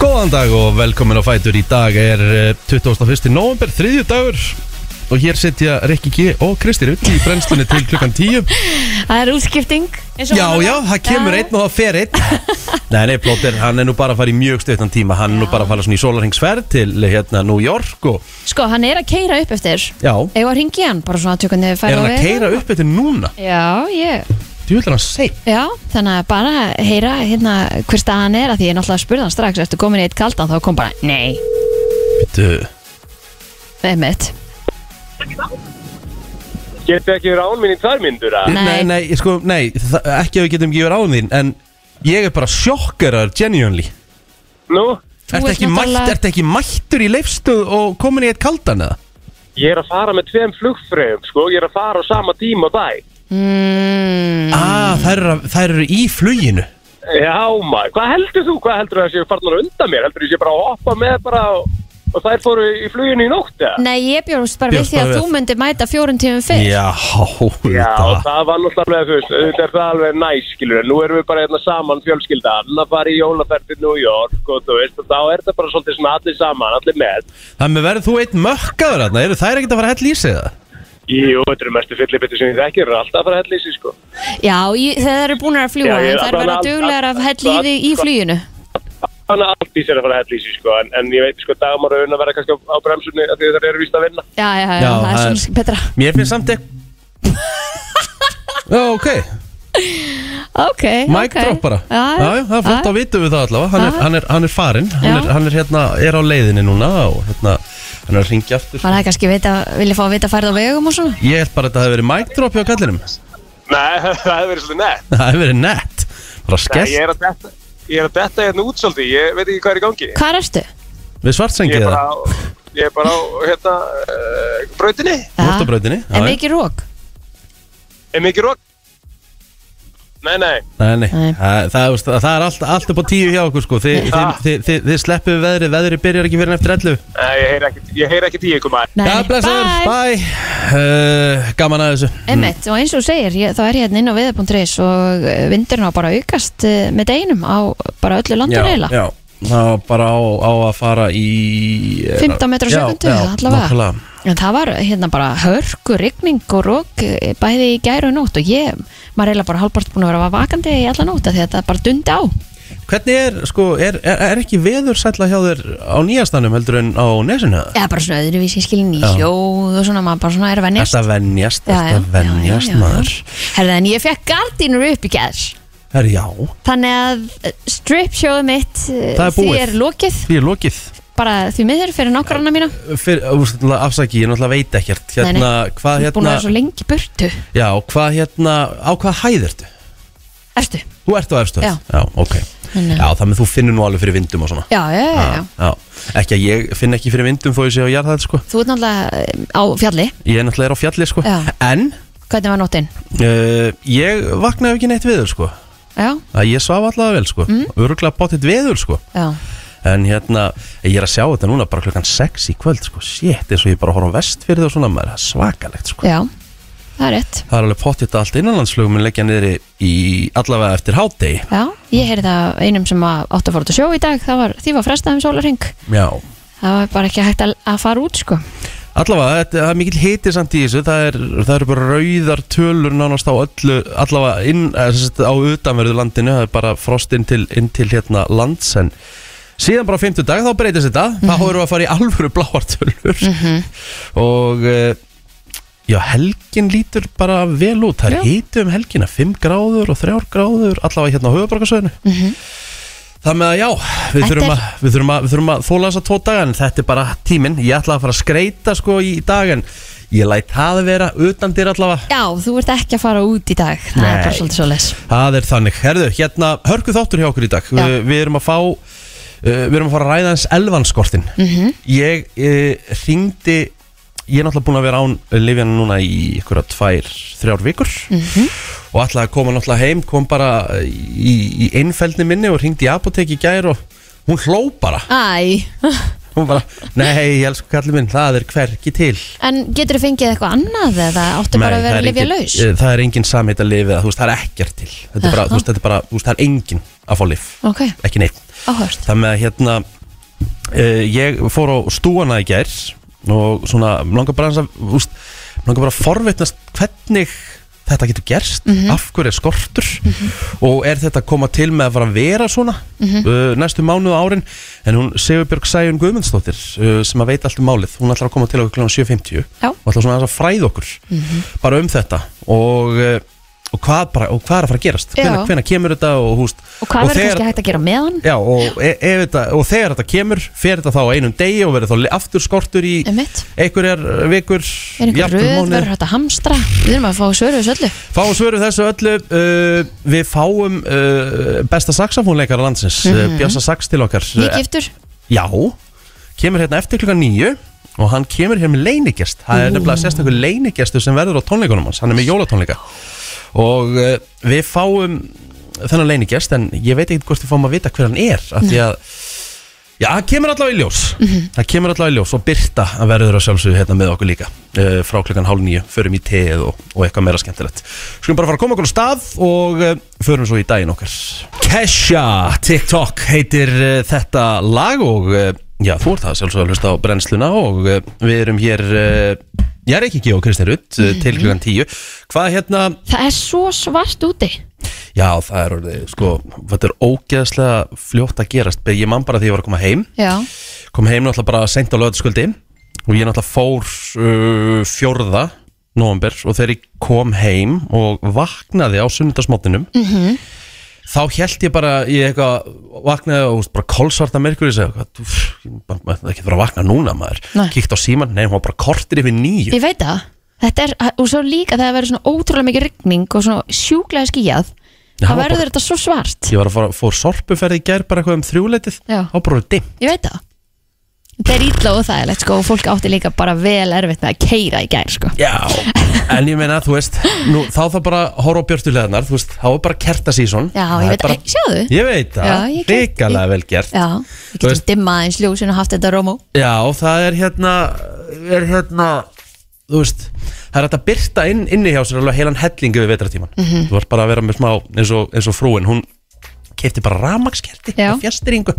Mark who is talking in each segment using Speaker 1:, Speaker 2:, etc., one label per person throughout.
Speaker 1: Góðan dag og velkomin á Fætur Í dag er eh, 21. november, þriðju dagur Og hér sitja Rikki G og Kristi Rutt í brennslunni til klukkan 10
Speaker 2: Það er útskipting eins og
Speaker 1: Já,
Speaker 2: vanalega.
Speaker 1: já, það kemur einn og það fer einn Nei, nei, Plóter, hann er nú bara að fara í mjög stöðtan tíma Hann er nú bara að fara svona í sólarhengsferð til hérna New York og
Speaker 2: Sko, hann er að keira upp eftir
Speaker 1: Já,
Speaker 2: Ef að ringi hann, bara svona að tjóka niður
Speaker 1: er
Speaker 2: færa
Speaker 1: hann að keira upp eftir núna?
Speaker 2: Já, ég
Speaker 1: Þú vil hann seint
Speaker 2: Já, þannig að bara heyra hérna hvers það hann er að Því ég náttúrulega spurði hann strax Ertu komin í eitt kaldan, þá kom bara Nei,
Speaker 1: Bittu,
Speaker 2: með mitt
Speaker 3: Getur ekki verið án mín í tvær myndur að?
Speaker 2: Nei.
Speaker 1: Nei, nei, ég sko, nei, það, ekki að við getum ekki verið án þín En ég er bara sjokkeraður, genuinely
Speaker 3: Nú,
Speaker 2: Þú
Speaker 1: Ertu
Speaker 2: ert
Speaker 1: ekki, mætt,
Speaker 2: náttúrulega-
Speaker 1: ertu ekki mættur í leifstuð og komin í eitt kaldan eða?
Speaker 3: ég er að fara með tveim flugfröðum, sko, ég er að fara á sama tíma og dag.
Speaker 2: mm,
Speaker 1: Ah, þær eru, þær eru í fluginu
Speaker 3: Já, maður, hvað heldur þú? Hvað heldur þú að séu farnar undan mér? Heldur þú að séu bara að hoppa með bara og, og þær fóru í fluginu í nótt, eða?
Speaker 2: Nei, ég bjóðst bara við
Speaker 1: Bjóst
Speaker 2: því
Speaker 1: bara
Speaker 2: að
Speaker 1: við.
Speaker 2: þú myndir mæta fjórun tímum fyrr
Speaker 1: Já,
Speaker 3: Já,
Speaker 1: þetta
Speaker 3: það var náttúrulega, þú veist, þetta er það alveg næs, skilur, en nú erum við bara hérna saman fjölskyldan að fara í jólaferð til New York og þú veist, og þá er þetta bara svolítið svona allir saman, allir með.
Speaker 1: Þannig verður þú eitt mökkaður þarna, eru þær ekkert að fara að hella í sig það?
Speaker 3: Jú, þetta eru mestu fyllibittu sem ég þekkir, það er alltaf að fara að hella í sig, sko.
Speaker 2: Já, ég, þeir eru búin að fljúa
Speaker 3: Já, ég-
Speaker 2: En þær verða
Speaker 3: allavega-
Speaker 2: duglegar af hell í þig í
Speaker 3: allavega-
Speaker 2: fluginu
Speaker 3: Þannig að allt í sér að fara að hella í sig sko en, en ég veit sko dagmar að vinna verða kannski á, á bremsunni af því að það eru víst að vinna
Speaker 2: Já, já, já, það
Speaker 1: Já,
Speaker 2: er
Speaker 1: það er-
Speaker 2: svona betra
Speaker 1: Mér finnst samt ekki Já, ok,
Speaker 2: Eh, Ok, ok.
Speaker 1: mic drop bara
Speaker 2: Já,
Speaker 1: Já, já, það er flott að vitum við það allavega Hann er,
Speaker 2: Já.
Speaker 1: hann er, hann er farinn, hann,
Speaker 2: Já.
Speaker 1: er, hann er, hérna, er á leiðinni núna og hérna, hann er að ringja aftur
Speaker 2: Var það kannski vita, vilja fá að vita færð á vegum og svona?
Speaker 1: Ég held bara að þetta hefði verið mic drop hjá kallinum
Speaker 3: Nei, það hefur verið svolítið nett
Speaker 1: Það hefði verið nett Bara skell
Speaker 3: Ég er að detta, ég er að detta hérna út svolítið, ég veit ekki hvað er í gangi
Speaker 2: Hvar ertu?
Speaker 1: við
Speaker 3: Ég
Speaker 1: svartsengið
Speaker 3: er bara
Speaker 1: það
Speaker 3: á, ég er bara á, hérna, uh, brautinni
Speaker 1: Múrtabrautinni
Speaker 2: En mikið rók?
Speaker 3: Er mikið rók? Nei, nei,
Speaker 1: Nei, nei,
Speaker 2: Nei.
Speaker 1: Það, það, það, það er allt, allt upp á tíu hjá okkur sko Þi, þið,
Speaker 3: Ah.
Speaker 1: þið, þið, þið sleppu við veðri, veðri byrjar ekki fyrir en eftir 11
Speaker 3: nei, ég heyri ekki, ég heyri ekki tíu koma
Speaker 2: Nei,
Speaker 1: Já, blessaður, bye uh, Gaman að þessu
Speaker 2: Emmett, og eins og þú segir, ég, þá er ég hérna inn á viða.is og eh, vindurinn á bara að aukast eh, með deginum á bara öllu landur
Speaker 1: Mm. Já,
Speaker 2: eiginlega.
Speaker 1: já Það var bara á, á að fara í eh,
Speaker 2: 15 metra á sekundu,
Speaker 1: Já, já,
Speaker 2: allavega.
Speaker 1: nákvæmlega.
Speaker 2: En það var hérna bara hörku, rigning og rók eh, bæði í gæru og nótt og ég, maður er eiginlega bara halvbart búin að vera vakandi í alla nótt af því að þetta bara dundi á.
Speaker 1: Hvernig er, sko, er, er, er ekki veður sætla hjá þér á nýjastanum heldur en á nesinu?
Speaker 2: Eða bara svona öðruvísi skilin í
Speaker 1: Já.
Speaker 2: hljóð og svona, maður bara svona er að venjast.
Speaker 1: Þetta venjast,
Speaker 2: Já, já,
Speaker 1: þetta
Speaker 2: já, já, já.
Speaker 1: venjast maður
Speaker 2: Herði, en ég fekk gardínur upp í gæðs.
Speaker 1: Það er já,
Speaker 2: Þannig að eh, strip showið mitt eh,
Speaker 1: Það er
Speaker 2: því
Speaker 1: búið.
Speaker 2: er lokið
Speaker 1: því er lokið
Speaker 2: bara því miður fyrir nákvæmna mína
Speaker 1: Fyr, Afsaki, ég náttúrulega veit ekkert
Speaker 2: Nei,
Speaker 1: hérna,
Speaker 2: nei.
Speaker 1: Hvað
Speaker 2: Ég er búin að
Speaker 1: hérna
Speaker 2: vera svo lengi í burtu
Speaker 1: Já, hvað hérna, á hvað hæð ertu?
Speaker 2: Erstu?
Speaker 1: Þú ert á efstöð?
Speaker 2: Já.
Speaker 1: Já, ok.
Speaker 2: Þannig
Speaker 1: Já,
Speaker 2: að-
Speaker 1: þannig að þú finnur nú alveg fyrir vindum og svona.
Speaker 2: Hérna.
Speaker 1: Ah,
Speaker 2: Já, já, já, já.
Speaker 1: já. Ekki að ég finn ekki fyrir vindum þó ég sé á jarðhæð, sko.
Speaker 2: Þú ert náttúrulega eh, á fjalli
Speaker 1: Ég er náttúrulega er á fjalli, sko.
Speaker 2: Já.
Speaker 1: En
Speaker 2: Hvernig var nóttin?
Speaker 1: uh, ég vaknaði ekki neitt veður, sko.
Speaker 2: Já,
Speaker 1: Það ég svaf allavega vel, sko. Mm. Öruglega bátitt veður, sko.
Speaker 2: já
Speaker 1: En hérna, ég er að sjá þetta núna bara klokkan 6 í kvöld, sko. Shit, eins og ég bara horf á vestfyrði og svona, maður, það er svakalegt, sko.
Speaker 2: Já, það er rétt
Speaker 1: Það er alveg pottitt að allt innanlandsflugum en leggja niður í allavega eftir hádegi.
Speaker 2: Já, ég heyrði það einum sem að átti að fara út að sjó í dag það var, Því var frestað um sólarhing
Speaker 1: Já.
Speaker 2: Það var bara ekki hægt að, að fara út sko
Speaker 1: Allavega, þetta, það er mikill hiti samt í þessu Það, er, það eru bara rauðar tölur nánast á öllu Allavega inn, eða sem sagt á utanverðu landinu Það er bara frost inn til, inn til hérna lands En síðan bara á fimmtudag þá breytist þetta Þá erum við að fara í alvöru bláar tölur Og eh, já, helgin lítur bara vel út Það
Speaker 2: Já.
Speaker 1: er hiti um helgina 5 gráður og 3 gráður Allavega hérna á höfuborgarsöðinu Það með að já, við
Speaker 2: Mhm. Þetta er-
Speaker 1: þurfum að, við þurfum að, við þurfum að þóla þessa tvo daga en þetta er bara tíminn, ég ætla að fara að skreita sko í dag en ég læt það vera utan dyr allavega
Speaker 2: Já, þú ert ekki að fara út í dag Það er bara
Speaker 1: Nei.
Speaker 2: svolítið svo les
Speaker 1: Það er þannig, herðu, hérna hörku þáttur hjá okkur í dag
Speaker 2: Já.
Speaker 1: við, við erum að fá, uh, við erum að fara að ræða eins elvanskortin
Speaker 2: Mhm.
Speaker 1: -hmm. Ég uh, ringdi, ég er náttúrulega búin að vera án Livjana núna í ykkur að tvær, þrjár vikur
Speaker 2: Mhm.
Speaker 1: -hmm. Og ætlaði að koma náttúrulega heim, kom bara í, í einfeldni minni og ringdi í apotek í gær og hún hló bara
Speaker 2: Æ,
Speaker 1: Hún bara, nei, elsku kallið minn, það er hverki til
Speaker 2: en getur þú fengið eitthvað annað eða áttu bara
Speaker 1: Nei,
Speaker 2: að vera
Speaker 1: það er
Speaker 2: að lifja
Speaker 1: engin-
Speaker 2: laus?
Speaker 1: eh, Það er engin samheit að lifi, þú veist, það er ekkert til Þetta er bara,
Speaker 2: Aha.
Speaker 1: þú veist, þetta er bara, þú veist, það er engin að fá lif
Speaker 2: Ok,
Speaker 1: Ekki neitt
Speaker 2: áhört
Speaker 1: Það með að hérna, uh, ég fór á stúana í gær og svona, mig langar bara aðeins að úst, langar bara að forvitnast hvernig þetta getur gerst,
Speaker 2: Mhm.
Speaker 1: af hverju er skortur og er þetta að koma til með að fara að vera svona
Speaker 2: Mhm.
Speaker 1: uh, næstu mánuð og árin, en hún Sigurbjörg Sæjun Guðmundsdóttir, uh, sem að veit allt um málið, hún ætlar að koma til okkur kl. 7.50
Speaker 2: Já.
Speaker 1: og ætlar svona aðeins að fræða okkur bara um þetta og, uh, og, hvað, bara, og hvað er að fara að gerast
Speaker 2: Já.
Speaker 1: hvenær, hvenær kemur þetta og, húst,
Speaker 2: Og hvað verður kannski hægt að gera með hann?
Speaker 1: Já, og, e ef þetta, og þegar þetta kemur fer þetta þá á einum degi og verður þá le- aftur skortur í
Speaker 2: Einmitt.
Speaker 1: einhverjar eh, vikur
Speaker 2: Er einhver
Speaker 1: jafnvel
Speaker 2: röð,
Speaker 1: mánuði.
Speaker 2: verður hægt að hamstra? Við erum að fá svöruðs öllu.
Speaker 1: Fáum svöru þessu öllu uh, Við fáum uh, besta saxofónleikara landsins
Speaker 2: Mhm.
Speaker 1: mm Bjassa Sax til okkar Eh,
Speaker 2: Nýgiftur?
Speaker 1: Já, kemur hérna eftir klukkan nýju og hann kemur hérna með leinigest það er nefnilega sérstakur leinigestu sem verður á tónleikunum hans, hann er með jólatónleika og uh, við fáum þennan leinigest en ég veit ekki hvort við fáum að vita hver hann er af því að Já, það kemur allavega í ljós Það kemur allavega í ljós og Birta að verður að sjálfsögðu hérna með okkur líka uh, frá klukkan hálf nýju, förum í teið og, og eitthvað meira skemmtilegt Skulum bara fara að koma okkur á stað og uh, förum svo í daginn okkar Kesha TikTok heitir uh, þetta lag og uh, já, þú ert það sjálfsögðu að hlusta á brennsluna og uh, við erum hér uh, ég er ekki ekki og Kristi Rutt uh, til klukkan tíu Hvað hérna,
Speaker 2: Það er svo svart úti.
Speaker 1: já það er orðið sko, þetta er ógeðslega fljótt að gerast, ég man bara því ég var að koma heim
Speaker 2: Já.
Speaker 1: kom heim náttúrulega bara sent á löðaskvöldi og ég náttúrulega fór uh, fjórða november og þegar ég kom heim og vaknaði á sunnundasmóttinum -hmm.
Speaker 4: Mm-hmm.
Speaker 1: þá held ég bara ég eitthvað vaknaði og veist, bara kolsvarta merkur ég segi, hvað, úff, ég bara- maður- það getur bara að vakna núna maður
Speaker 2: Nei.
Speaker 1: kíkt á síman, nei hún var bara kortir yfir nýju
Speaker 2: Ég veit það. Þetta er, og svo líka það verður svona ótrúlega mikið rigning og svona sjúklega skýjað.
Speaker 1: Já,
Speaker 2: Það
Speaker 1: bara-
Speaker 2: verður þetta svo svart.
Speaker 1: ég var að fara, fór sorpuferð í gær bara eitthvað um þrjúleitið
Speaker 2: Já.
Speaker 1: þá bara dim
Speaker 2: Ég veit það. Þetta er ítla og það er sko og fólk átti líka bara vel erfitt með að keira í gær sko.
Speaker 1: Já, en ég meina, þú veist nú, þá þá bara horfa á björtuleðarnar þú veist, þá er bara kertasísón
Speaker 2: Já,
Speaker 1: Það
Speaker 2: ég
Speaker 1: er
Speaker 2: veit, eh,
Speaker 1: bara,
Speaker 2: hey, sjáðu.
Speaker 1: Ég veit það,
Speaker 2: Já, ég get-
Speaker 1: ríkalega vel gert
Speaker 2: Já, við
Speaker 1: Þú
Speaker 2: getum
Speaker 1: veist-
Speaker 2: dimmað eins ljósin og haft þetta rómó.
Speaker 1: Já, það er hérna er hérna þú veist, það er hægt að byrta inn, inni hjá sér alveg heilan hellingu við vetratíman
Speaker 2: Mhm.
Speaker 1: þú vart bara að vera með smá eins og, eins og frúin hún kefti bara ramakskerti
Speaker 2: Já.
Speaker 1: og fjastringu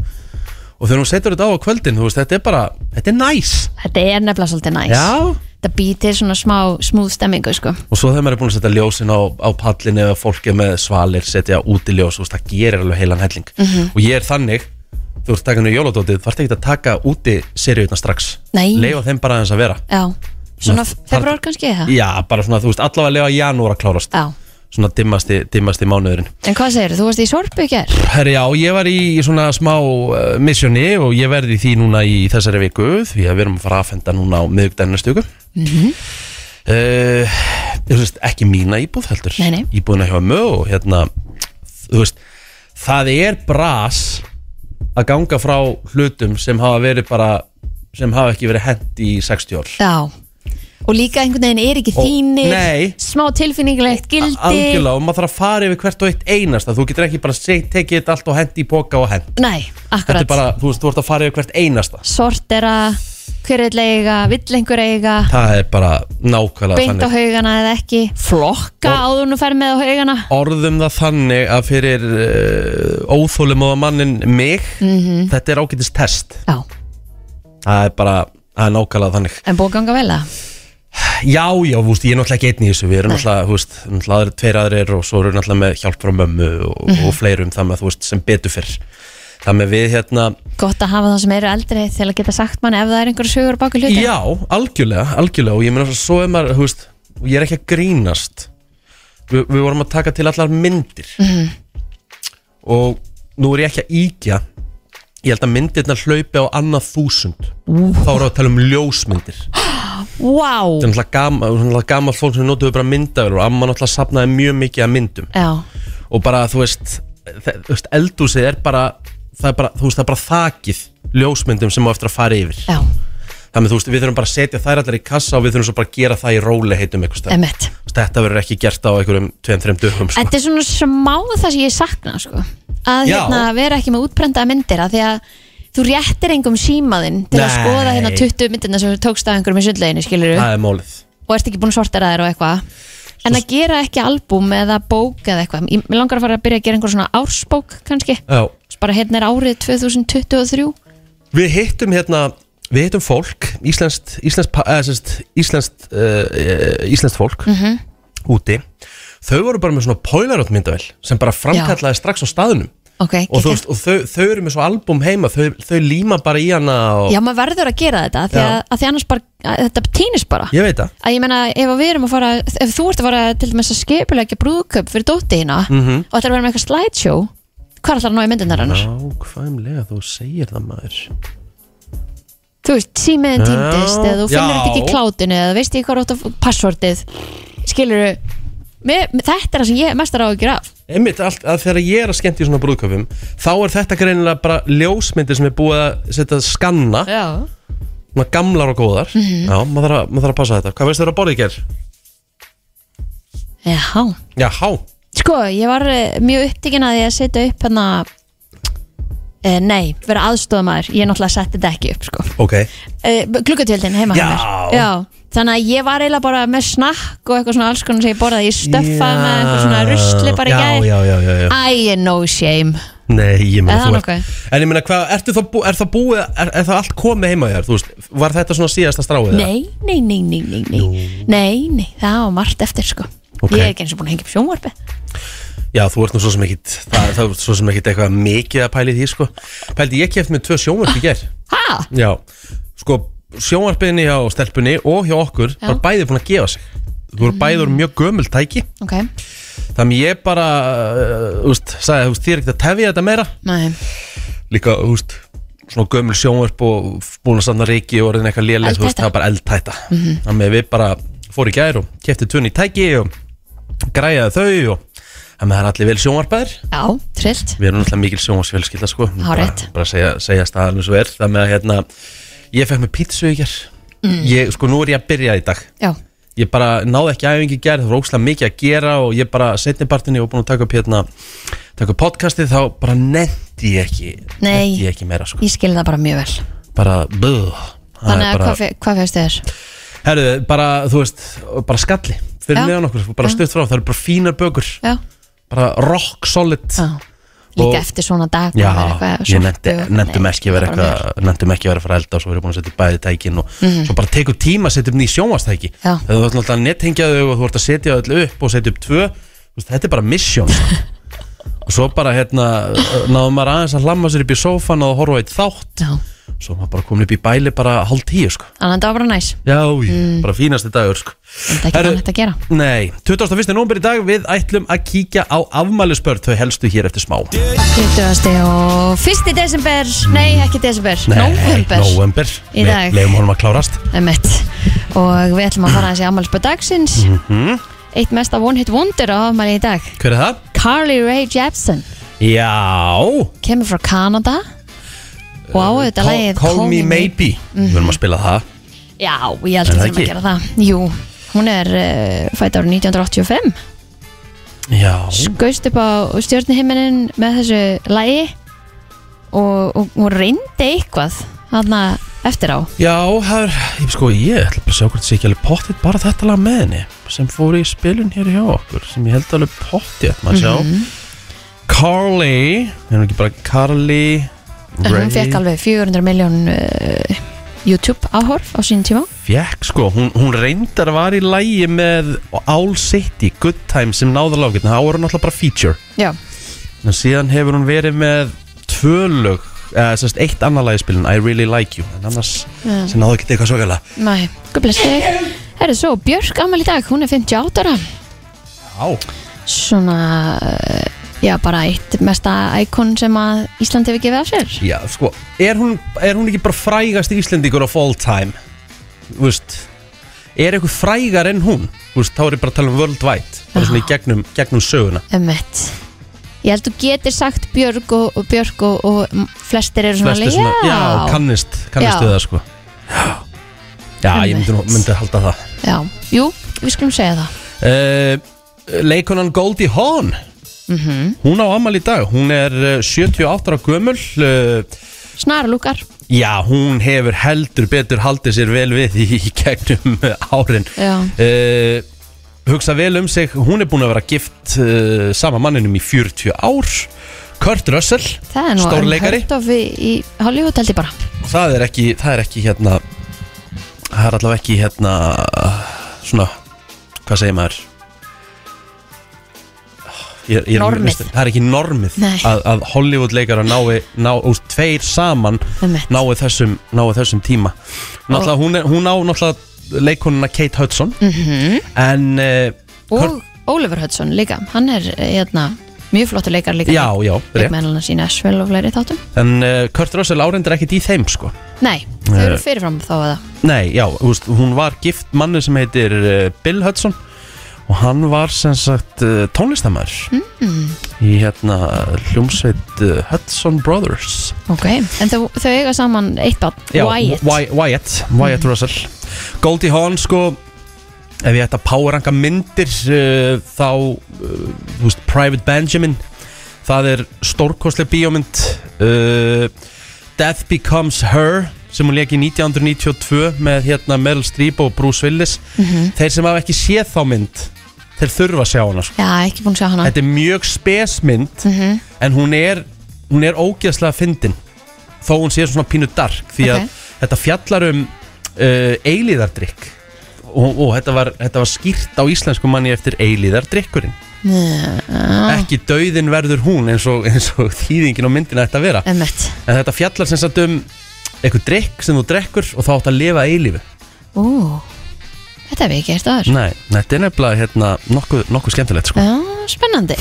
Speaker 1: og þegar hún setur þetta á á kvöldin, þú veist, þetta er bara þetta er næs
Speaker 2: Þetta er nefnilega svolítið næs.
Speaker 1: Já.
Speaker 2: Þetta býtir svona smá smúð stemmingu sko.
Speaker 1: og svo þegar maður er búin að setja ljósin á, á pallin eða fólk er með svalir setja útiljós og það gerir alveg heilan helling
Speaker 2: Mhm.
Speaker 1: og ég er þannig þú ert takkanu jóladótið, þú ert ekki að taka úti seriutna strax,
Speaker 2: Nei.
Speaker 1: leifa þeim bara aðeins að vera
Speaker 2: Já. Svona
Speaker 1: Ná,
Speaker 2: februar kannski eða?
Speaker 1: já, bara svona, þú veist, allavega leifa janúar að klárast
Speaker 2: Já.
Speaker 1: svona dimmasti, dimmasti mánuðurinn
Speaker 2: En hvað segir þú? varst í sorpu í gær?
Speaker 1: Herri, já, ég var í svona smá uh, missjóni og ég verði því núna í þessari viku því að við erum að fara að fenda núna á miðugdæðinu stöku mm -hmm. Þú veist, ekki mína íbúð heldur
Speaker 2: Nei, nei.
Speaker 1: Íbúðina hjá mö og hérna þú veist, það er bras að ganga frá hlutum sem hafa verið bara sem hafa ekki verið hent í 60 ár
Speaker 2: Já. Og líka einhvern veginn er ekki
Speaker 1: Og-
Speaker 2: þínir,
Speaker 1: Nei.
Speaker 2: smá tilfinninglegt gildi.
Speaker 1: Algjörlega, og maður þarf að fara yfir hvert og eitt einasta þú getur ekki bara seg- tekið þetta allt og hent í póka og hent
Speaker 2: Nei,
Speaker 1: Þetta
Speaker 2: akkurat.
Speaker 1: er bara, þú veist, þú ert að fara yfir hvert einasta
Speaker 2: Sortera, hver vill eiga, vill einhver eiga,
Speaker 1: Það er bara nákvæmlega
Speaker 2: beint á
Speaker 1: þannig
Speaker 2: haugana eða ekki, flokka
Speaker 1: Og-
Speaker 2: áður nú fer með á haugana.
Speaker 1: Orðum það þannig að fyrir uh, óþólum og mannin mig
Speaker 2: Mhm.
Speaker 1: Þetta er ágætist test
Speaker 2: Mm. Já,
Speaker 1: Það er bara, það er nákvæmlega þannig
Speaker 2: en búið að ganga vel að.
Speaker 1: Já, já, þú veist, ég er náttúrulega ekki einn í þessu Við erum
Speaker 2: Nei.
Speaker 1: náttúrulega, þú veist, náttúrulega aðrir, tveir aðrir Og svo erum við náttúrulega með hjálp frá mömmu og,
Speaker 2: Mhm.
Speaker 1: og fleirum Það með, þú veist, sem betur fyrr Það með við hérna
Speaker 2: Gott að hafa það sem eru eldri til að geta sagt mann ef það er einhverju sögur baku hluti.
Speaker 1: Já, algjörlega, algjörlega og ég meina svo er maður, þú veist, og ég er ekki að grínast Vi, Við vorum að taka til allar myndir -hmm. og nú er ég ekki að íkja Ég held að myndirna hlaupi á annað þúsund Þá erum við að tala um ljósmyndir Þetta
Speaker 2: Vá!
Speaker 1: er náttúrulega gama, náttúrulega gama fólk sem notuðu bara myndavel og amma náttúrulega safnaði mjög mikið að myndum
Speaker 2: Já,
Speaker 1: og bara þú veist, þe- þú veist eldúsið er bara, það er bara, þú veist, það er bara þakið ljósmyndum sem á eftir að fara yfir
Speaker 2: já,
Speaker 1: Þannig þú veist, við þurfum bara að setja þær allar í kassa og við þurfum svo bara að gera það í róli heitum eitthvað stað.
Speaker 2: emmett.
Speaker 1: Þetta verður ekki gert á einhverjum 2-3 dögum, sko.
Speaker 2: Þetta er svona smá það sem ég sakna sko. að
Speaker 1: Já.
Speaker 2: hérna, vera ekki með útprentaða myndir að því að þú réttir engum símaðinn til að
Speaker 1: Nei.
Speaker 2: skoða hérna 20 myndirna sem þú tókst af einhverjum í sundleginu skilur
Speaker 1: Það er málið.
Speaker 2: og ert ekki búin að sortera þér og eitthvað en að gera ekki albúm eða bók eða eitthvað, ég mig langar að fara að byrja að gera einhver svona ársbók kannski,
Speaker 1: Já.
Speaker 2: Svo bara hérna er árið 2023
Speaker 1: Við hittum hérna Við hittum fólk, íslenskt íslenskt pa- eða sem sagt, íslenskt, uh, íslenskt fólk
Speaker 2: Mm.
Speaker 1: úti Þau voru bara með svona Polaroid myndavel sem bara framkallaði strax á staðunum
Speaker 2: ok,
Speaker 1: og, þú,
Speaker 2: geggjað.
Speaker 1: veist, og þau, þau eru með svo album heima þau, þau líma bara í hana og,
Speaker 2: já, maður verður að gera þetta því að,
Speaker 1: Já.
Speaker 2: að því annars bara, að, þetta týnist bara
Speaker 1: Ég veit það
Speaker 2: að ég meina, ef að við erum að fara ef þú ert að fara til dæmis að skipulegja brúðköp fyrir dóttiðina
Speaker 1: Mhm.
Speaker 2: og ætlar að vera með eitthvað slideshow hvað ætlar að ná í myndunar hennar?
Speaker 1: Nákvæmlega, þú segir það maður
Speaker 2: þú veist, símiðin
Speaker 1: Já.
Speaker 2: týndist eða þú finnur þetta ekki
Speaker 1: Já.
Speaker 2: í klátinu eða þú veist ekki hvað rátt passvortið skilur þetta er það sem ég mestar áhyggjur af
Speaker 1: Einmitt, allt, að þegar ég er að skemmta í svona brúðköpum þá er þetta greinilega bara ljósmyndir sem er búið að setja að skanna
Speaker 2: já. Mhm.
Speaker 1: svona gamlar og góðar Já, maður þarf, að, maður þarf að passa þetta Hvað veist þau að borða í ger?
Speaker 2: já
Speaker 1: Já, há
Speaker 2: sko, ég var eh, mjög upptíkin að ég að setja upp hérna eh, nei, vera aðstofamæður ég náttúrulega setti þetta ekki upp sko
Speaker 1: Ok
Speaker 2: eh, gluggatjöldin heima hjá
Speaker 1: Já.
Speaker 2: mér. já Þannig að ég var eiginlega bara með snakk og eitthvað svona alls konar sem ég borðaði, ég stöffaði með eitthvað svona rusli bara í gæð.
Speaker 1: Já, já, já, já
Speaker 2: Æ, no shame.
Speaker 1: Nei, ég meina
Speaker 2: Er það
Speaker 1: þú
Speaker 2: nokkuð?
Speaker 1: En ég meina, hvað, ertu þá búið, er það búið, er, er það allt komið heima hjá þér? Þú veist, var þetta svona síðasta stráið? eða?
Speaker 2: Nei, nei, nei, nei, nei, nei, nei, nei, það var margt eftir sko
Speaker 1: Ok.
Speaker 2: Ég er ekki eins og búin að hengja upp sjónvarpi
Speaker 1: Já, þú ert nú svo sem ekkit Það, það er svo sem ekkit eitthvað mikið að pæli því sko. Pældi, ég keft með tvö sjónvarp í ger
Speaker 2: Ha?
Speaker 1: Já, sko sjónvarpinni hjá stelpunni og hjá okkur
Speaker 2: Já.
Speaker 1: bara bæði búin að gefa sig Þú voru bæður mjög gömul tæki
Speaker 2: Ok,
Speaker 1: Þannig ég bara, uh, úst, sagði, úst, þér er ekkert að tefja þetta meira
Speaker 2: nei,
Speaker 1: Líka, úst, svona gömul sjónvarp og búin að sanna reiki og orðin eitthvað léleg þú veist,
Speaker 2: Eldhætta.
Speaker 1: Það var bara eldtæta mm
Speaker 2: Mhm.
Speaker 1: -hmm. Þannig að við bara fóru í gær og kefti tvunni tæki og græjaði þau og þannig að það er allir vel sjónvarpæðir
Speaker 2: já, trillt
Speaker 1: Við erum náttúrulega mikil sjónvarsfjölskylda sko
Speaker 2: Hárrétt.
Speaker 1: Bara, bara segja, segja staðan eins og er Það með að hérna Ég fekk með pítsu í ger ég, Sko nú er ég að byrja í dag
Speaker 2: Mm. Já,
Speaker 1: Ég bara náði ekki æfingi í ger Það var ókslega mikið að gera Og ég bara setnipartinni og búin að taka upp hérna Taka upp podcastið Þá bara nefndi ég ekki
Speaker 2: Nei.
Speaker 1: Nefndi ég ekki meira sko
Speaker 2: ég skil það bara mjög vel
Speaker 1: Bara buh Það
Speaker 2: Þannig
Speaker 1: er
Speaker 2: að
Speaker 1: bara,
Speaker 2: hvað, fe- hvað fegst þér?
Speaker 1: Herðu bara þú veist Bara skalli
Speaker 2: Já.
Speaker 1: Fyrir neðan okkur Bara
Speaker 2: Já.
Speaker 1: stutt frá Það eru bara fínar bökur
Speaker 2: Já,
Speaker 1: Bara rock solid
Speaker 2: já Líka
Speaker 1: Og-
Speaker 2: eftir svona dag bara
Speaker 1: Já,
Speaker 2: vera eitthvað
Speaker 1: ég
Speaker 2: sorpu-
Speaker 1: nefndi, nefndum
Speaker 2: Nei,
Speaker 1: ekki að vera
Speaker 2: það er bara
Speaker 1: eitthvað nefndum ekki að vera að fara að elda og svo verið búin að setja í bæði tækin og svo bara tekur tíma að setja upp ný sjónvastæki
Speaker 2: Mhm. Já.
Speaker 1: þegar þú ert náttúrulega að nettingja þau og þú ert að setja öll upp og setja upp tvö þú veist, þetta er bara mission og svo bara hérna náðum maður aðeins að hlamma sér upp í sófan og horfa á eitt þátt
Speaker 2: mjög- Já,
Speaker 1: svo maður bara komin upp í bæli bara hálf tíu sko.
Speaker 2: þannig að þetta var bara næs
Speaker 1: já, mm. bara fínasti dagur sko.
Speaker 2: Þetta er ekki
Speaker 1: Herru,
Speaker 2: þannig að gera
Speaker 1: Nei, 21. nómber í dag við ætlum að kíkja á afmælisbörn þau helstu hér eftir smá
Speaker 2: 20. og 1. desember Nei, ekki desember, november
Speaker 1: november.
Speaker 2: Í dag.
Speaker 1: Le- Leifum honum að klárast
Speaker 2: Emmett Og við ætlum að fara aðeins í afmælisbað dagsins
Speaker 1: Mhm.
Speaker 2: Eitt mesta one hit wonder á afmæli í dag
Speaker 1: Hver er það?
Speaker 2: Carly Rae Jepsen
Speaker 1: Já
Speaker 2: Kemur frá Kanada Og á þetta lagið
Speaker 1: Uh, Call, call me maybe Við erum að spila það
Speaker 2: Já, ég held
Speaker 1: Er
Speaker 2: að
Speaker 1: það
Speaker 2: það að
Speaker 1: ekki?
Speaker 2: gera það Jú, hún er uh, fætt árið 1985
Speaker 1: Já
Speaker 2: Skaust upp á stjórnihimminin með þessu lagi Og, og hún reyndi eitthvað Þarna eftir á
Speaker 1: Já, það er ég, Sko, ég ætla bara að sjá hvort það sé ekki alveg pottið Bara þetta lag með henni Sem fór í spilun hér hjá okkur Sem ég held alveg pottið Maður sjá
Speaker 2: Mhm.
Speaker 1: Carly Er hún ekki bara Carly
Speaker 2: En
Speaker 1: Rae?
Speaker 2: Hún fekk alveg 400 miljón uh, YouTube áhorf á sínum tíma
Speaker 1: Fékk, sko Hún, hún reyndar var í lægi með All City Good Time Sem náður lágirna Það var hún alltaf bara feature
Speaker 2: Já,
Speaker 1: En síðan hefur hún verið með tvö lög eða sérst eitt annað lagspilin I Really Like You en annars
Speaker 2: Já.
Speaker 1: sem náðu ekki til eitthvað svakalega
Speaker 2: Nei, guð bless þig Herru, svo Björk ammali í dag, hún er 58 ára
Speaker 1: Já,
Speaker 2: Svona, eh, já, bara eitt mesta íkon sem að Ísland hefur gefið af sér
Speaker 1: já sko er hún, er hún ekki bara frægast Íslendingur of all time Þú veist er eitthvað frægar enn hún Þú veist, þá er ég bara að tala um worldwide bara
Speaker 2: Já.
Speaker 1: svona í gegnum, gegnum söguna
Speaker 2: Emmett Ég held þú getur sagt Björk og, og Björk og, og m- flestir eru svona,
Speaker 1: Flestir
Speaker 2: já,
Speaker 1: já, kannist, kannist
Speaker 2: Já.
Speaker 1: við það sko Já, já ég myndi, nú- myndi halda það
Speaker 2: já, jú, við skulum segja það
Speaker 1: uh, Leikonan Goldie Hawn
Speaker 2: Mhm.
Speaker 1: Hún á amal í dag Hún er eh, 78 ára gömul uh,
Speaker 2: Snara lúkar,
Speaker 1: Já, hún hefur heldur betur haldið sér vel við í, í gegnum eh, árin
Speaker 2: Já.
Speaker 1: uh, Hugsa vel um sig Hún er búin að vera gift uh, sama manninum í 40 ár Kurt Russell
Speaker 2: það er nú
Speaker 1: Stórleikari
Speaker 2: unheard of í, í Hollywood held ég bara
Speaker 1: það er ekki, það er ekki hérna það er allavega ekki hérna svona, hvað segir maður ég, ég er
Speaker 2: Normið.
Speaker 1: listin- það er ekki normið
Speaker 2: Nei.
Speaker 1: að, að Hollywood leikara nái, ná, úst, tveir saman
Speaker 2: Einmitt.
Speaker 1: nái þessum, nái þessum tíma náttúrulega hún, er, hún á náttúrulega leikonuna Kate Hudson
Speaker 2: Mhm.
Speaker 1: -hmm. en uh,
Speaker 2: og Oliver Hudson líka hann er eh, hérna, mjög flottur leikar líka
Speaker 1: já, já, rétt.
Speaker 2: leikmennarnas í Nashville og fleiri þáttum
Speaker 1: en uh, Kurt Russell áreindar ekkit í þeim sko
Speaker 2: nei, þau
Speaker 1: Nei.
Speaker 2: eru fyrirfram þá að það
Speaker 1: Nei, já, þú veist, hún var gift manni sem heitir uh, Bill Hudson og hann var sem sagt uh, tónlistamæður í hérna hljómsveit uh, Hudson Brothers
Speaker 2: ok, en þau, þau eiga saman eitt barn,
Speaker 1: já,
Speaker 2: Wyatt
Speaker 1: Wy- Wyatt, Wyatt Russell Goldie Hawn, sko ef ég ætti að poweranga myndir uh, þá, uh, þú veist, Private Benjamin það er stórkostleg bíómynd uh, Death Becomes Her sem hún leik í 1992 með hérna Meryl Streep og Bruce Willis þeir sem hafa ekki séð þá mynd þeir þurfa að sjá hana sko.
Speaker 2: já, ekki búin að sjá hana
Speaker 1: þetta er mjög spesmynd en hún er, hún er ógeðslega fyndin þó hún sé svona pínu dark því að
Speaker 2: Ok.
Speaker 1: þetta fjallar um uh, eilíðardrykk og, og þetta, var, þetta var skýrt á íslensku manni eftir eilíðardrykkurinn
Speaker 2: Njá,
Speaker 1: ekki dauðin verður hún eins og, eins og þýðingin og myndin ætti að vera
Speaker 2: einmitt.
Speaker 1: en þetta fjallar sem sagt um eitthvað drykk sem þú drekkur og þá átt að lifa eilífi
Speaker 2: Ú, þetta hef ég gert aður
Speaker 1: Nei, þetta er nefnilega hérna, nokkuð, nokkuð skemmtilegt sko.
Speaker 2: já, Eh, spennandi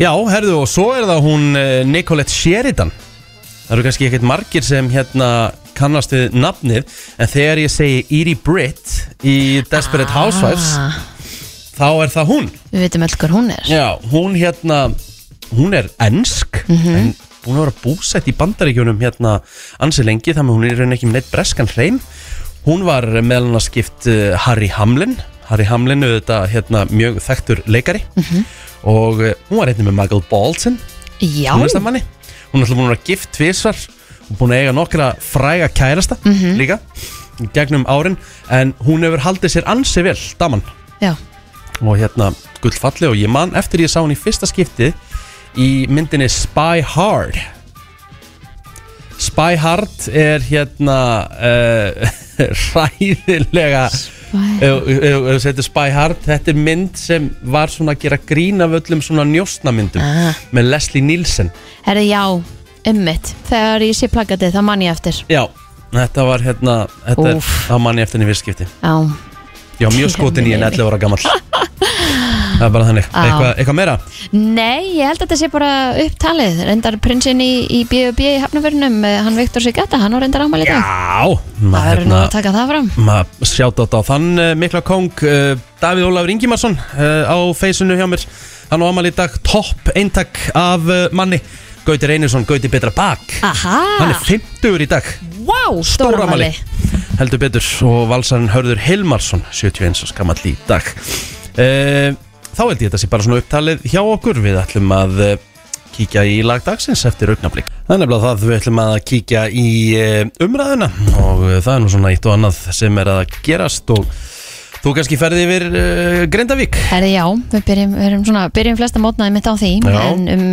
Speaker 1: Já, herðu, og svo er það hún eh, Nicolette Sheridan Það eru kannski ekkert margir sem hérna kannast við nafnið En þegar ég segi Edie Britt í Desperate Housewives
Speaker 2: Ah,
Speaker 1: Þá er það hún
Speaker 2: við veitum öll hver hún er
Speaker 1: Já, hún hérna, hún er ensk En búin að vera búsett í bandaríkjunum hérna ansi lengi Þannig að hún er í raun ekki með neitt breskan hreim Hún var meðal hann að skipt uh, Harry Hamlin Harry Hamlin auðvitað hérna mjög þekktur leikari Og uh, hún var einnig með Michael Bolton
Speaker 2: já,
Speaker 1: tónlistamanni Hún er alltaf búin að vera gift tvisvar og búin að eiga nokkra fræga kærasta
Speaker 2: Mhm.
Speaker 1: líka í gegnum árin en hún hefur haldið sér ansi vel daman
Speaker 2: já.
Speaker 1: og hérna gullfalli og ég man eftir ég sá hún í fyrsta skipti í myndinni Spy Hard Spy Hard er hérna uh, ræðilega eh,
Speaker 2: Why-
Speaker 1: ef ef- ef þú setur Spy Hard þetta er mynd sem var svona að gera grín af öllum svona njóstnamyndum
Speaker 2: Ah.
Speaker 1: með Leslie Nielsen
Speaker 2: herri, já, ummitt þegar ég sé plakatið, það man ég eftir
Speaker 1: Já, þetta var hérna Þetta er,
Speaker 2: Úff.
Speaker 1: það mann ég eftir henni fyrstskipti
Speaker 2: já,
Speaker 1: Ég var mjög skotin í henni 11 ára gamall Það er bara þannig
Speaker 2: Á.
Speaker 1: Eitthvað, eitthvað meira?
Speaker 2: Nei, ég held að þetta sé bara upptalið reyndar prinsinn í, í B&B í hafnafyrnum hann Viktor Sigata, hann á reyndar ámæli í dag
Speaker 1: Já
Speaker 2: það
Speaker 1: maður
Speaker 2: verður nú
Speaker 1: hérna
Speaker 2: að taka það fram
Speaker 1: maður sjáta á þann uh, mikla kong uh, Davíð Ólafur Ingimarsson uh, á feysinu hjá mér hann á amal í dag topp eintak af uh, manni Gauti Reynisson, Gauti Betra Bak
Speaker 2: Aha,
Speaker 1: hann er 50 í dag
Speaker 2: wow,
Speaker 1: Stóra
Speaker 2: stóramæli
Speaker 1: Heldur betur og valsarinn Hörður Hilmarsson 71 og skamall í dag e, Þá held ég þetta sé bara svona upptalið hjá okkur Við ætlum að eh, kíkja í lagdagsins eftir augnablík Það er nefnilega það við ætlum að kíkja í eh, umræðuna og eh, það er nú svona eitt og annað sem er að gerast og þú kannski ferði yfir uh, Grindavík
Speaker 2: Herri, já, við byrjum, við erum svona, byrjum flesta mótnaði mitt á því
Speaker 1: Já.
Speaker 2: en um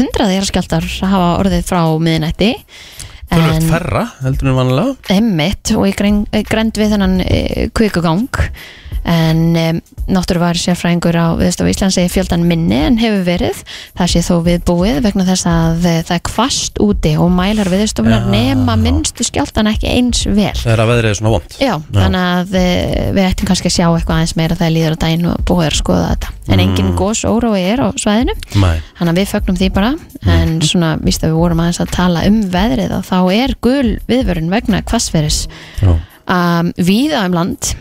Speaker 2: hundraði jarðskjaldar hafa orðið frá miðnætti
Speaker 1: Tölvöld ferra heldur en vanlega
Speaker 2: emmitt og ég grend, grend við þennan e, kvikugang en e, náttúruvar sérfræðingur á Viðstofu Íslands segir fjöldan minni en hefur verið það sé þó við búið vegna þess að e, það er kvast úti og mælar viðstofunar
Speaker 1: Já,
Speaker 2: nema
Speaker 1: já.
Speaker 2: minnstu skjáltan ekki eins vel
Speaker 1: Það er að veðrið er svona vond
Speaker 2: Já, þannig að e, við ættum kannski að sjá eitthvað aðeins meira þegar líður á daginn og búið er að skoða þetta en engin gós órói er á svæðinu
Speaker 1: Mæ,
Speaker 2: Þannig að við fögnum því bara en svona, víst að við vorum aðeins að tala um veðrið að þá er gul viðvörun vegna hvassveris
Speaker 1: já,
Speaker 2: um, víða um land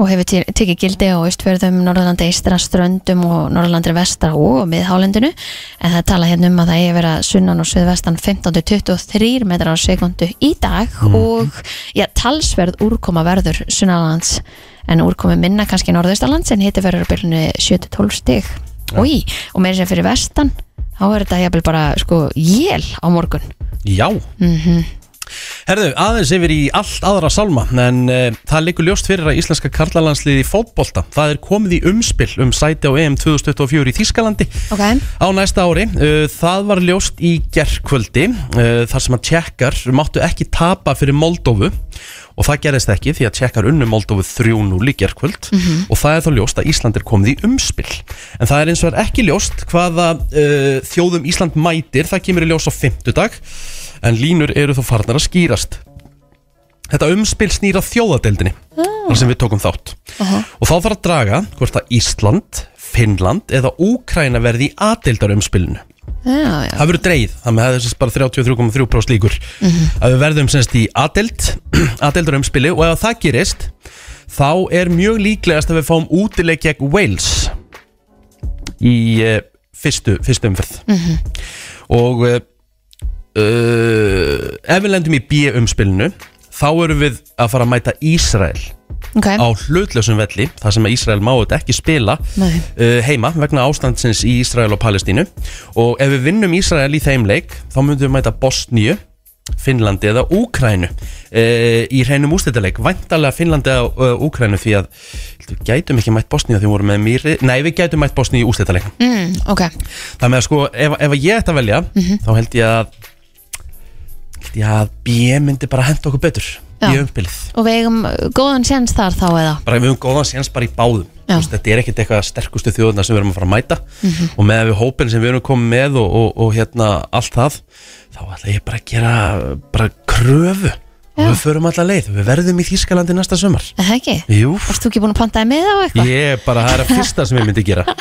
Speaker 2: og hefur te- tekið gildi á Ístfjörðum, Norðurlandi eistra, Ströndum og Norðurlandi vestra og miðhálendinu en það tala hérna um að það eigi að vera sunnan og suðvestan 15-23 metrar á sekundu í dag og ja, talsverð úrkoma verður sunnalands en úrkomi minna kannski norðaustalands en hitti verður á byrjunu 7-12 stig Új, og meira sem fyrir vestan þá er þetta jafnvel bara sko jél á morgun
Speaker 1: já.
Speaker 2: mm -hmm.
Speaker 1: Herðu, aðeins yfir í allt aðra salma en uh, það liggur ljóst fyrir að íslenska karlalandsliði í fótbolta það er komið í umspil um sæti á EM 2024 í Þískalandi
Speaker 2: Ok,
Speaker 1: á næsta ári. Uh, það var ljóst í gerkvöldi uh, þar sem að tjekkar máttu ekki tapa fyrir Moldófu og það gerðist ekki því að tjekkar unnu Moldófu 3-0 í gerkvöld og það er þá ljóst að Ísland er komið í umspil. En það er eins og er ekki ljóst hvaða uh, þjóðum Ísland mætir, það kemur í ljós á fimmtudag en línur eru þá farnar að skýrast. Þetta umspil snýra þjóðadeildinni þar sem við tókum þátt og þá þarf að draga hvort að Ísland, Finnland eða Úkræna verði í aðdeildar umspilinu
Speaker 2: já, já
Speaker 1: það verður dreigð, þannig að það er sem sagt bara 33,3% líkur að við verðum semst í aðdeild, aðdeildar umspili og ef það gerist þá er mjög líklegast að við fáum útileik gegn Wales í uh, fyrstu, fyrstu umferð og uh, uh, ef við lendum í B umspilinu þá erum við að fara að mæta Ísrael
Speaker 2: Ok,
Speaker 1: á hlutlausum velli þar sem að Ísrael má þetta ekki spila uh,
Speaker 2: Nei.
Speaker 1: heima vegna ástandsins í Ísrael og Palestínu og ef við vinnum Ísrael í þeim leik þá myndum við mæta Bosníu Finnlandi eða Úkrænu uh, í hreinum ústættileik væntalega Finnlandi eða uh, Úkrænu því að við gætum ekki mætt Bosníu því við vorum með mýri nei við gætum mætt Bosníu í ústættileik
Speaker 2: mm, ok
Speaker 1: Það með að sko, ef, ef að ég ætti að velja
Speaker 2: Mhm.
Speaker 1: þá held ég að held ég að B myndi bara henda okkur betur í
Speaker 2: Já.
Speaker 1: umspilið
Speaker 2: Og við eigum uh, góðan séns þar þá eða
Speaker 1: bara við höfum góðan séns bara í báðum
Speaker 2: Já.
Speaker 1: Þú veist, þetta er ekkert eitthvað sterkustu þjóðuna sem við erum að fara að mæta
Speaker 2: Mhm.
Speaker 1: og með við hópin sem við erum komið með og, og, og hérna allt það þá ætla ég bara að gera bara kröfu og
Speaker 2: Já.
Speaker 1: við förum alla leið við verðum í Þýskalandi næsta sumar
Speaker 2: Er það ekki?
Speaker 1: Jú,
Speaker 2: Varst þú ekki búin að pantaði með á eitthvað?
Speaker 1: ég er bara, það er að fyrsta sem ég myndi gera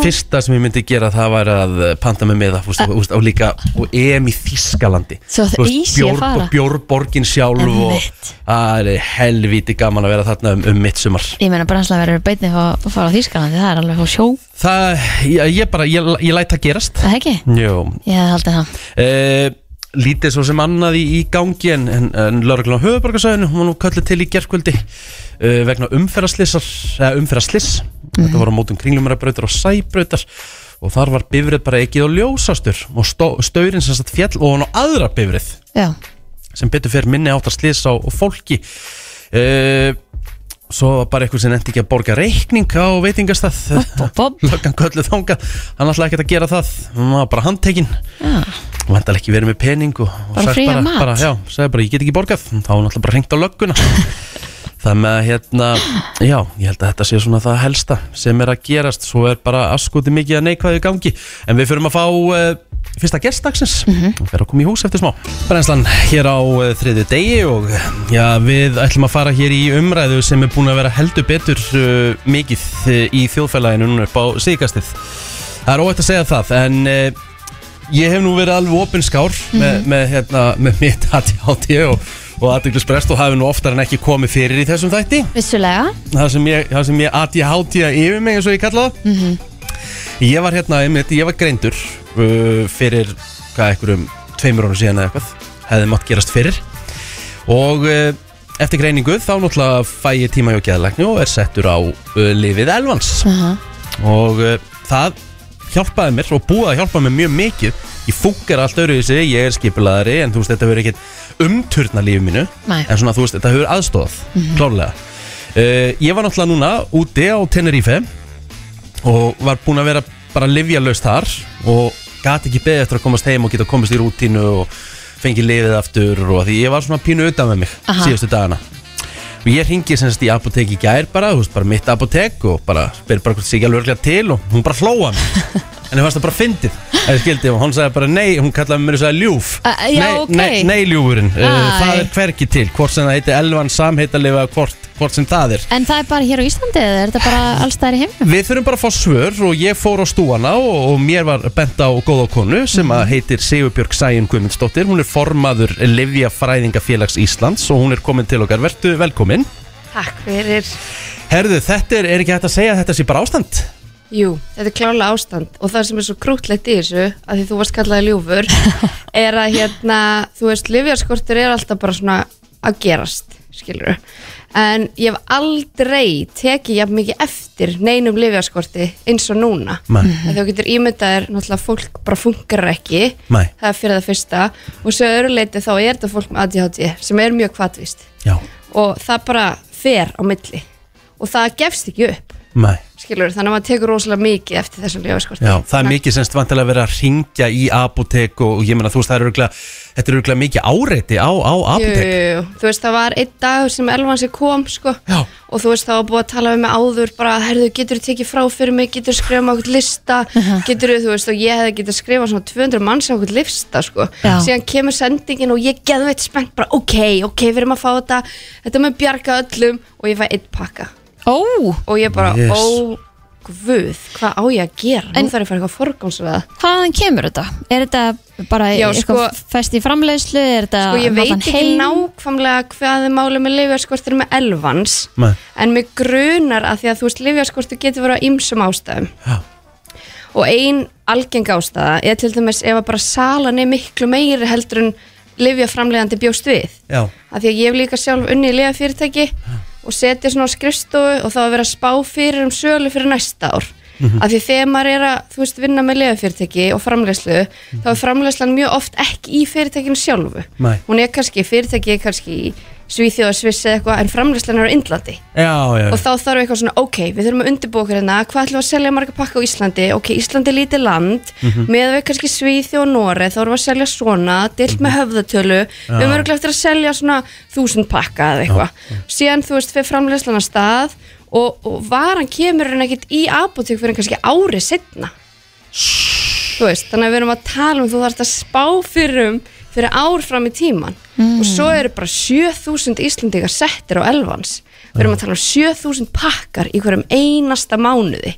Speaker 1: fyrsta sem ég myndi gera það var að eh, panta með með það og líka, og EM í Þýskalandi
Speaker 2: Svo það
Speaker 1: Þú veist,
Speaker 2: easy að
Speaker 1: bjór-
Speaker 2: fara.
Speaker 1: bjórborgin sjálf og
Speaker 2: Einmitt.
Speaker 1: það er helvíti gaman að vera þarna um, um mitt sumar
Speaker 2: Ég meina brennslega verður beinni að fara á Þýskalandi, það er alveg á sjó,
Speaker 1: Það, ég, ég bara, ég, ég læt það gerast
Speaker 2: er það ekki?
Speaker 1: Jó
Speaker 2: Ég hafði haldið það.
Speaker 1: e, Lítið svo sem annað í, í gangi en, en, en lauruglan á höfuborgarsæðinu hún var nú kallið til í gerkvöldi e, vegna umferðarslissar, eða umferðarsliss þetta var á mótum kringlumarabrautar og sæbrautar og þar var bifrið bara ekkið og ljósastur og stó, staurinn sem satt fjall og hann á aðra bifrið
Speaker 2: Já,
Speaker 1: sem betur fyrir minni áttar slís á og fólki e, svo var bara eitthvað sem nefndi ekki að borga reikning á veitingastað
Speaker 2: bob, bob.
Speaker 1: Löggan kölluð þangað, hann ætlaði ekkert að gera það Hann var bara handtekinn
Speaker 2: Já,
Speaker 1: Hann ætlaði ekki verið með pening og, og
Speaker 2: Bara
Speaker 1: sagt
Speaker 2: fría mat.
Speaker 1: bara, Já, sagði bara, ég get ekki borgað Þá var hann alltaf bara hringt á lögguna Það með að hérna, já, ég held að þetta sé svona það helsta sem er að gerast Svo er bara askuti mikið að neikvæðu gangi En við fyrum að fá uh, fyrsta gestdagsins mm -hmm. Fyrir að koma í hús eftir smá Brennslan hér á uh, þriði degi og eh, já, við ætlum að fara hér í umræðu sem er búin að vera heldur betur uh, mikið uh, í þjóðfélaginu núna upp á síðkastið Það er óætt að segja það, en uh, ég hef nú verið alveg opinskár með, með, hérna, með mitt ADHD og, og aðdeglisbrest og hafi nú oftar en ekki komið fyrir í þessum þætti
Speaker 2: vissulega.
Speaker 1: það sem ég, það sem ég ADHD yfir mig eins og ég kalla það
Speaker 2: Mhm.
Speaker 1: ég var hérna, einmitt, ég var greindur uh, fyrir hvað einhverjum tveimur árum síðan eða eitthvað hefði mátt gerast fyrir og uh, eftir greiningu þá náttúrulega fæ ég tíma hjá geðalækni og er settur á uh, lifið elvans
Speaker 2: Uh -huh.
Speaker 1: og uh, það hjálpaði mér og búið að hjálpa mér mjög mikið ég fúkar allt öru í sig, ég er skipulaðari en þú veist, þetta verður ekkert umturna lífið mínu
Speaker 2: Nei.
Speaker 1: en svona, þú veist, þetta hefur aðstóðað klárlega uh, ég var náttúrulega núna úti á Tenerife og var búin að vera bara livjalaust þar og gati ekki beðið eftir að komast heim og geta komist í rútínu og fengið liðið aftur og því ég var svona pínu utan með mig
Speaker 2: Aha.
Speaker 1: síðustu dagana og ég ringi semst í apotek í gær bara, þú veist, bara mitt apotek og bara spyr bara hvort sé ekki alveg örglega til og hún bara hlóa mig en ég fannst það bara fyndið eða skildi og hún sagði bara nei, hún kallaði mér þess að ljúf
Speaker 2: Æ, já,
Speaker 1: nei,
Speaker 2: ok.
Speaker 1: nei, nei ljúfurinn, uh,
Speaker 2: Æ.
Speaker 1: það er hvergi til hvort sem það heiti elvan samheitalifa hvort, hvort sem það er
Speaker 2: En það er bara hér á Íslandi eða er þetta bara alls þær í heiminum?
Speaker 1: Við þurfum bara að fá svör og ég fór á stúana og, og mér var bent á góða konu sem að heitir Sigurbjörg Sæjun Guðmundsdóttir. Hún er formaður Livja Fræðingafélags Íslands og hún er komin til okkar. Vertu velkomin.
Speaker 5: Takk fyrir.
Speaker 1: Herðu, þetta er, er ekki hægt að segja að þetta sé bara ástand?
Speaker 5: Jú, þetta er klálega ástand og það sem er svo krútlegt í þessu, að því þú varst kallaði ljúfur, er að hérna, þú veist, livjarskortur er alltaf bara svona að gerast, skilur en ég hef aldrei tekið jafn mikið eftir neinum lifjaskorti eins og núna
Speaker 1: Nei.
Speaker 5: Af því þú getur ímyndað er náttúrulega fólk bara fungerar ekki
Speaker 1: Nei.
Speaker 5: það er fyrir það fyrsta og svo öruleiti þá er þetta fólk með ADHD sem er mjög kvatvist
Speaker 1: Já,
Speaker 5: og það bara fer á milli og það gefst ekki upp
Speaker 1: nei
Speaker 5: skilur, þannig að maður tekur rosalega mikið eftir sko. þessum lifaskorti
Speaker 1: Já, það er mikið semst vantilega að vera að ringja í apotek og, og ég meina þú veist það er örgulega þetta er örgulega mikið áreiti á, á apotek
Speaker 5: Jú, jú, jú. þú veist það var einn dag sem Elvansi kom sko
Speaker 1: Já.
Speaker 5: og þú veist það var búið að tala við mig áður bara, herðu, getur þú tekið frá fyrir mig getur þú skrifað mig okkur lista getur þú veist og ég hefði getað skrifað svona 200 manns á okkur lista sko
Speaker 2: Já.
Speaker 5: síðan kemur sendingin og ég geðu eitt spennt bara ok, ok, við erum að fá þetta þetta með bjarga öllum og ég fæ einn pakka
Speaker 2: Ó,
Speaker 5: og ég bara,
Speaker 1: Yes.
Speaker 5: ó guð, hvað á ég að gera
Speaker 2: En-
Speaker 5: nú þarf ég að fara eitthvað forgámsveða
Speaker 2: hvaðan kemur þetta? Er þetta bara
Speaker 5: Já,
Speaker 2: eitthvað
Speaker 5: sko-
Speaker 2: fest í framleiðslu? Er þetta
Speaker 5: Sko ég veit
Speaker 2: notan
Speaker 5: ekki
Speaker 2: heim?
Speaker 5: nákvæmlega hvað er málið með lifjarskortir með elvans
Speaker 1: Nei.
Speaker 5: en mig grunar að því að þú veist lifjarskortir getur verið á ymsum ástæðum
Speaker 1: Já.
Speaker 5: og ein algeng ástæða er til dæmis ef að bara salan er miklu meiri heldur en lifjaframlegandi bjóst við
Speaker 1: Já,
Speaker 5: að því að ég hef líka sjálf unni í lifafyrirtæki og setja svona á skrifstofu og þá að vera að spá fyrir um sölu fyrir næsta ár að því þegar maður er að þú veist vinna með lifafyrirtæki og framlegslu þá er framlegslan mjög oft ekki í fyrirtækinu sjálfu
Speaker 1: Nei.
Speaker 5: hún er kannski, fyrirtæki er kannski í Svíþjóða, Svissi eða eitthvað en framlegslan er á Indlandi
Speaker 1: já, já,
Speaker 5: og þá þarf eitthvað svona, ok, við þurfum að undirbúa okkur hérna, hvað ætlum við að selja marga pakka á Íslandi ok, Íslandi er lítið land mm
Speaker 1: Mhm.
Speaker 5: -hmm. með við kannski Svíþi og Nóri, þá erum við að selja svona dilt
Speaker 1: Mhm.
Speaker 5: með höfðatölu við erum örugglega eftir að selja svona þúsund pakka eða eitthvað, síðan þú veist fyrir framleyslan að stað og, og varan kemur en ekkit í apotek fyrir kannski ári setna þú veist, þannig að við erum að tala um þú þarfst að spá fyrir um fyrir ár fram í tíman og svo eru bara 7000 Íslendingar settir á elvans við erum að tala um 7000 pakkar í hverjum einasta mánuði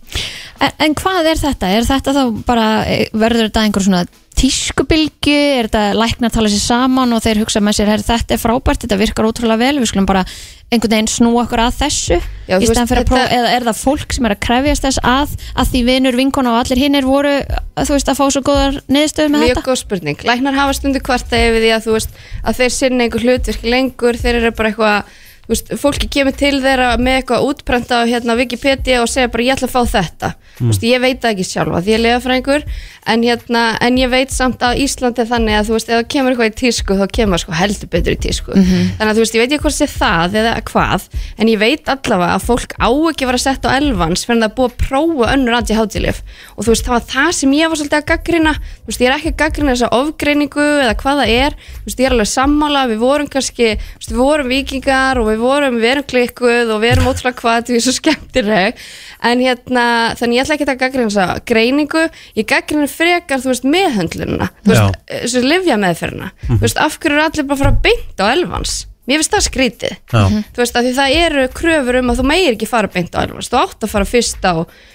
Speaker 2: En, en hvað er þetta? Er þetta þá bara, eh, verður þetta einhver svona tískubilgu? Er þetta læknar tala sér saman og þeir hugsa með sér, "Herra, þetta er frábært, þetta virkar ótrúlega vel, við skulum bara einhvern veginn snúa okkur að þessu
Speaker 5: Já,
Speaker 2: í
Speaker 5: þú
Speaker 2: stæðan
Speaker 5: veist,
Speaker 2: fyrir að prófa,
Speaker 5: þetta-
Speaker 2: eða er það fólk sem er að krefjast þess að, að því vinur, vinkona og allir hinnir voru, þú veist, að fá svo góðar niðurstöður með
Speaker 5: mjög
Speaker 2: þetta?
Speaker 5: góð spurning, læknar hafa stundu kvarta yfir því að þú veist að þeir sinna einhver hlutverk lengur þeir eru bara eitthvað þú veist, fólki kemur til þeirra með eitthvað útprenta á hérna Wikipedia og segja bara ég ætla að fá þetta þú veist, ég veit það ekki sjálfa því ég lega frá einhver en, hérna, en ég veit samt að Íslandi er þannig að þú veist, ef það kemur eitthvað í tísku þá kemur það sko heldur betur í tísku þannig að þú veist, ég veit ekki hvort sé það eða hvað en ég veit allavega að fólk á ekki að vera sett á elvans fyrir að það er búið að prófa önnur anti-hátilif og þú veist, það var það sem ég var svolítið að gaggrina þú veist, ég er ekki að gaggrina þessa ofgreiningu eða hvað það er, þú veist, ég er alveg sammála við vorum kannski, þú veist, við vorum vikingar og við vorum, við erum klikkuð og við erum ótrúlega hvað, því svo skemmtileg en hérna, þannig ég ætla ekki að gaggrina þessa greiningu, ég gaggrina frekar, þú veist, meðhöndlunina þú
Speaker 1: Já.
Speaker 5: veist, þessu lifja eh, þú veist, af hverju er allir bara að fara beint á elvans mér finnst það skrítið
Speaker 1: já,
Speaker 5: þú veist að því það eru kröfur um að þú meir ekki fara beint á elvans, þú átt að fara fyrst á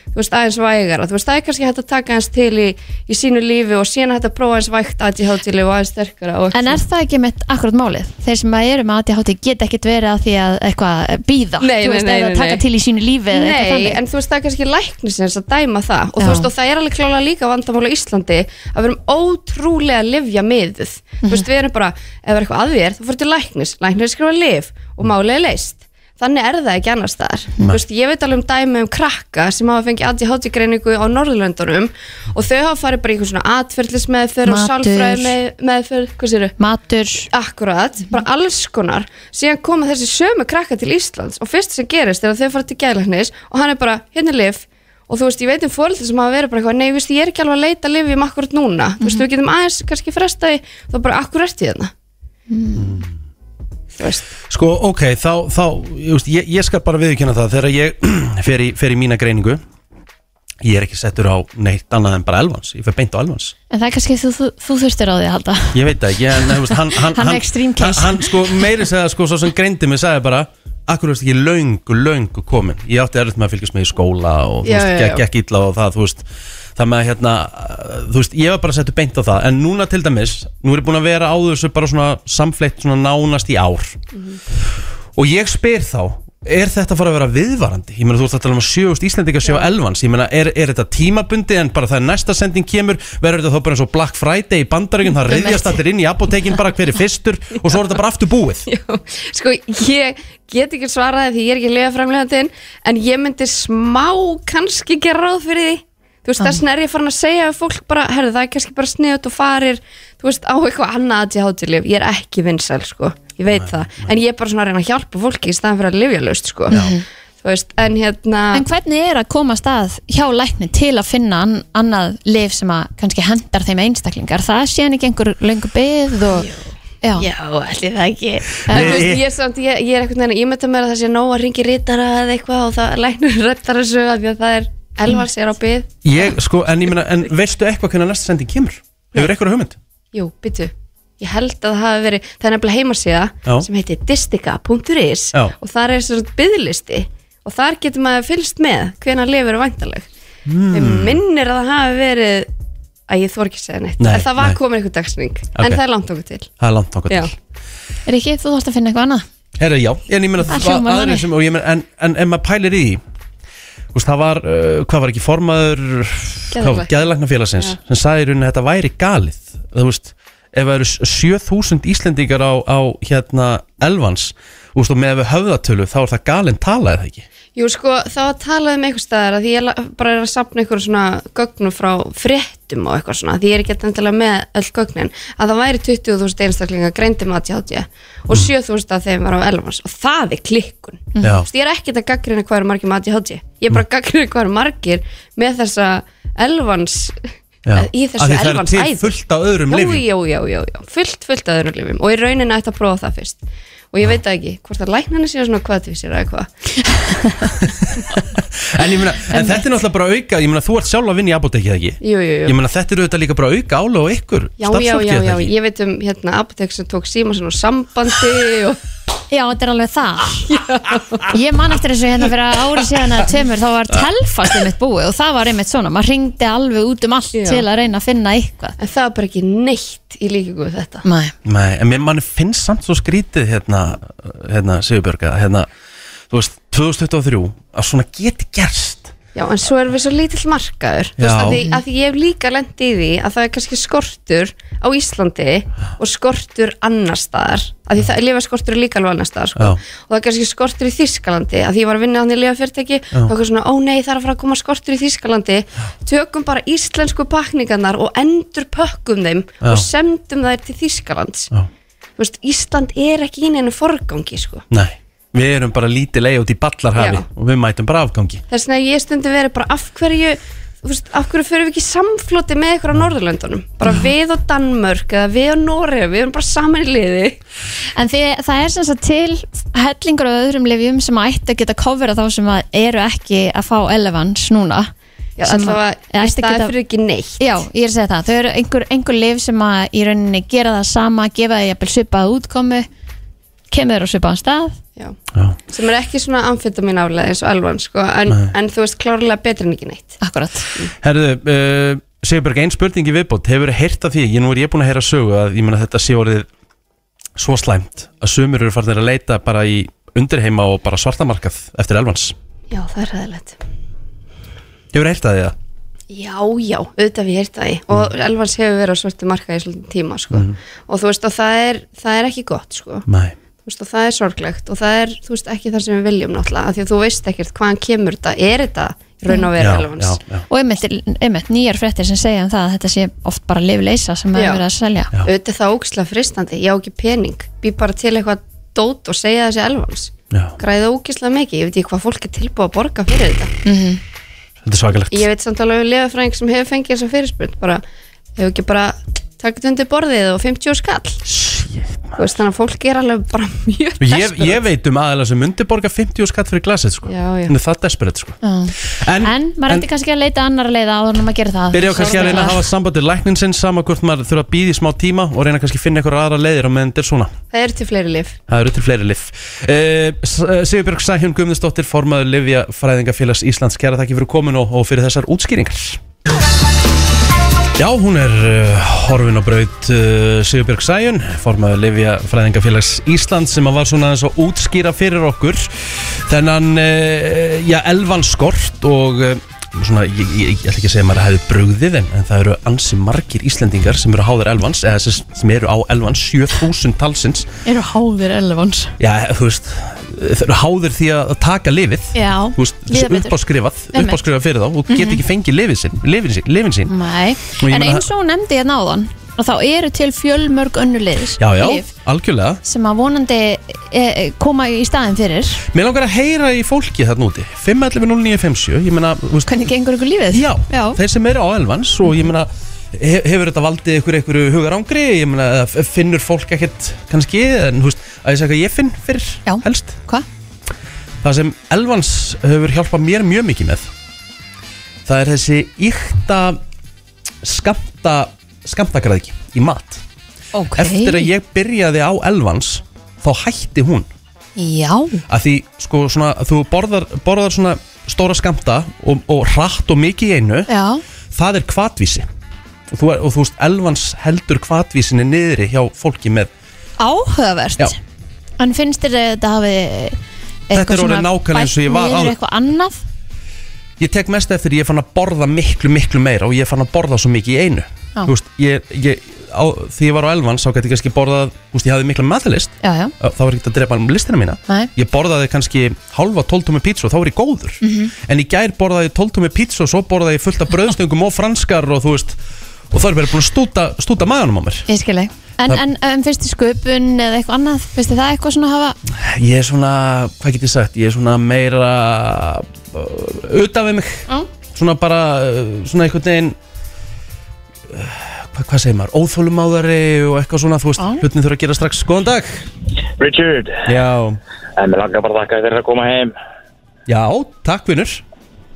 Speaker 5: þú veist aðeins vægara, þú veist það er kannski hægt að taka aðeins til í, í sínu lífi og síðan hægt að prófa aðeins vægt aðtíháttili og aðeins sterkara og
Speaker 2: En er það ekki mitt akkurat málið? Þeir sem að eru með ADHD geta ekkit verið að því að eitthvað býða,
Speaker 5: Nei,
Speaker 2: þú
Speaker 5: nei,
Speaker 2: veist,
Speaker 5: nei,
Speaker 2: eða
Speaker 5: nei,
Speaker 2: taka
Speaker 5: nei.
Speaker 2: til í sínu lífi eða eitthvað
Speaker 5: Nei,
Speaker 2: þannig.
Speaker 5: en þú veist það er kannski læknisins að dæma það og
Speaker 2: Já.
Speaker 5: þú veist og það er alveg klálega líka vandamála í Íslandi að við erum ótrúlega livja miðuð,
Speaker 2: Mhm.
Speaker 5: þú veist við erum bara ef það er eitthvað að þér þá fyrir til læknis læknis skrifa liv og málið er leist þannig er það ekki annars þar þú veist ég veit alveg um dæmi um krakka sem hafa fengið ADHD greiningu á Norðurlöndunum og þau hafa farið bara í einhvern svona atferðlismeðferð og
Speaker 2: Matur.
Speaker 5: sálfræði meðferð, hvað séru?
Speaker 2: Matur,
Speaker 5: Akkurat, bara alls konar síðan koma þessi sömu krakka til Íslands og fyrst sem gerist er að þau fara til gælæknis og hann er bara, hérna er lif og þú veist, ég veit um fóreldur sem hafa verið bara eitthvað nei, ég veist, ég er ekki alveg að leita lifjum akkurat núna þú veist, við getum aðeins kannski fresta því þá bara akkurat í þarna þú veist
Speaker 1: Sko, ok, þá, þá ég, veist, ég, ég skal bara viðkynna það þegar ég fer í, fer í mína greiningu ég er ekki settur á neitt annað en bara elvans, ég fer beint á elvans
Speaker 2: en það er kannski þú, þú, þú þurftir á því að halda.
Speaker 1: ég veit það ekki, en þú veist, hann, hann,
Speaker 2: Hann er extreme case.
Speaker 1: hann, hann sko, meiri segja, sko, svo sem greindi mig sagði bara, akkur veist ekki löngu, löngu komin, ég átti erfitt með að fylgjast með í skóla og þú
Speaker 5: Já,
Speaker 1: veist,
Speaker 5: já, já.
Speaker 1: gekk ekki illa og það, þú veist það með að hérna, uh, þú veist, ég var bara settu beint á það, en núna til dæmis nú er ég búin að
Speaker 5: Mhm.
Speaker 1: vera á þessu bara svona samfleitt svona nánast í ár og ég spyr þá er þetta fara að vera viðvarandi? Ég meina þú ert að tala um að sjögust Íslendinga sjá elvans Ég meina er, er þetta tímabundi en bara það er næsta sending kemur verður þetta þá bara eins og Black Friday í bandaríkjum það
Speaker 2: Einmitt.
Speaker 1: reyðjast allir inn í apotekin bara hver er fyrstur og svo er þetta bara aftur búið
Speaker 5: Já, sko, ég get ekki svaraði því ég er ekki lögaframlegandinn en ég myndi smá kannski gera ráð fyrir því þú veist, þess vegna er ég farin að segja að fólk bara, herðu, það er kannski bara sniðut og farir þú veist, á eitthvað annað að ég ég er ekki vinsæl, sko, ég veit það en ég er bara svona að reyna að hjálpa fólki í staðan fyrir að lifja löst, sko þú veist, en hérna
Speaker 2: En hvernig er að koma að stað hjá lækni til að finna an annað lif sem að kannski hendar þeim einstaklingar? Það sé hann ekki einhver löngu byggð og... Já,
Speaker 5: Já, allir það ekki
Speaker 1: Nei,
Speaker 5: En þú veist,
Speaker 1: ég-
Speaker 5: ég er samt, ég, ég er eitthvað neina, ég mynda mér að það sé nóg að ringi rítara eða eitthvað og það læknur rættar þessu af því að það er elvar sér á byð
Speaker 1: ég, sko, en, ég meina, en veistu eitthvað hvernig næsta sending kemur? Hefur eitthvað hugmynd?
Speaker 5: Jú, byttu Ég held að það hafi verið, það er nefnilega heimasíða
Speaker 1: Já.
Speaker 5: sem heitir distika.is
Speaker 1: Já.
Speaker 5: og þar er svona byðlisti og þar getur maður fylgst með hvenær lifur er væntaleg mm.
Speaker 1: Hmm.
Speaker 5: minnir að það hafi verið að ég þór ekki að segja neitt
Speaker 1: Nei,
Speaker 5: en það var
Speaker 1: nei.
Speaker 5: komin einhver dagsning
Speaker 1: Ok.
Speaker 5: en það er langt okkur til
Speaker 1: Það er langt nokkuð
Speaker 5: Já.
Speaker 1: til
Speaker 2: er ekki, þú þarfst að finna eitthvað annað
Speaker 1: Herra, já, en ég meina
Speaker 2: Það
Speaker 1: það
Speaker 2: hljómar
Speaker 1: aðri
Speaker 2: þannig.
Speaker 1: sem, og ég meina, en, en ef maður pælir í því þú veist, það var, uh, hvað var ekki formaður
Speaker 5: Geðlækna.
Speaker 1: geðlagnafélagsins sem sagði í rauninni að þetta væri galið þú veist, ef það eru s- 7000 Íslendingar á, á hérna elvans, þú veist, og með við höfðatölu þá er það galinn tala eða ekki
Speaker 5: Jú, sko, það var talað um einhver staðar að því ég la- bara er að sapna einhverjum svona gögnum frá fréttum og eitthvað svona því ég er ekki endilega með öll gögnin að það væri 20.000 einstaklinga greindi með ADHD og 7.000 af þeim var á elvans og það er klikkun mm.
Speaker 1: Mm. Já. Mm.
Speaker 5: ég er ekkert að gaggrina hvað eru margir með ADHD ég er bara að gaggrina hvað eru margir með þessa elvans eh, í
Speaker 1: Af því
Speaker 5: þessu
Speaker 1: það eru
Speaker 5: elvans
Speaker 1: til
Speaker 5: æð
Speaker 1: fullt á öðrum
Speaker 5: Jú,
Speaker 1: lifjum
Speaker 5: jú, jú, jú, jú, fullt, fullt aðurum lifjum og í rauninni ætti að prófa það fyrst og ég veit það ekki hvort að læknarnir séu svona hvað til eða eitthvað
Speaker 1: en, ég meina, en þetta er náttúrulega bara auka ég meina, þú ert sjálf að vinna í apotekið eða ekki
Speaker 5: Jú, jú, jú.
Speaker 1: ég meina, þetta eru þetta líka bara auka álega á ykkur
Speaker 5: Já, já,
Speaker 1: starfsfólkið,
Speaker 5: já,
Speaker 1: er það
Speaker 5: já,
Speaker 1: ekki?
Speaker 5: ég veit um hérna apotek sem tók síma sinna og sambandi og
Speaker 2: Já, þetta er alveg það Ég man eftir þessu hérna fyrir ári síðan eða tveimur þá var telfast einmitt búið og það var einmitt svona, maður ringdi alveg út um allt
Speaker 5: Já.
Speaker 2: til að reyna að finna eitthvað
Speaker 5: en það er bara ekki neitt í líkingu við þetta.
Speaker 2: Nei,
Speaker 1: Nei, en mér mann finnst samt svo skrítið hérna, hérna Sigurbjörg að hérna, þú veist, 2023 að svona geti gerst
Speaker 5: Já, en svo erum við svo lítill markaður, þú
Speaker 1: Já.
Speaker 5: veist, að því, að því ég hef líka lent í því að það er kannski skortur á Íslandi og skortur annar staðar, að því það er lifa skortur líka alveg annar staðar, sko,
Speaker 1: Já.
Speaker 5: og það er kannski skortur í Þískalandi, að því ég var að vinna hann í lifa fyrirtæki,
Speaker 1: Já.
Speaker 5: þá er svona, ó nei, það er að fara að koma skortur í Þískalandi, tökum bara íslensku pakningarnar og endur pökkum þeim
Speaker 1: Já.
Speaker 5: og sendum þær til Þískalands.
Speaker 1: Já.
Speaker 5: þú veist, Ísland er ekki inn einu forgangi, sko.
Speaker 1: Nei, við erum bara lítið leið út í ballarhafi
Speaker 5: Já.
Speaker 1: og við mætum bara afgangi
Speaker 5: Þess vegna ég stundi verið bara af hverju, þú veist, af hverju fyrir við ekki í samfloti með ykkur á Norðurlöndunum? Bara við og Danmörk eða við og Noreg, við erum bara saman í liði.
Speaker 2: en því, það er sem sagt til hellingur á öðrum lifjum sem að ætti að geta covera þá sem að eru ekki að fá elefans núna
Speaker 5: Já,
Speaker 2: Sem að- eða
Speaker 5: allavega,
Speaker 2: ætti
Speaker 5: í
Speaker 2: að
Speaker 5: staði
Speaker 2: geta-
Speaker 5: fyrir ekki neitt.
Speaker 2: Já, ég er að segja það, þau eru einhver, einhver lif sem að í rauninni gera það sama, gefa þau jafnvel svipað útkomu, kemur þau á svipaðan stað
Speaker 5: Já.
Speaker 1: Já,
Speaker 5: Sem er ekki svona amfetamin álega eins og alvan, sko, en,
Speaker 1: Nei. Ah.
Speaker 5: en þú veist, klárlega betur en ekki neitt.
Speaker 2: Akkurat
Speaker 1: Herðu, uh, Sigurbjörg, ein spurningi viðbót hefur heyrt af því, ég nú er ég búin að heyra sögu að ég meina þetta sé orðið svo slæmt að sumur eru farinir að leita bara í undirheima og bara svartamarkað eftir elvans.
Speaker 5: Já, það er ræðilegt.
Speaker 1: Hefur heyrt af því það?
Speaker 5: Já, já, auðvitað við heyrt það í og
Speaker 1: Mm.
Speaker 5: Elvans hefur verið á svörtu marka í svolítið tíma sko. og þú veist og það er, það er ekki gott sko.
Speaker 1: Nei.
Speaker 5: þú veist, og það er sorglegt og það er, þú veist, ekki það sem við viljum náttúrulega, af því að þú veist ekkert hvaðan kemur þetta, er þetta í raun og verið
Speaker 1: já,
Speaker 5: relevans?
Speaker 1: já.
Speaker 2: Og einmitt, einmitt nýjar fréttir sem segja um það að þetta sé oft bara lifleysa sem er
Speaker 5: Já.
Speaker 2: verið að selja
Speaker 1: Já.
Speaker 5: Auðvitað er það ógislega fristandi, ég á ekki pening, bý bara til eitthvað dót og segja þessi elvans.
Speaker 1: Já.
Speaker 5: Græða ógislega mikið, ég veit ekki hvað fólk er tilbúið að borga fyrir þetta.
Speaker 1: Þetta er svakalegt.
Speaker 5: Ég veit samt alveg um lefafræðing sem hefur fengið þessa fyrirspurn, bara, hefur ekki bara takkt undir borðið og 50 skall. Þú veist, þannig að fólk er alveg bara mjög
Speaker 1: Ég,
Speaker 5: desperate.
Speaker 1: ég veit um aðeila sem myndi borga 50 skatt fyrir glasið sko.
Speaker 5: Já, já.
Speaker 1: Hún er það desperate sko.
Speaker 2: Já.
Speaker 1: En,
Speaker 2: En maður ætti kannski að leita annar leiða áður en maður gerir það
Speaker 1: byrja á kannski að reyna að hafa sambandi lækninsinn sama hvort maður þurfa að býða í smá tíma og reyna kannski að finna einhverja aðra leiðir og meðan þetta er svona.
Speaker 5: Það eru til fleiri lif.
Speaker 1: Það eru til fleiri lif. Uh, Sigurbjörg Sæhjón Guðmundsdóttir, formaður Livja Fræðingafélags Íslands, kæra þakki fyrir komin og, og fyrir þessar útskýringar. Já, hún er uh, horfin á braut uh, Sigurbjörg Sæjun, formaður Livja Fræðingafélags Íslands sem að var svona aðeins að útskýra fyrir okkur þennan, uh, já, elvan skort og uh, svona, ég, ég, ég ætla ekki að segja að maður hefði brugðið en, en það eru ansi margir Íslendingar sem eru háðar elvans, eða sem, sem eru á elvans 7000 talsins,
Speaker 6: Eru háðir elefans
Speaker 1: já, þú veist þeir eru háðir því að að taka lifið
Speaker 6: Já,
Speaker 1: þú veist,
Speaker 6: líða betur.
Speaker 1: uppáskrifað
Speaker 6: Einmitt. Mhm.
Speaker 1: uppáskrifað fyrir þá og get ekki fengið lifið sín, lifin sín, lifin sín.
Speaker 2: Nei,
Speaker 1: Og ég
Speaker 2: en
Speaker 1: meina-
Speaker 2: eins og hún nefndi hérna áðan og þá eru til fjölmörg önnu liðs
Speaker 1: Já, já, algjörlega
Speaker 2: sem að vonandi e, e, koma í staðin fyrir
Speaker 1: Mér langar að heyra í fólki þarna úti 5.11.09.57 Ég meina, þú veist,
Speaker 2: hvernig gengur ykkur lífið
Speaker 1: já, þeir sem eru á elvans og ég meina, he- hefur þetta valdið ykkur ykkur hugarangri, ég meina eða f- finnur fólk ekkert kannski, en þú veist að ég segja hvað ég finn fyrir
Speaker 2: Já.
Speaker 1: helst
Speaker 2: Hva?
Speaker 1: Það sem elvans hefur hjálpað mér mjög mikið með það er þessi ykta skamta skamtagræðki í mat
Speaker 2: Okay.
Speaker 1: Eftir að ég byrjaði á elvans þá hætti hún
Speaker 2: Já,
Speaker 1: að því sko svona þú borðar, borðar svona stóra skamta og, og hratt og mikið í einu
Speaker 2: já,
Speaker 1: það er kvatvísi og þú, og þú veist elvans heldur kvatvísinni niðri hjá fólki með
Speaker 2: áhugavert
Speaker 1: Já.
Speaker 2: En finnst þér að þetta hafi
Speaker 1: Þetta er orðið nákvæmlega eins og ég var áður.
Speaker 2: áður Eitthvað annað
Speaker 1: ég tek mest eftir ég fann að borða miklu miklu meira og ég fann að borða svo mikið í einu
Speaker 2: Já.
Speaker 1: þú veist ég, ég á, því ég var á elvans þá gæti ég kannski borðað þú veist ég hafði mikla matalist
Speaker 2: Já, já,
Speaker 1: þá var ekki að drepa um listina mína
Speaker 2: Nei.
Speaker 1: ég borðaði kannski halva tóltumi pítsu og þá var ég góður
Speaker 2: Mhm.
Speaker 1: en í gær borðaði tóltumi pítsu og svo borðaði ég fullt af bröðstöngum og franskar og þú veist og þá er bara búin að stúta, stúta maðanum á mér
Speaker 2: ég skil þig En,
Speaker 1: Það-
Speaker 2: en, en finnst þér sköpun eða eitthvað annað finnst þér það eitthvað svona hafa
Speaker 1: ég er svona, hvað get ég sagt ég er svona meira uh, utan við mig
Speaker 2: Mm.
Speaker 1: svona bara, uh, svona einhvern veginn uh, Hvað, hvað segir maður, óþólumáðari og eitthvað svona, þú veist,
Speaker 2: Já.
Speaker 1: hlutin þurfa að gera strax Góðan dag
Speaker 7: Richard,
Speaker 1: Já,
Speaker 7: en mér langar bara að þakka þér fyrir að koma heim.
Speaker 1: já, takk vinnur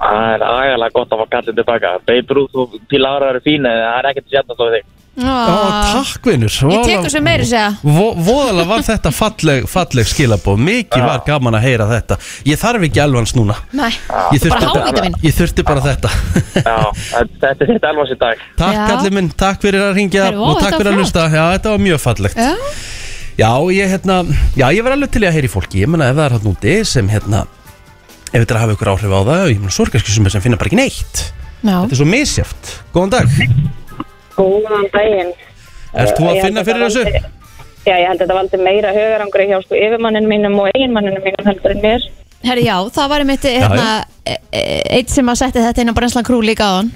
Speaker 7: Það er agalega gott að fá kallin tilbaka. Babe Ruth og Pilar eru fín, en það er ekkert sjættast á þig.
Speaker 1: Já, takk vinnur
Speaker 2: Ég tek þessu meiri segja
Speaker 1: Vo, Voðalega var þetta falleg, falleg skilabó Mikið var gaman að heyra þetta Ég þarf ekki elvans núna
Speaker 2: Nei,
Speaker 1: Ég þurfti
Speaker 2: bara
Speaker 1: bara,
Speaker 2: hávítamin
Speaker 1: ég þurfti bara þetta
Speaker 7: Já, þetta þetta er þitt elvans í dag.
Speaker 1: Takk
Speaker 2: Já.
Speaker 1: allir minn, takk fyrir að ringja
Speaker 2: Heyrðu, ó,
Speaker 1: og takk
Speaker 2: þetta var
Speaker 1: fyrir
Speaker 2: flott.
Speaker 1: að hlusta Já, þetta var mjög fallegt
Speaker 2: Já.
Speaker 1: Já, ég, hérna, já, ég var alveg til í að heyra í fólki Ég meina ef það er hann úti sem hérna Ef þetta er að hafa ykkur áhrif á það Ég meina sorgarski sem, sem finna bara ekki neitt
Speaker 2: Já,
Speaker 1: Þetta er svo misjaft, góðan dag
Speaker 8: Góðan daginn. Eh,
Speaker 1: Ert þú að
Speaker 8: Ég held
Speaker 1: finna fyrir
Speaker 8: þetta
Speaker 1: þessu?
Speaker 8: valdi- Já, ég held að þetta valdi meira hugarangri hjá sko yfirmannin mínum og eiginmanninum mínum heldur en mér.
Speaker 2: Herri, já, það var einmitt hérna, e- e- eitt sem að setja þetta inn á brennslan krú líka á hann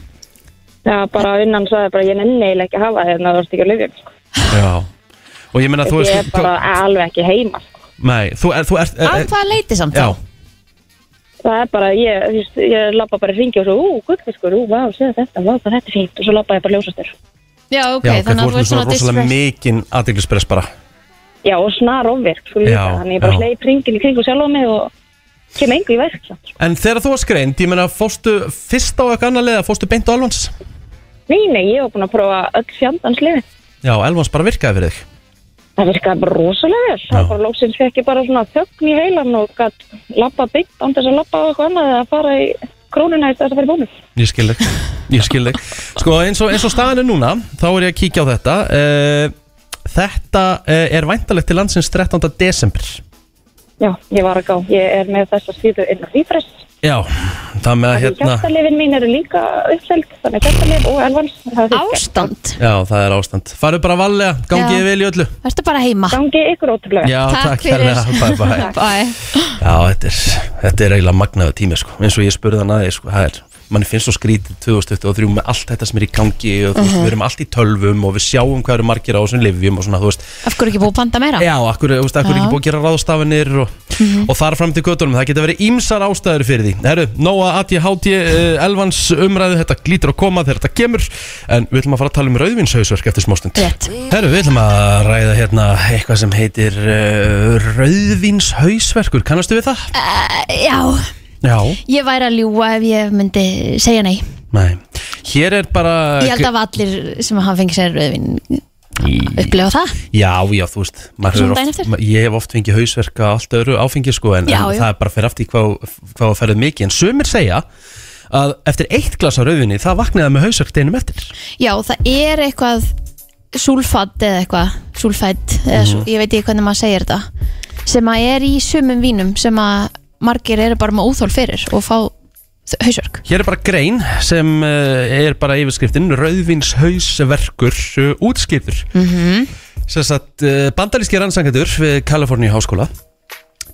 Speaker 8: Já, bara innan sagði bara ég nenni eiginlega ekki að hafa þér en það vorst ekki að lifja. Sko.
Speaker 1: Já Og ég meina þú
Speaker 8: Ég er
Speaker 1: veist
Speaker 8: bara alveg ekki heima. Sko.
Speaker 1: Nei, þú er, þú er,
Speaker 2: Af hvaða leiti samt
Speaker 1: Já,
Speaker 2: þá?
Speaker 8: Það er bara, ég, þú veist, ég lappa bara í ringi og svo, ú, gullfiskur, ú, vá, séð þetta, vá, það þetta er fínt og svo lappa ég bara ljósastur.
Speaker 2: Já, ok,
Speaker 1: já,
Speaker 2: þannig að þú ert
Speaker 1: svona
Speaker 2: svona
Speaker 1: rosalega
Speaker 2: distress
Speaker 1: mikinn aðdeglispress bara
Speaker 8: Já, og snar ofvirk, sko líka,
Speaker 1: Já,
Speaker 8: þannig ég bara
Speaker 1: já.
Speaker 8: hleyp ringin í kring og sjálf á mig og kem engu í verk. samt, Sko.
Speaker 1: En þegar þú var skreind, ég meina, fórstu fyrst á eitthvað annað leið, fórstu beint á Elvans?
Speaker 8: Nei, nei, ég var búin að prófa öll fjandans lifi.
Speaker 1: Já, Elvans bara virkaði fyrir þig.
Speaker 8: Það virkaði bara rosalega vel. Það
Speaker 1: Já.
Speaker 8: var bara lóksins fekk ég bara svona þögn í heilan og gætt lappa byggt án þess að lappa á eitthvað annað eða að fara í krónuna í þess að fara í bónus.
Speaker 1: Ég skil þig, ég skil þig. Sko, eins og, eins og staðan er núna, þá er ég að kíkja á þetta. Eh, þetta eh, er væntalegt til landsins 13. desember.
Speaker 8: Já, ég var að gá. Ég er með þessa síðu inn á Refresh.
Speaker 1: Já, það með að
Speaker 8: Hérna.
Speaker 1: hérna...
Speaker 8: Hjartalifin mín eru líka uppseld, þannig hjartalif og elvans. það er fyrst.
Speaker 2: Ástand,
Speaker 1: Já, það er ástand. Farðu bara valega,
Speaker 2: Já.
Speaker 1: gangi ég vel í öllu.
Speaker 2: ertu bara heima
Speaker 8: Gangi ykkur ótrúlega.
Speaker 1: Já,
Speaker 2: Takk
Speaker 1: takk
Speaker 2: fyrir.
Speaker 1: hérna. Bye, bye.
Speaker 2: Bæ
Speaker 1: Já, þetta er, þetta er eiginlega magnaðu tími, sko. Eins og ég spurði hann aðeins, sko, það er, manni finnst svo skrítið 2023 með allt þetta sem er í gangi og þú
Speaker 2: Mhm.
Speaker 1: veist, við erum allt í tölvum og við sjáum hvað eru margir á þessum livjum og svona, þú veist,
Speaker 2: Af hverju ekki búið að panta meira?
Speaker 1: Já, akkur, þú veist, akkur er
Speaker 2: Já. Mhm.
Speaker 1: ekki búið að gera ráðstafanir og, og þar fram til göttunum, það geta verið ímsar ástæður fyrir því. Herru, Nóa, Ati, Háti, uh, Elvans umræðu, þetta glýtur að koma þegar þetta kemur, en við ætlum að fara að tala um rauðvinshausverk eftir smástund.
Speaker 2: Rétt.
Speaker 1: Herru, við ætlum að ræða hérna eitthvað sem heitir uh, rauðvinshausverkur, kannastu við það?
Speaker 2: Já,
Speaker 1: Já.
Speaker 2: ég væri að ljúa ef ég myndi segja nei
Speaker 1: Nei. Hér er bara...
Speaker 2: Ég held að allir sem hafa fengið sér rauðvin upplifa það
Speaker 1: Já, já, þú veist maður
Speaker 2: Svona
Speaker 1: hefur
Speaker 2: daginn
Speaker 1: oft,
Speaker 2: eftir?
Speaker 1: ma- Ég hef oft fengið hausverka allt öðru áfengi sko, en,
Speaker 2: Já,
Speaker 1: en
Speaker 2: já.
Speaker 1: það er bara fyrir aftur í hvað, hvað að ferðið mikið en sumir segja að eftir eitt glasa rauðvinni það vaknaði með hausverk deginum eftir
Speaker 2: Já, það er eitthvað súlfatt eða eitthvað súlfætt, eða
Speaker 1: Mhm.
Speaker 2: sú, ég veit ekki hvernig maður segir þetta sem að er í sumum vínum sem að margir eru bara með óþól fyrir og fá þ- hausverk
Speaker 1: Hér er bara grein sem eh, er bara yfirskriftin Rauðvinshausverkur uh, útskýrður mm -hmm. Sess að uh, bandaríski rannsangatur við Kaliforníu háskóla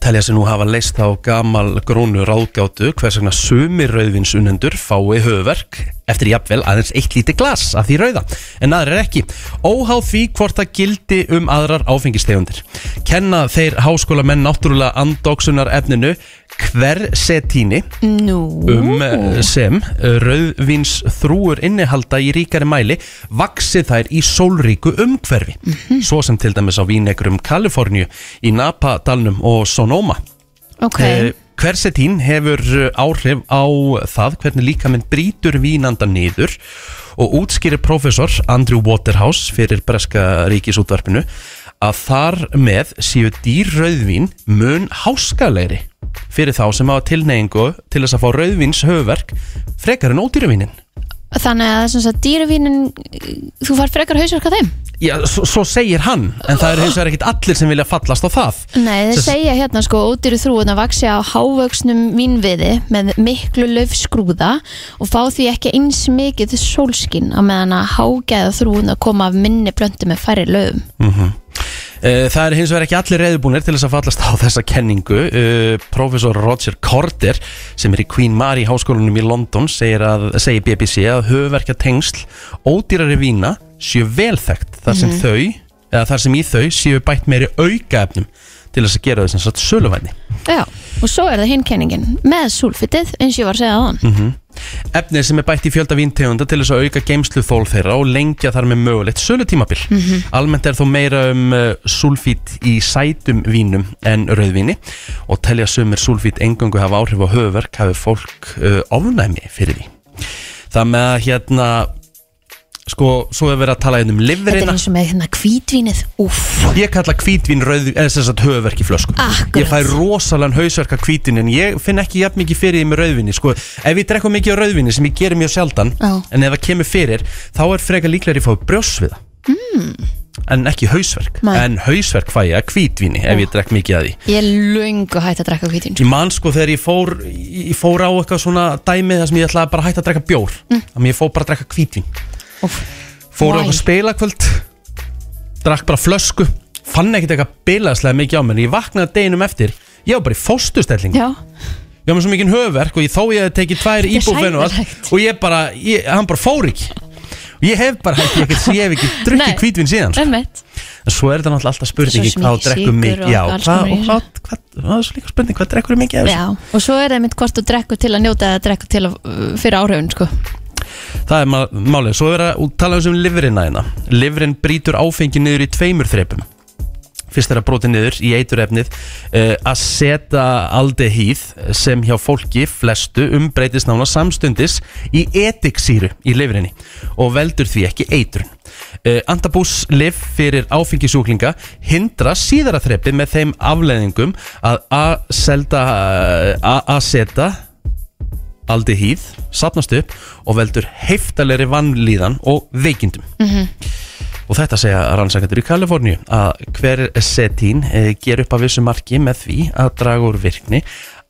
Speaker 1: telja sig nú hafa leist á gamal grónu ráðgjátu hvers vegna sumir rauðvinsunendur fái höfverk eftir jafnvel aðeins eitt lítið glas af því rauða en aðrir ekki óháð því hvort það gildi um aðrar áfengistegundir kenna þeir háskólamenn náttúrulega andóksunar efninu hversetíni
Speaker 2: Nú,
Speaker 1: um eh, sem rauðvins þrúur innihalda í ríkari mæli vaksi þær í sólríku umhverfi svo sem til dæmis á vínegrum Kaliforníu í Napa-dalnum og Sonoma
Speaker 2: ok
Speaker 1: okay. Hversetín Eh, hefur eh, áhrif á það hvernig líkaminn brýtur vínanda niður og útskýrir professor Andrew Waterhouse fyrir breska ríkisútvarpinu að þar með séu dýrrauðvín mun háskalegri fyrir þá sem hafa tilneyingu til þess að fá rauðvins höfverk frekar en ódýruvínin.
Speaker 2: Þannig að þess að dýruvínin þú far frekar hausverk að þeim
Speaker 1: Já, svo, svo segir hann, en það eru hins vegar ekkit allir sem vilja fallast á það.
Speaker 2: Nei, þeir
Speaker 1: Sess-
Speaker 2: segja hérna sko ódýru þrúin að vaksi á hávöksnum vínviði með miklu löfskrúða og fá því ekki eins mikið sólskinn á meðan að hágæða þrúin að koma af minni plöntu með færri löfum
Speaker 1: Mhm. Eh, Það er hins vegar ekki allir reyðubúnir til þess að fallast á þessa kenningu. Eh, Professor Roger Corder, sem er í Queen Mary háskólanum í London, segir, að, segir BBC að höfverkja tengsl ódýrari vína séu velþekkt þar sem þau, eða þar sem í þau séu bætt meiri aukaefnum til þess að gera þess að söluvæni.
Speaker 2: Já, og svo er það hinn kenningin með súlfitið eins og ég var að segja á hann
Speaker 1: Mhm. Efnið sem er bætt í fjölda víntegunda til þess að auka geimslu þól þeirra og lengja þar með mögulegt sölutímabil.
Speaker 2: Mhm.
Speaker 1: Almennt er þó meira um uh, sulfít í sætum vínum en rauðvíni og telja sumir sulfít engangu hafa áhrif á höfverk hafi fólk uh, ofnæmi fyrir því. Það með að hérna, sko, svo er verið að tala hérna um
Speaker 2: Þetta er
Speaker 1: liverina.
Speaker 2: eins og með hérna kvítvínið, úff
Speaker 1: Ég kalla hvítvín rauð, eða sem sagt höfverk í flösku
Speaker 2: Akkurat.
Speaker 1: Ég fæ rosalan hausverk af hvítin En ég finn ekki jafn mikið fyrir því með rauðvinni sko. Ef ég drekku mikið á rauðvinni sem ég gerir mjög sjaldan
Speaker 2: Já.
Speaker 1: En ef það kemur fyrir Þá er frekar líklega að ég fá brjós við það
Speaker 2: Hmm.
Speaker 1: mm. En ekki hausverk
Speaker 2: Nei.
Speaker 1: En hausverk fæ ég að hvítvinni Ef ég drekk mikið að því
Speaker 2: Ég er löngu hægt að drekka kvítvin
Speaker 1: Ég man sko þegar ég fór, ég fór á eitthvað svona dæmi þar sem ég ætlaði bara að hætta að drekka bjór Þannig ég fór bara að drekka hvítvin
Speaker 2: Mm. Úff.
Speaker 1: Fór
Speaker 2: Why?
Speaker 1: á eitthvað spilakvöld Drakk bara flösku Fann ekkert eitthvað bilaðslega mikið á mér en Ég vaknaði deginum eftir Ég var bara í fóstustellingu
Speaker 2: Já,
Speaker 1: Ég var með svo mikið höfverk og ég, þó ég hefði tekið tvær
Speaker 2: er
Speaker 1: íbúfen og
Speaker 2: hræðilegt.
Speaker 1: allt Og ég bara, ég, hann bara fór ekki Og ég hef bara hætti ekkert, ég hef ekki
Speaker 2: Nei.
Speaker 1: drukkið hvítvin síðan sko.
Speaker 2: einmitt
Speaker 1: En svo er þetta náttúrulega alltaf
Speaker 2: Svo
Speaker 1: spurningi
Speaker 2: sem
Speaker 1: Hvað
Speaker 2: mikið
Speaker 1: drekkum
Speaker 2: sykur
Speaker 1: mikið
Speaker 2: og
Speaker 1: Já,
Speaker 2: alls
Speaker 1: hvað,
Speaker 2: konar
Speaker 1: og
Speaker 2: í
Speaker 1: hvað, hvað, það er svo líka spurning Hvað drekkur mikið af þessu?
Speaker 2: Já, og svo er það einmitt hvort þú drekkur til að njóta eða drekkur til að uh, fyrir áhrifun sko.
Speaker 1: Það er ma- málið, svo er að tala um livrina hérna Livrin brýtur áfengi niður í tveimur þrepum Fyrst er að broti niður í eiturefnið uh, að setja aldehíð sem hjá fólki flestu umbreytist nána samstundis í etiksýru í livrinni og veldur því ekki eitrun. Uh, Antabús liv fyrir áfengisjúklinga hindra síðara þrepi með þeim afleðingum að eh, aselda að setja aldehíð, sapnast upp og veldur heiftalegri vannlíðan og veikindum.
Speaker 2: Mhm.
Speaker 1: Og þetta segja rannsakendur í Kaliforníu að hver setín eh, ger upp að vissu marki með því að draga úr virkni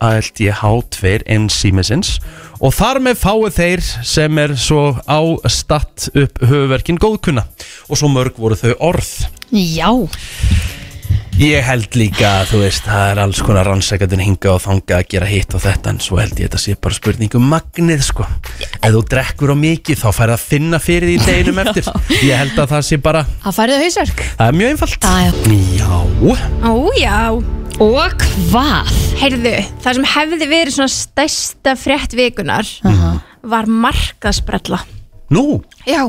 Speaker 1: ALDH2 enzýmisins og þar með fáu þeir sem er svo ástatt upp höfuverkin góðkunna og svo mörg voru þau orð.
Speaker 2: Já,
Speaker 1: Ég held líka að þú veist það er alls konar rannsækjandun hinga og þanga að gera hitt og þetta en svo held ég þetta sé bara spurning um magnið sko Ef þú drekkur á mikið þá færðu að finna fyrir því deginum eftir Ég held að það sé bara,
Speaker 2: það færðu hausverk
Speaker 1: það er mjög einfalt
Speaker 2: Já, já.
Speaker 1: Já,
Speaker 6: Ójá,
Speaker 2: Og hvað?
Speaker 6: heyrðu, það sem hefði verið svona stærsta frétt vikunar var markaðsbrella.
Speaker 1: nú,
Speaker 6: Já,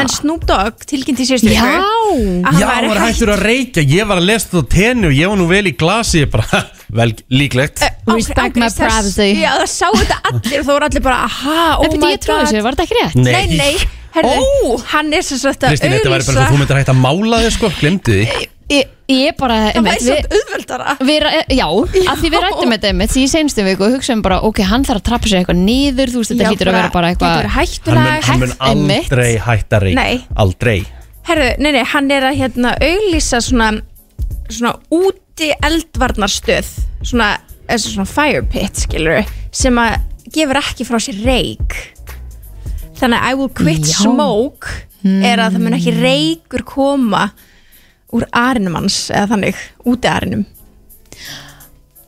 Speaker 6: en Snoop Dogg tilkynnti í síðustu
Speaker 2: Já.
Speaker 6: viku að hann
Speaker 1: já, var
Speaker 6: væri hætt
Speaker 1: hættur að reykja Ég var að lesa þetta á tenni og ég var nú vel í glasi Ég bara, vel líklegt
Speaker 6: Ángri-
Speaker 2: Respect
Speaker 6: ángri-
Speaker 2: my
Speaker 6: þess-
Speaker 2: privacy.
Speaker 6: Já, það sáu þetta allir og það voru allir bara, aha, oh
Speaker 2: Oh
Speaker 6: my
Speaker 2: ég trúi
Speaker 6: god
Speaker 2: þessu, var þetta ekki rétt?
Speaker 6: Nei, nei, herðu, hann er sem sagt að
Speaker 1: Kristín, þetta væri bara eins og þú myndir hægt að mála þig sko, glemdi því
Speaker 6: Ég-
Speaker 2: Ég er bara,
Speaker 6: Það
Speaker 2: einmitt,
Speaker 6: væri
Speaker 2: við,
Speaker 6: samt auðveldara
Speaker 2: við, eh, já, af því við rættum þetta einmitt í senstu viku og hugsaum bara, ok, hann þarf að trappa sér eitthvað niður, þú veist, þetta
Speaker 6: Já,
Speaker 2: hýtur að vera bara
Speaker 6: Getur
Speaker 2: eitthvað
Speaker 6: verið
Speaker 1: Hann mun,
Speaker 6: hættulegt
Speaker 1: hann mun
Speaker 2: einmitt.
Speaker 1: aldrei hætta reik
Speaker 6: Nei.
Speaker 1: Aldrei
Speaker 6: Herðu, nei, nei, hann er að hérna auglýsa svona, svona úti eldvarnarstöð svona, eða svona fire pit, skilur sem að gefur ekki frá sér reik þannig að I will quit
Speaker 2: Já. Hmm.
Speaker 6: smoke er að það mun ekki reikur koma úr arinum hans eða þannig, úti arinum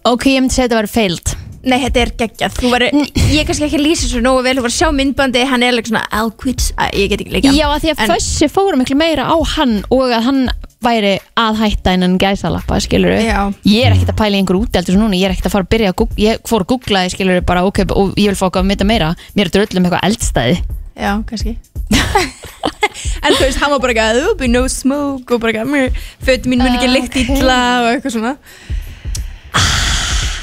Speaker 2: Ok, ég myndi segja að þetta Mm. var feild
Speaker 6: Nei, þetta er geggjað, þú var, ég er kannski ekki að lýsa svo nógu vel, þú var að sjá myndbandi, hann er alveg svona, I'll quit, Æ, ég get ekki leika
Speaker 2: Já, að því að
Speaker 6: En-
Speaker 2: fössi fórum miklu meira á hann og að hann væri að hætta innan gæsalappa, skilur við
Speaker 6: Já.
Speaker 2: Ég er ekkert að pæla í einhver úteldur sem núna, ég er ekkert að fara að byrja að googla, ég fór að googla, skilur við bara, ok, og ég vil fá okkur að mynda meira, mér er dröllum eitthvað eldstæði
Speaker 6: Já, kannski En þú veist, hann var bara ekki að There'll be no smoke og bara ekki að mér Fötum mín mun ekki lykt
Speaker 2: Ah, Ok. Ah.
Speaker 6: illa og eitthvað svona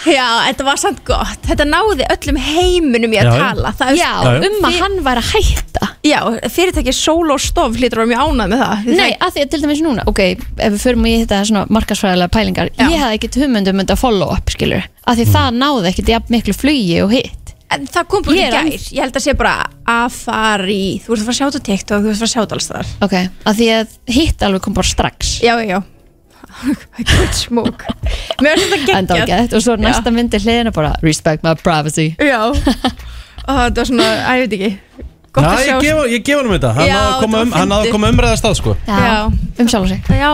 Speaker 6: Já, þetta var samt gott Þetta náði öllum heiminum ég
Speaker 1: Já,
Speaker 6: að
Speaker 1: já.
Speaker 6: tala Það,
Speaker 2: Já,
Speaker 1: Já, já.
Speaker 2: um að hann væri að hætta
Speaker 6: já, fyrirtæki Solo Stof hlýtur að vera mjög ánað með það
Speaker 2: Nei, að því að til dæmis núna, ok, ef við förum í þetta svona markasfræðilega pælingar,
Speaker 6: Já.
Speaker 2: ég hafði ekkert um hugmyndum að follow up, skilur, að því það náði ekkert jafn miklu flugi og hitt.
Speaker 6: En það kom bara
Speaker 2: Ég
Speaker 6: í
Speaker 2: er
Speaker 6: gær
Speaker 2: enn-
Speaker 6: Ég held að sé bara að fara í Þú ert að fara að sjá þetta á TikTok, þú ert að fara að sjá þetta alls þar
Speaker 2: Ok, að því að hitt alveg kom bara strax.
Speaker 6: Já, já, já Good smoke Mér finnst þetta
Speaker 2: Enda
Speaker 6: geggjað
Speaker 2: ekki, og svo næsta myndi hliðina bara, respect my privacy.
Speaker 6: Já, og það var svona, að ég veit ekki Gott
Speaker 1: Já,
Speaker 6: að
Speaker 1: ég
Speaker 6: sjá
Speaker 1: gef, ég gef honum þetta Hann
Speaker 6: Já,
Speaker 1: náði að
Speaker 6: þetta
Speaker 1: koma
Speaker 6: var
Speaker 1: um- hann
Speaker 6: fyndið.
Speaker 1: náði að koma umræðast að sko
Speaker 6: Já.
Speaker 2: um sjálf og sig.
Speaker 6: já,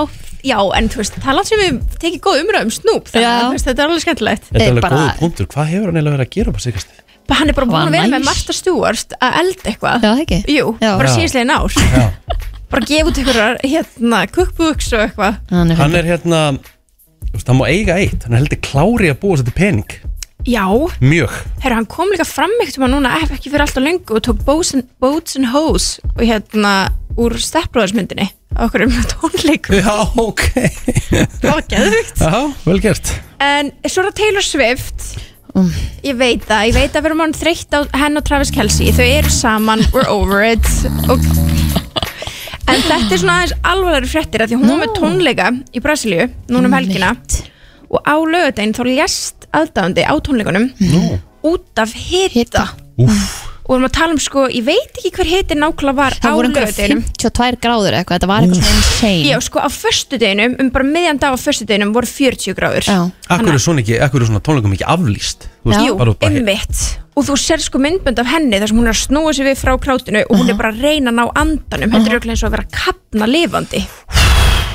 Speaker 6: já, en þú veist, það er langt sem við tekið góð umræð um Snoop Þannig
Speaker 2: Já.
Speaker 6: að þú veist, þetta er alveg skemmtilegt
Speaker 1: Þetta er alveg
Speaker 2: bara-
Speaker 1: góður punktur Hvað hefur hann eiginlega verið að gera upp á sigast?
Speaker 6: Bara Hann er bara búin
Speaker 2: Var
Speaker 6: að vera með
Speaker 2: næs.
Speaker 6: Martha Stewart að elda eitthvað
Speaker 2: Já, það ekki?
Speaker 6: Jú,
Speaker 2: Já.
Speaker 6: bara
Speaker 1: Já.
Speaker 6: síðislegin ár
Speaker 1: Já
Speaker 6: Bara gefa út ykkur hérna, cookbooks og eitthvað
Speaker 2: Hann er
Speaker 1: Hann
Speaker 2: fyrir.
Speaker 1: er hérna þú veist, Hann má eiga eitt Hann er heldur klári að búa sér til pening
Speaker 6: Já,
Speaker 1: Mjög
Speaker 6: herru, hann kom líka fram eitthvað núna ef ekki fyrir alltaf lengu og tók Boats and, boats and Hoes og hérna úr steppbróðarsmyndinni á okkur um tónleikum,
Speaker 1: Já, ok
Speaker 6: það var geðvikt
Speaker 1: Já, vel gert
Speaker 6: En svo er það Taylor Swift
Speaker 2: Mm.
Speaker 6: Ég veit það, ég veit að við erum án þreytt á henn og Travis Kelsey Þau eru saman, we're over it og... En þetta er svona aðeins alvarlega fréttir af Því hún var með tónleika í Brasilíu Núna um helgina Og á lögudaginn þá lést aðdáðandi á tónleikunum Út af hita,
Speaker 2: Hita.
Speaker 1: Úff
Speaker 6: Og við erum að tala um sko, ég veit ekki hver hiti nákvæmlega var á
Speaker 2: Það voru einhverja
Speaker 6: lögudaginum
Speaker 2: 52 gráður eitthvað, þetta var eitthvað svona
Speaker 6: Já,
Speaker 2: insane.
Speaker 6: sko á föstudeginum, um bara miðjan dag á föstudeginum voru 40 gráður
Speaker 2: Já.
Speaker 1: Akkur er svona ekki, akkur er svona tónleikum ekki aflýst Þú
Speaker 2: Já.
Speaker 6: Jú,
Speaker 1: bara- bara-
Speaker 6: einmitt og þú sér sko myndbönd af henni þar sem hún er að snúa sér við frá krátinu og hún er bara að reyna að ná andanum þetta er auðvitað eins og að vera að kapna lifandi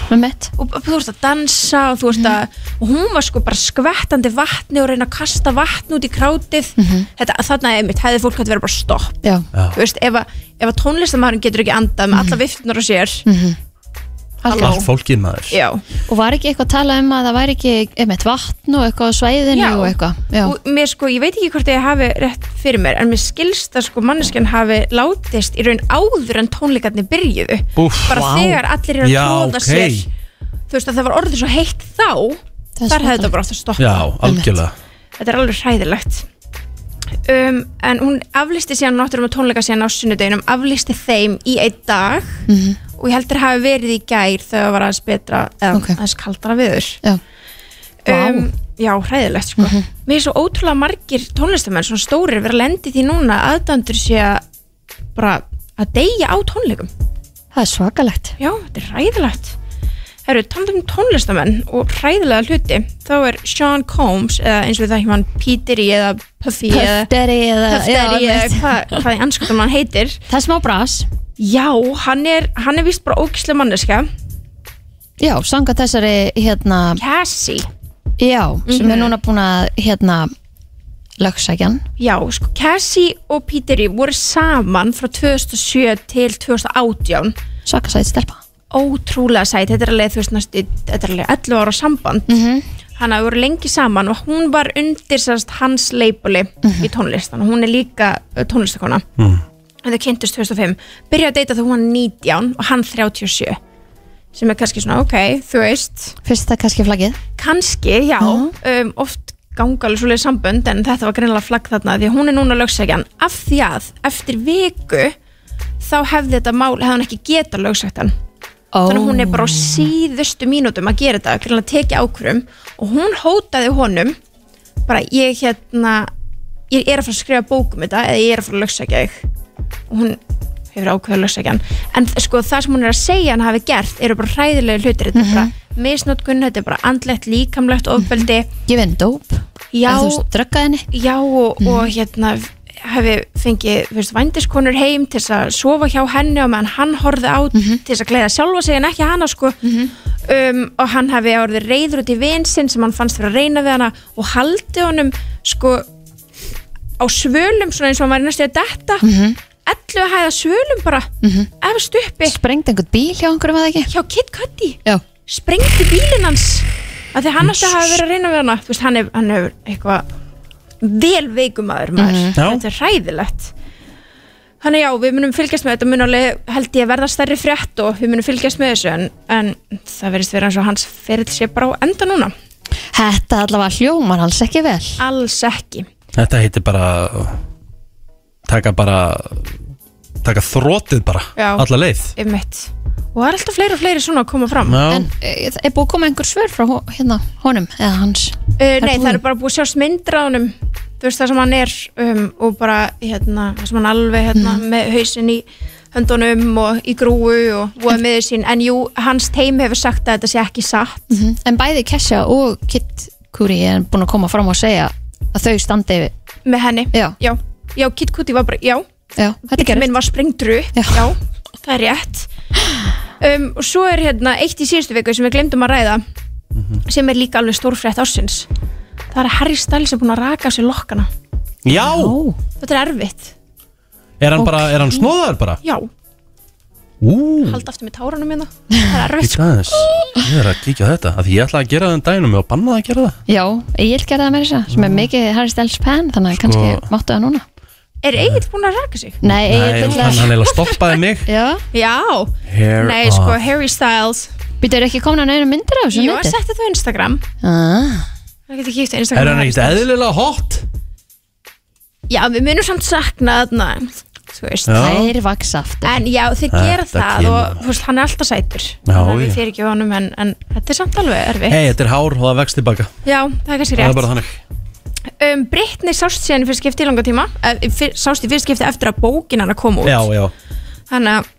Speaker 2: Með mitt. Mhm.
Speaker 6: og b- þú ert að dansa og þú ert að og hún var sko bara skvettandi vatni og reyna að kasta vatn út í krátið þetta, þarna einmitt, hefði fólk hægt verið bara stopp
Speaker 2: Mhm. Já. Mhm.
Speaker 1: Já.
Speaker 6: þú veist, ef að, ef að tónlistamæðurinn getur ekki andað með alla viftunar á sér Halló.
Speaker 1: Allt fólkið maður
Speaker 6: já,
Speaker 2: Og var ekki eitthvað að tala um að það væri ekki, einmitt, vatn og eitthvað á svæðinu
Speaker 6: Já.
Speaker 2: og eitthvað. Já.
Speaker 6: og mér sko, ég veit ekki hvort ég hafi rétt fyrir mér, en mér skilst að sko manneskjan hafi látist í raun áður en tónleikarnir byrjuðu
Speaker 1: Úff
Speaker 6: bara
Speaker 2: Vá.
Speaker 6: þegar allir eru að
Speaker 1: Já,
Speaker 6: tróða
Speaker 1: ok.
Speaker 6: sér þú veist að það var orðið svo heitt þá
Speaker 2: Það
Speaker 6: þar
Speaker 2: er
Speaker 6: hefði
Speaker 2: svakalegt.
Speaker 6: þetta bara átt að stoppa
Speaker 1: Já, algjörlega
Speaker 6: þetta er alveg hræðilegt um, en hún aflisti síðan náttúrulega með tónleika síðan á sunnudeginum aflisti þeim í einn dag
Speaker 2: Mhm.
Speaker 6: og ég heldur hafi verið í gær þegar það var aðeins betra eða
Speaker 2: Ok.
Speaker 6: aðeins kaldara viður
Speaker 2: Já. Vá. Mhm.
Speaker 6: um, já, hræðilegt sko mér er svo ótrúlega margir tónlistamenn svona stórir vera lendi því núna að aðdandur sé að bara að deyja á tónleikum
Speaker 2: Það er svakalegt.
Speaker 6: Já, þetta er ræðilegt. Herru, talandum um tónlistamenn og ræðilega hluti, þá er Sean Combs, eða eins og við þekkjum hann Peteri eða Puffy eða
Speaker 2: Pufteri eða
Speaker 6: Puffdaddy
Speaker 2: já,
Speaker 6: eða
Speaker 2: einmitt.
Speaker 6: hvað, hvað í anskotum hann heitir.
Speaker 2: Það er smá bras
Speaker 6: Já, hann er, hann er vist bara ógislega manneska.
Speaker 2: Já, sanga þessari hérna
Speaker 6: Cassie. Mhm.
Speaker 2: Já, sem er núna búin að hérna lögsækjan
Speaker 6: Já, sko, Cassie og Peteri voru saman frá 2007 til 2018.
Speaker 2: Svaka sætt stelpa
Speaker 6: Ótrúlega sæt, þetta er alveg, þú veist, næstu, þetta er alveg 11 ára samband.
Speaker 2: Mhm.
Speaker 6: hann hafði voru lengi saman og hún var undir sérst, hans leipuli
Speaker 2: Mhm.
Speaker 6: í tónlistan og hún er líka uh, tónlistakona
Speaker 1: Mm.
Speaker 6: en þau kynntust 2005 byrjaði að deyta þegar hún var 19 og hann 37 sem er kannski svona ok, þú veist
Speaker 2: Fyrst það kannski flaggið
Speaker 6: kannski, já, um, oft ganga alveg svoleið sambönd en þetta var greinlega flagg þarna því að hún er núna lögsækjan af því að eftir viku þá hefði þetta mál, hefði hann ekki geta lögsækt hann þannig að hún er bara á síðustu mínútum að gera þetta, greinlega teki ákvörum og hún hótaði honum bara ég hérna ég er að fara að skrifa bókum þetta eða ég er að fara að lögsækja þig og hún hefur ákveða að lögsækja hann en sko það sem hún er að segja hann hafi gert eru bara hræðilegi hlutir, þetta er bara misnótkun, þetta er bara andlegt, líkamlegt ofbeldi,
Speaker 2: Mhm. Ég vinn dóp
Speaker 6: já
Speaker 2: En þú veist, dröggaði henni Mhm.
Speaker 6: Já og, og hérna hafi fengið þú veist, vændiskonur heim til þess að sofa hjá henni og meðan hann horfði á
Speaker 2: Mhm.
Speaker 6: til þess að gleða sjálfa sig en ekki hana sko um, og hann hafi orðið reyður út í vinsinn sem hann fannst fyrir að reyna við hana og haldi honum sko á svölum svona eins og hann var næstu að detta mm
Speaker 2: Mhm.
Speaker 6: -hmm. 11 hæða svölum bara efst uppi
Speaker 2: Sprengdi einhvern bíl hjá einhverjum að ekki
Speaker 6: hjá Kid Cudi
Speaker 2: Já
Speaker 6: sprengdi bílinn hans af því að hann átti að hafa verið að reyna við hana Þú veist, hann, hef, hann hefur eitthvað vel veikumadur maður
Speaker 2: Mhm.
Speaker 1: Já.
Speaker 6: þetta er hræðilegt þannig já, við munum fylgjast með þetta mun alveg held ég verða stærri frétt og við munum fylgjast með þessu en, en það verðist vera eins og hans ferill sé bara á enda núna
Speaker 2: Þetta allavega hljómar alls ekki vel
Speaker 6: alls ekki
Speaker 1: Þetta heitir bara taka bara taka þrótið bara
Speaker 6: Já.
Speaker 1: alla leið
Speaker 6: einmitt. og það er alltaf fleiri og fleiri svona að koma fram
Speaker 1: Já,
Speaker 2: En eh, er búið að koma einhver svör frá hó- hérna, honum eða hans
Speaker 6: Uh, nei,
Speaker 2: búið.
Speaker 6: það er bara búið að sjást myndir á honum þú veist það sem hann er um, og bara hérna, það sem hann alveg hérna,
Speaker 2: Mm.
Speaker 6: með hausinn í höndunum og í grúu og voða miður sín en jú, hans teim hefur sagt að þetta sé ekki satt
Speaker 2: Mhm. En bæði Kesha og Kit Kuri er búin að koma fram og segja að þau standi yfir
Speaker 6: með henni
Speaker 2: Já.
Speaker 6: já, já Kit Kuti var bara, já,
Speaker 2: Já, þetta
Speaker 6: bíll
Speaker 2: gerir
Speaker 6: minn var sprengdur upp
Speaker 2: Já.
Speaker 6: já. það er rétt um, og svo er hérna eitt í síðustu viku sem við glemdum að ræða sem er líka alveg stórfrétt ársins það er að Harry Styles er búin að raka á sér lokkana
Speaker 1: já.
Speaker 2: Ó,
Speaker 6: þetta er erfitt,
Speaker 1: Er, hann bara, er hann snóðar bara?
Speaker 6: já
Speaker 2: Mm.
Speaker 1: Ú,
Speaker 6: halda aftur með tárunum minna það er erfitt
Speaker 1: ekki aðeins Ég er að kíkja á þetta, af því ég ætlaði að gera það um dæginum og bannaði að gera það
Speaker 2: Já, Egil gerði það með þess að sem er mikið Harry Styles fan þannig að kannski máttu það núna
Speaker 6: er Egil búinn að raka sig?
Speaker 2: Nei,
Speaker 1: Nei,
Speaker 2: Egil
Speaker 1: hann, hann eiginlega stoppaði mig
Speaker 2: Já,
Speaker 6: já,
Speaker 1: Hair
Speaker 6: nei sko Harry Styles
Speaker 2: býtu eru ekki komin að neina myndir af þessu
Speaker 6: jú, að setja það á Instagram
Speaker 2: ah,
Speaker 6: það getur kíkt á Instagram
Speaker 1: Er hann
Speaker 6: Harry
Speaker 1: ekkert
Speaker 6: Styles.
Speaker 1: eðlilega hot?
Speaker 6: já, við munum samt sakna þarna þú veist
Speaker 1: Já,
Speaker 2: Þær vaks aftur
Speaker 6: En já, þið
Speaker 1: Þetta
Speaker 6: gera það
Speaker 1: kemur.
Speaker 6: og þú veist, hann er alltaf sætur
Speaker 1: Já,
Speaker 6: Þannig að
Speaker 1: já.
Speaker 6: Við fyrir ekki honum, en, en þetta er samt alveg erfitt
Speaker 1: hei, þetta er hár og það vext tilbaka
Speaker 6: Já, það er kannski
Speaker 1: Það er
Speaker 6: rétt
Speaker 1: bara þannig
Speaker 6: um, Brittany sást síðan í fyrst skipti í langa tíma eh, í fyr, Sást í fyrst skipti eftir að bókin hann að koma út
Speaker 1: Já, já,
Speaker 6: Þannig að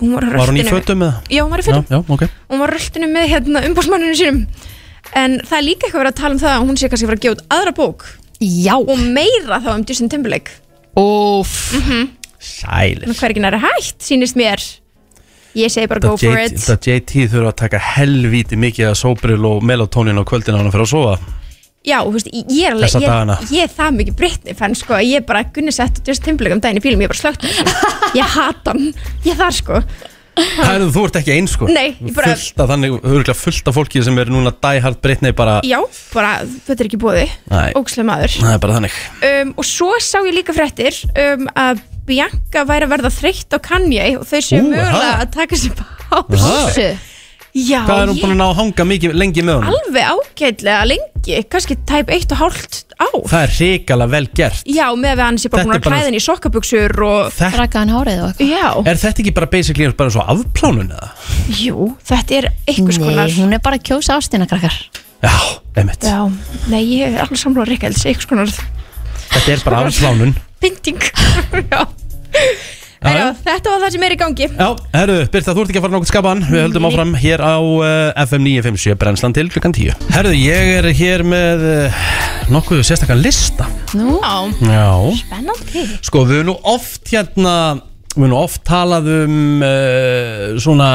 Speaker 6: hún var á
Speaker 1: var hann í
Speaker 6: röltinu-
Speaker 1: fötum eða?
Speaker 6: Já, hún var í
Speaker 1: Já,
Speaker 6: fötum
Speaker 1: já, ok
Speaker 6: hún var röltinu með hérna umbúrsmanninu sínum en það er líka eitthvað verið að tala um það að hún sé kannski að fara að gefa út aðra bók
Speaker 2: Já,
Speaker 6: og meira þá um Justin Timberlake
Speaker 2: óf
Speaker 1: Sælir
Speaker 6: en hvað er ekki næri hægt, sýnist mér ég segi bara go
Speaker 1: Það
Speaker 6: for
Speaker 1: JT,
Speaker 6: it
Speaker 1: það JT þurfa að taka helvíti mikið að sóbril og melatonin á kvöldin á hann fyrir að sofa
Speaker 6: já, þú veist, ég ég er alveg
Speaker 1: Þessa
Speaker 6: ég,
Speaker 1: dagana.
Speaker 6: ég er það mikið brittni fann sko að ég bara gunni sett Justin Timberlake um daginn í bílum, ég bara slögt ég hata hann, ég þar sko
Speaker 1: Hæðu, þú ert ekki eins sko
Speaker 6: Nei, ég bara-
Speaker 1: Fullt af þannig, örgulega fullt af fólki sem er núna dæhard breytni bara
Speaker 6: já, bara þetta er ekki bóði
Speaker 1: Ah. Nei.
Speaker 6: ógslega maður
Speaker 1: Það er bara þannig
Speaker 6: um, og svo sá ég líka fréttir um, að Bianca væri að verða þreytt á Kanye og þau séu
Speaker 1: Ú,
Speaker 6: mögulega
Speaker 1: ha?
Speaker 6: að taka sér pás
Speaker 1: Aha.
Speaker 6: Já,
Speaker 1: Hvað er hún
Speaker 6: ég
Speaker 1: búin að ná að hanga mikið lengi með honum?
Speaker 6: alveg ágætlega lengi kannski tæp eitt og hálft ár
Speaker 1: Það er hrikalega vel gert
Speaker 6: Já, með að hann sé bara búin
Speaker 1: Þetta er
Speaker 6: að
Speaker 1: bara-
Speaker 6: klæðin í sokkabuxur og
Speaker 1: Þetta,
Speaker 2: Rakaði hann hárið og eitthvað
Speaker 6: Já,
Speaker 1: Er þetta ekki bara basically bara svo afplánun eða?
Speaker 6: jú, þetta er einhvers
Speaker 2: Nei,
Speaker 6: konar
Speaker 2: hún er bara að kjósa ástina krakkar
Speaker 1: Já, emitt
Speaker 6: Já, nei, ég er alveg samlóð Ríkjalds, einhvers konar
Speaker 1: Þetta er bara afplánun
Speaker 6: binding Já,
Speaker 1: Já,
Speaker 6: já,
Speaker 1: já.
Speaker 6: þetta var það sem er í gangi
Speaker 1: Já, herru, Birta, þú ert ekki að fara nokkuð skapaðan Við höldum áfram hér á uh, FM 957 Brennslan til klukkan 10 Herru, ég er hér með uh, nokkuð sérstakann lista
Speaker 2: Nú,
Speaker 1: Já
Speaker 6: Spennandi
Speaker 1: Sko, við höfum nú oft hérna Við höfum nú oft talað um uh, svona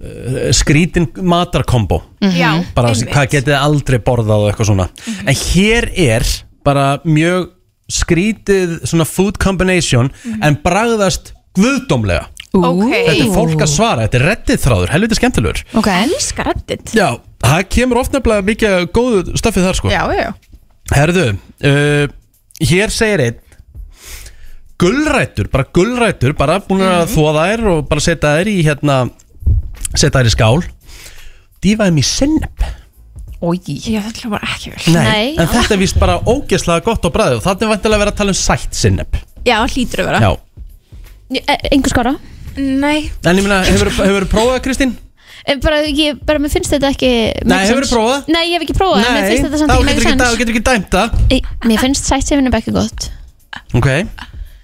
Speaker 1: uh, skrítin matarkombo
Speaker 2: Mhm.
Speaker 6: Já,
Speaker 1: bara Einmitt. hvað getið þið aldrei borðað og eitthvað svona
Speaker 6: Mhm.
Speaker 1: en hér er bara mjög skrítið svona food combination en bragðast guðdómlega
Speaker 6: Mhm. Ok.
Speaker 1: þetta er fólk að svara, þetta er reddið þráður helviti skemmtilegur
Speaker 2: Ok,
Speaker 6: Elskar reddit
Speaker 1: já, það kemur oft nefnilega mikið góðu stöfið þar sko
Speaker 6: Já, já,
Speaker 1: herðu, uh, hér segir einn gullrætur, bara gullrætur bara búin
Speaker 6: Mhm.
Speaker 1: að mm. þóa þær og bara setja þær í hérna setja þær í skál dýfa þeim í sennep
Speaker 2: oi
Speaker 6: já, þetta var ekki vel
Speaker 1: Nei,
Speaker 2: Nei,
Speaker 1: en þetta er víst bara ógeðslega gott á bræðu og þannig vantilega að vera að tala um sætt sinneb
Speaker 2: e,
Speaker 6: Já, hlýtur að vera
Speaker 1: Já,
Speaker 2: Engu skora
Speaker 6: Nei
Speaker 1: En ég meina, hefur þú prófað Kristín?
Speaker 2: En bara, ég, bara, mér finnst þetta ekki make sense.
Speaker 1: hefurðu prófað?
Speaker 2: Nei, ég hef ekki prófað, en mér finnst þetta samt
Speaker 1: þá
Speaker 2: ekki
Speaker 1: getur
Speaker 2: make
Speaker 1: ekki,
Speaker 2: sense
Speaker 1: þá getur ekki dæmt það
Speaker 2: Ei, Mér finnst sætsefinubekki gott
Speaker 1: Ok,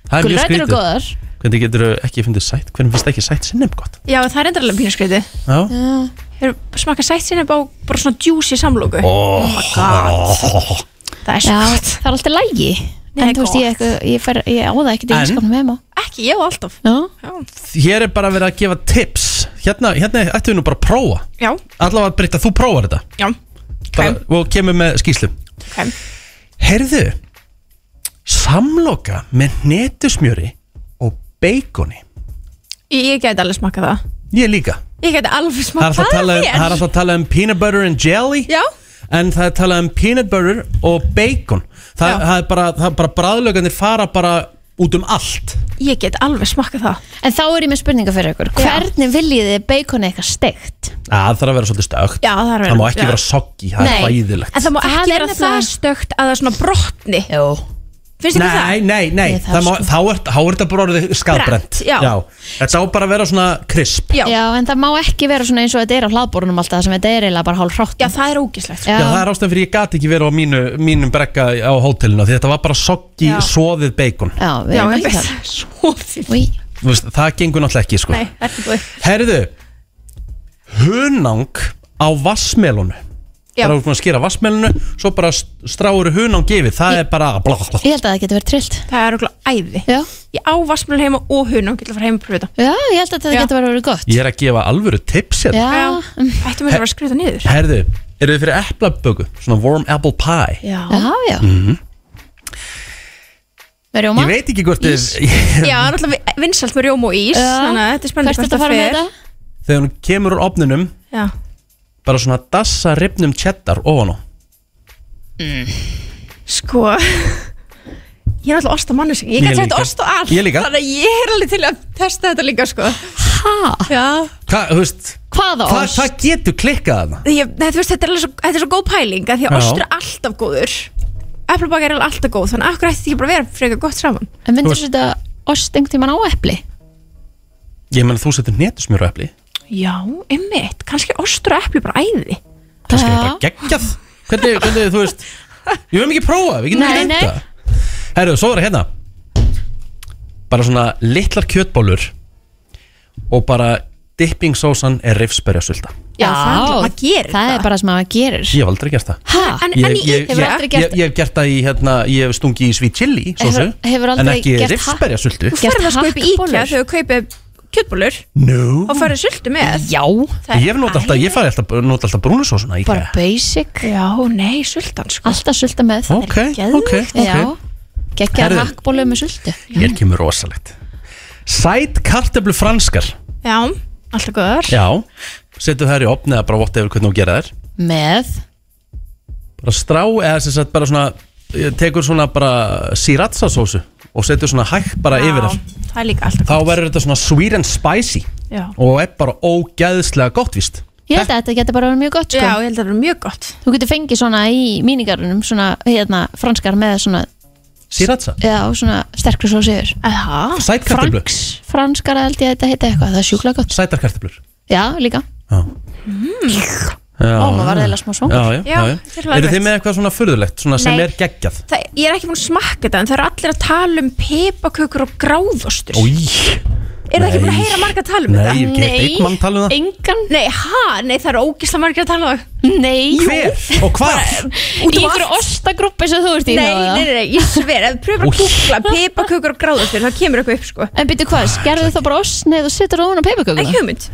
Speaker 1: það er mjög
Speaker 2: Gulrætur eru
Speaker 1: skrítið
Speaker 2: góðar
Speaker 1: Hvernig getur ekki fundið sætt, hvernig finnst ekki sætt sinnum gott?
Speaker 6: Já, það er endarlega pínu skreiti
Speaker 1: Já
Speaker 6: Hefur smakað sætt sinni bá bara svona juicy samlóku
Speaker 1: Oh
Speaker 6: my god. Það er svo
Speaker 2: Já,
Speaker 6: gott
Speaker 2: það er alltaf lægi
Speaker 6: Nei,
Speaker 2: En þú veist,
Speaker 6: gott.
Speaker 2: ég, eitthvað, ég, fer, ég á það ekkert í
Speaker 1: En?
Speaker 2: skapnum heima
Speaker 6: Ekki, já, alltaf
Speaker 2: Já,
Speaker 1: Hér er bara verið að gefa tips Hérna, hérna ættu við nú bara að prófa
Speaker 6: Já,
Speaker 1: Allavega að breyta, þú prófar þetta
Speaker 6: já,
Speaker 1: bara, Og kemur með skýslu
Speaker 6: ok
Speaker 1: Heyrðu Samloka með netusmjöri Og beikoni
Speaker 6: Ég, ég gæti alveg smakað það
Speaker 1: Ég líka
Speaker 6: Ég gæti alveg
Speaker 1: Það er
Speaker 6: smakað
Speaker 1: alltaf
Speaker 6: það
Speaker 1: talað um, það er alltaf talað um peanut butter and jelly
Speaker 6: Já,
Speaker 1: En það er talað um peanut butter og bacon Þa,
Speaker 6: Já.
Speaker 1: Það er bara, það er bara bræðlöganir fara bara út um allt
Speaker 6: ég get alveg smakað það
Speaker 2: En þá er ég með spurninga fyrir ykkur Hvernig viljið þið beikonið eitthvað steikt?
Speaker 1: Það þarf að vera svolítið stögt
Speaker 6: Já, það er
Speaker 1: Það má ekki vera soggi, það
Speaker 2: Nei.
Speaker 1: er hræðilegt
Speaker 6: En það má
Speaker 2: Það
Speaker 6: ekki
Speaker 2: er
Speaker 6: vera það
Speaker 2: nefnilega-
Speaker 6: stökt að það er svona brotni
Speaker 2: Jó
Speaker 6: Finnst ekki það?
Speaker 1: Nei, nei, nei,
Speaker 2: Nei, það
Speaker 1: það má,
Speaker 2: sko.
Speaker 1: þá er þá er þetta bara orðið skadbrent
Speaker 6: Brennt, já.
Speaker 1: Þetta á bara að vera svona krisp
Speaker 6: Já.
Speaker 2: Já, en það má ekki vera svona eins og þetta er á hlaðborunum alltaf sem þetta er eiginlega bara hálf hrátt
Speaker 6: Já, það er ógislegt
Speaker 1: Já, það er ástæðan fyrir ég gat ekki verið á mínu, mínum brekka á hótelinu því þetta var bara soggi,
Speaker 6: Já.
Speaker 1: soðið bacon
Speaker 2: Já, við
Speaker 6: Já,
Speaker 2: erum
Speaker 6: ég
Speaker 2: ekki
Speaker 6: veit
Speaker 2: þar
Speaker 6: Svo því
Speaker 2: Új,
Speaker 1: Þú veist, Það gengur náttúrulega ekki sko.
Speaker 6: Nei, ekki búið
Speaker 1: Herðu Hunang á vassmelunu
Speaker 6: Já.
Speaker 1: Það er að skýra vassmelunu Svo bara st- stráir hunang yfir Það er bara bla, bla, bla.
Speaker 2: ég held að það getur verið trillt
Speaker 6: Það er okkur æði
Speaker 2: Já,
Speaker 6: Ég á vassmjöl heima og hunum Gæti að fara heim og pröfa
Speaker 2: já, ég held að það
Speaker 6: Já.
Speaker 2: getur verið gott
Speaker 1: Ég er að gefa alvöru tips hérna
Speaker 2: Já, mm,
Speaker 6: þetta Ættum við að vera að skruta niður
Speaker 1: Herðu, eru þið fyrir eplaböku? Svona warm apple pie Mhm.
Speaker 6: Já
Speaker 2: já, já Með rjóma
Speaker 1: Ég veit ekki hvort þið
Speaker 6: Já, náttúrulega vinsalt með rjóma og ís
Speaker 2: Já.
Speaker 6: Þannig að þetta er spennandi
Speaker 2: Hvert er þetta að fara með
Speaker 6: fer.
Speaker 2: þetta?
Speaker 1: Þegar hún kemur úr opninum
Speaker 6: Já,
Speaker 1: Bara svona dassa ripnum cheddar ofan á
Speaker 6: sko Ég er alltaf ost á mannu Ég
Speaker 1: Ég
Speaker 6: gæti
Speaker 1: líka.
Speaker 6: þetta ost á allt
Speaker 1: Ég líka.
Speaker 6: Þannig að ég er alveg til að testa þetta líka sko
Speaker 2: Ha?
Speaker 6: Já
Speaker 1: Hvað, þú veist
Speaker 2: Hvaða
Speaker 1: Hvað
Speaker 2: ost?
Speaker 1: hva getur klikkað þarna?
Speaker 6: ég, nei, þú veist, þetta, er alveg svo, þetta er svo góð pæling að Því að
Speaker 1: Já.
Speaker 6: ostur er alltaf góður Eplabak er alveg alltaf góð Þannig að akkur ætti þetta ekki bara að vera frekar gott saman
Speaker 2: En myndir
Speaker 1: Þú
Speaker 2: þú þetta ost einhvern tímann á epli?
Speaker 1: Ég menn þú setur netusmjör á epli
Speaker 6: Já, ymmit, kannski ostur og epli bara æði
Speaker 1: kannski er þetta geggjað hvernig, hvernig, þú veist við höfum ekki prófað, við getum
Speaker 2: Nei,
Speaker 1: ekki
Speaker 2: nei.
Speaker 1: þetta herru, svo er það hérna bara svona litlar kjötbólur og bara dipping sósan er rifsberjasulta
Speaker 6: Já, það er maður gerir
Speaker 2: það er bara sem maður gerir
Speaker 1: ég hef aldrei gert það
Speaker 2: Ha?
Speaker 6: En, en
Speaker 1: ég,
Speaker 6: í
Speaker 1: ég, ég,
Speaker 2: Hefur aldrei gert-
Speaker 1: ég, ég hef gert það í hérna, ég hef stungi í sweet chili sósu,
Speaker 2: Hefur- hefur aldrei
Speaker 1: en ekki
Speaker 2: gert ha-
Speaker 1: rifsberjasultu
Speaker 6: Þú ferð að sko upp í IKEA
Speaker 2: Hakkbollur?
Speaker 6: þegar þú kaupir kjötbólur
Speaker 1: no.
Speaker 6: og farið sultu með
Speaker 2: Já,
Speaker 6: Það
Speaker 1: ég hef nota alltaf, ég fari alltaf, nota alltaf brúnusósuna í
Speaker 2: bara
Speaker 1: IKEA.
Speaker 2: basic
Speaker 6: Já, nei, sultan sko
Speaker 2: Alltaf sulta með það
Speaker 1: ok, ok, ok
Speaker 2: Já, geggjaðar
Speaker 1: Herðu.
Speaker 2: hakkbólu með sultu
Speaker 1: hér kemur rosalegt sæt kartöflu franskar
Speaker 6: Já, alltaf góður
Speaker 1: Já, setu þær í opn eða bara votta yfir hvernig þú gera þær
Speaker 2: Með,
Speaker 1: bara strá eða sem sagt bara svona ég tekur svona bara sriracha sósu og setur svona hægt bara yfir þar
Speaker 6: Það er líka alltaf
Speaker 1: þá verður þetta svona sweet and spicy
Speaker 6: Já.
Speaker 1: og er bara ógæðslega gott víst
Speaker 2: ég held að þetta getur bara verið mjög gott
Speaker 6: Já,
Speaker 2: sko.
Speaker 6: ég held að það er mjög gott
Speaker 2: Þú getur fengið svona í mínigarunum svona hérna, franskar með svona,
Speaker 1: sriracha,
Speaker 2: já, svona sterkri sós yfir
Speaker 6: Það?
Speaker 1: sæt kartöflu
Speaker 2: Franks, franskar held ég að þetta heiti eitthvað, það er sjúklega gott
Speaker 1: sætar kartöflur
Speaker 2: Já, líka,
Speaker 1: Já,
Speaker 6: Mm.
Speaker 1: já,
Speaker 2: ó, maður var eða smá svong
Speaker 1: já, já, já,
Speaker 6: Já,
Speaker 1: já.
Speaker 6: þetta er alveg
Speaker 1: Eru þið
Speaker 6: rétt.
Speaker 1: með eitthvað svona furðulegt svona sem
Speaker 6: Nei.
Speaker 1: er geggjað?
Speaker 6: Það, ég er ekki búin að smakka þetta en það eru allir að tala um pepakökur og gráðostur
Speaker 1: Új,
Speaker 6: Er það ekki
Speaker 1: nei.
Speaker 6: búin að heyra marga að tala um
Speaker 1: Nei,
Speaker 6: þetta?
Speaker 1: ég hef gett einn mann tala um það
Speaker 2: Engan,
Speaker 6: Nei, ha? Nei, það eru ógisla marga að tala um það
Speaker 2: nei
Speaker 1: Hver og hvað?
Speaker 6: Út
Speaker 2: Í
Speaker 6: um
Speaker 2: einhverju
Speaker 6: allt
Speaker 2: ostagrúppi sem þú ert í
Speaker 6: Nei,
Speaker 2: þá, eða?
Speaker 6: nei, nei, nei, ég sver Ef þú pröfur
Speaker 1: Úff.
Speaker 6: að kúkla pepakökur og gráðostur þá kemur eitthvað upp sko
Speaker 2: En byrju hvað, gerðu þá bara ost neðu og setur ofan á peipakökuna?
Speaker 6: Ekki hugmynd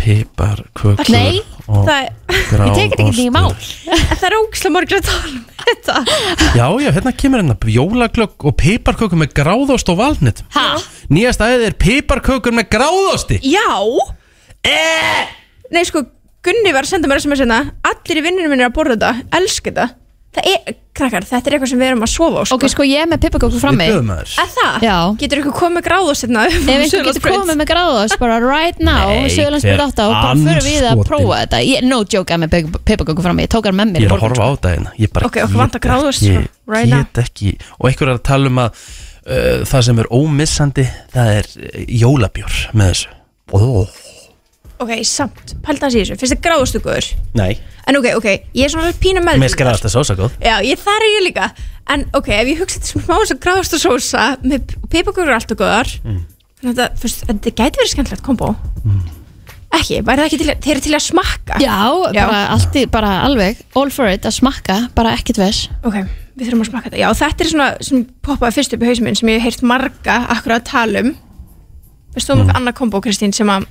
Speaker 1: Pipar, kökur
Speaker 2: Nei,
Speaker 1: og
Speaker 6: Það er
Speaker 1: grá
Speaker 2: Ég tek þetta ekki í mál
Speaker 6: En það er ógislega margir að tala um þetta
Speaker 1: Já, já, hérna kemur hérna jólaglögg og piparkökur með gráðost og valnit
Speaker 2: Ha?
Speaker 1: Nýjast aðeins er piparkökur með gráðosti
Speaker 6: Já Nei sko, Gunni var að senda mér SMS hérna Allir í vinnunum minn er að borða þetta, elska þetta Það er, krakkar, þetta er eitthvað sem við erum að sofa á sko
Speaker 2: Ok, sko ég er með peipakökur frammi
Speaker 1: Við bjöðum aður
Speaker 6: Er það?
Speaker 2: Já.
Speaker 6: Getur ykkur komið gráðast hérna um
Speaker 2: Ef einhver getur
Speaker 6: Suðurlandsbraut?
Speaker 2: komið með gráðost bara right now
Speaker 1: Nei, hver
Speaker 2: Söðurlandsbyrð 8 og bara förum við að
Speaker 1: andskotinn?
Speaker 2: prófa þetta ég, No joke að með peipakökur frammi Ég tók hann með mér
Speaker 1: Ég er að horfa á þetta hérna Ég bara
Speaker 6: Ok, okkur
Speaker 1: get
Speaker 6: vantar gráðost,
Speaker 1: ekki-
Speaker 6: sko, right now.
Speaker 1: Get ekki Og einhver er að tala um að uh, það sem er ómissandi það er uh, jólabjór með þessu oh.
Speaker 6: Ok, samt, pælta hans í þessu Fyrst er gráðustu góður
Speaker 1: Nei,
Speaker 6: En ok, ok, ég er svona alveg pínu með
Speaker 1: mér skræðast það sósa góð
Speaker 6: Já, ég, þar er ég líka En ok, ef ég hugsa þetta smá sem gráðustu sósa Með pipakökur er alltaf góðar mm. Þannig að þetta, fyrst, þetta gæti verið skemmtilegt kombo Ekki, væri það ekki til, þeir eru til að smakka
Speaker 2: Já,
Speaker 6: Já.
Speaker 2: Bara, allt í, bara alveg All for it að smakka, bara ekkert ves
Speaker 6: Ok, við þurfum að smakka þetta Já, þetta er svona sem poppaði fyrst upp í hausum minn sem ég hef heyrt marga akkur að tala um Við stóðum mm. annað kombo, Kristín sem að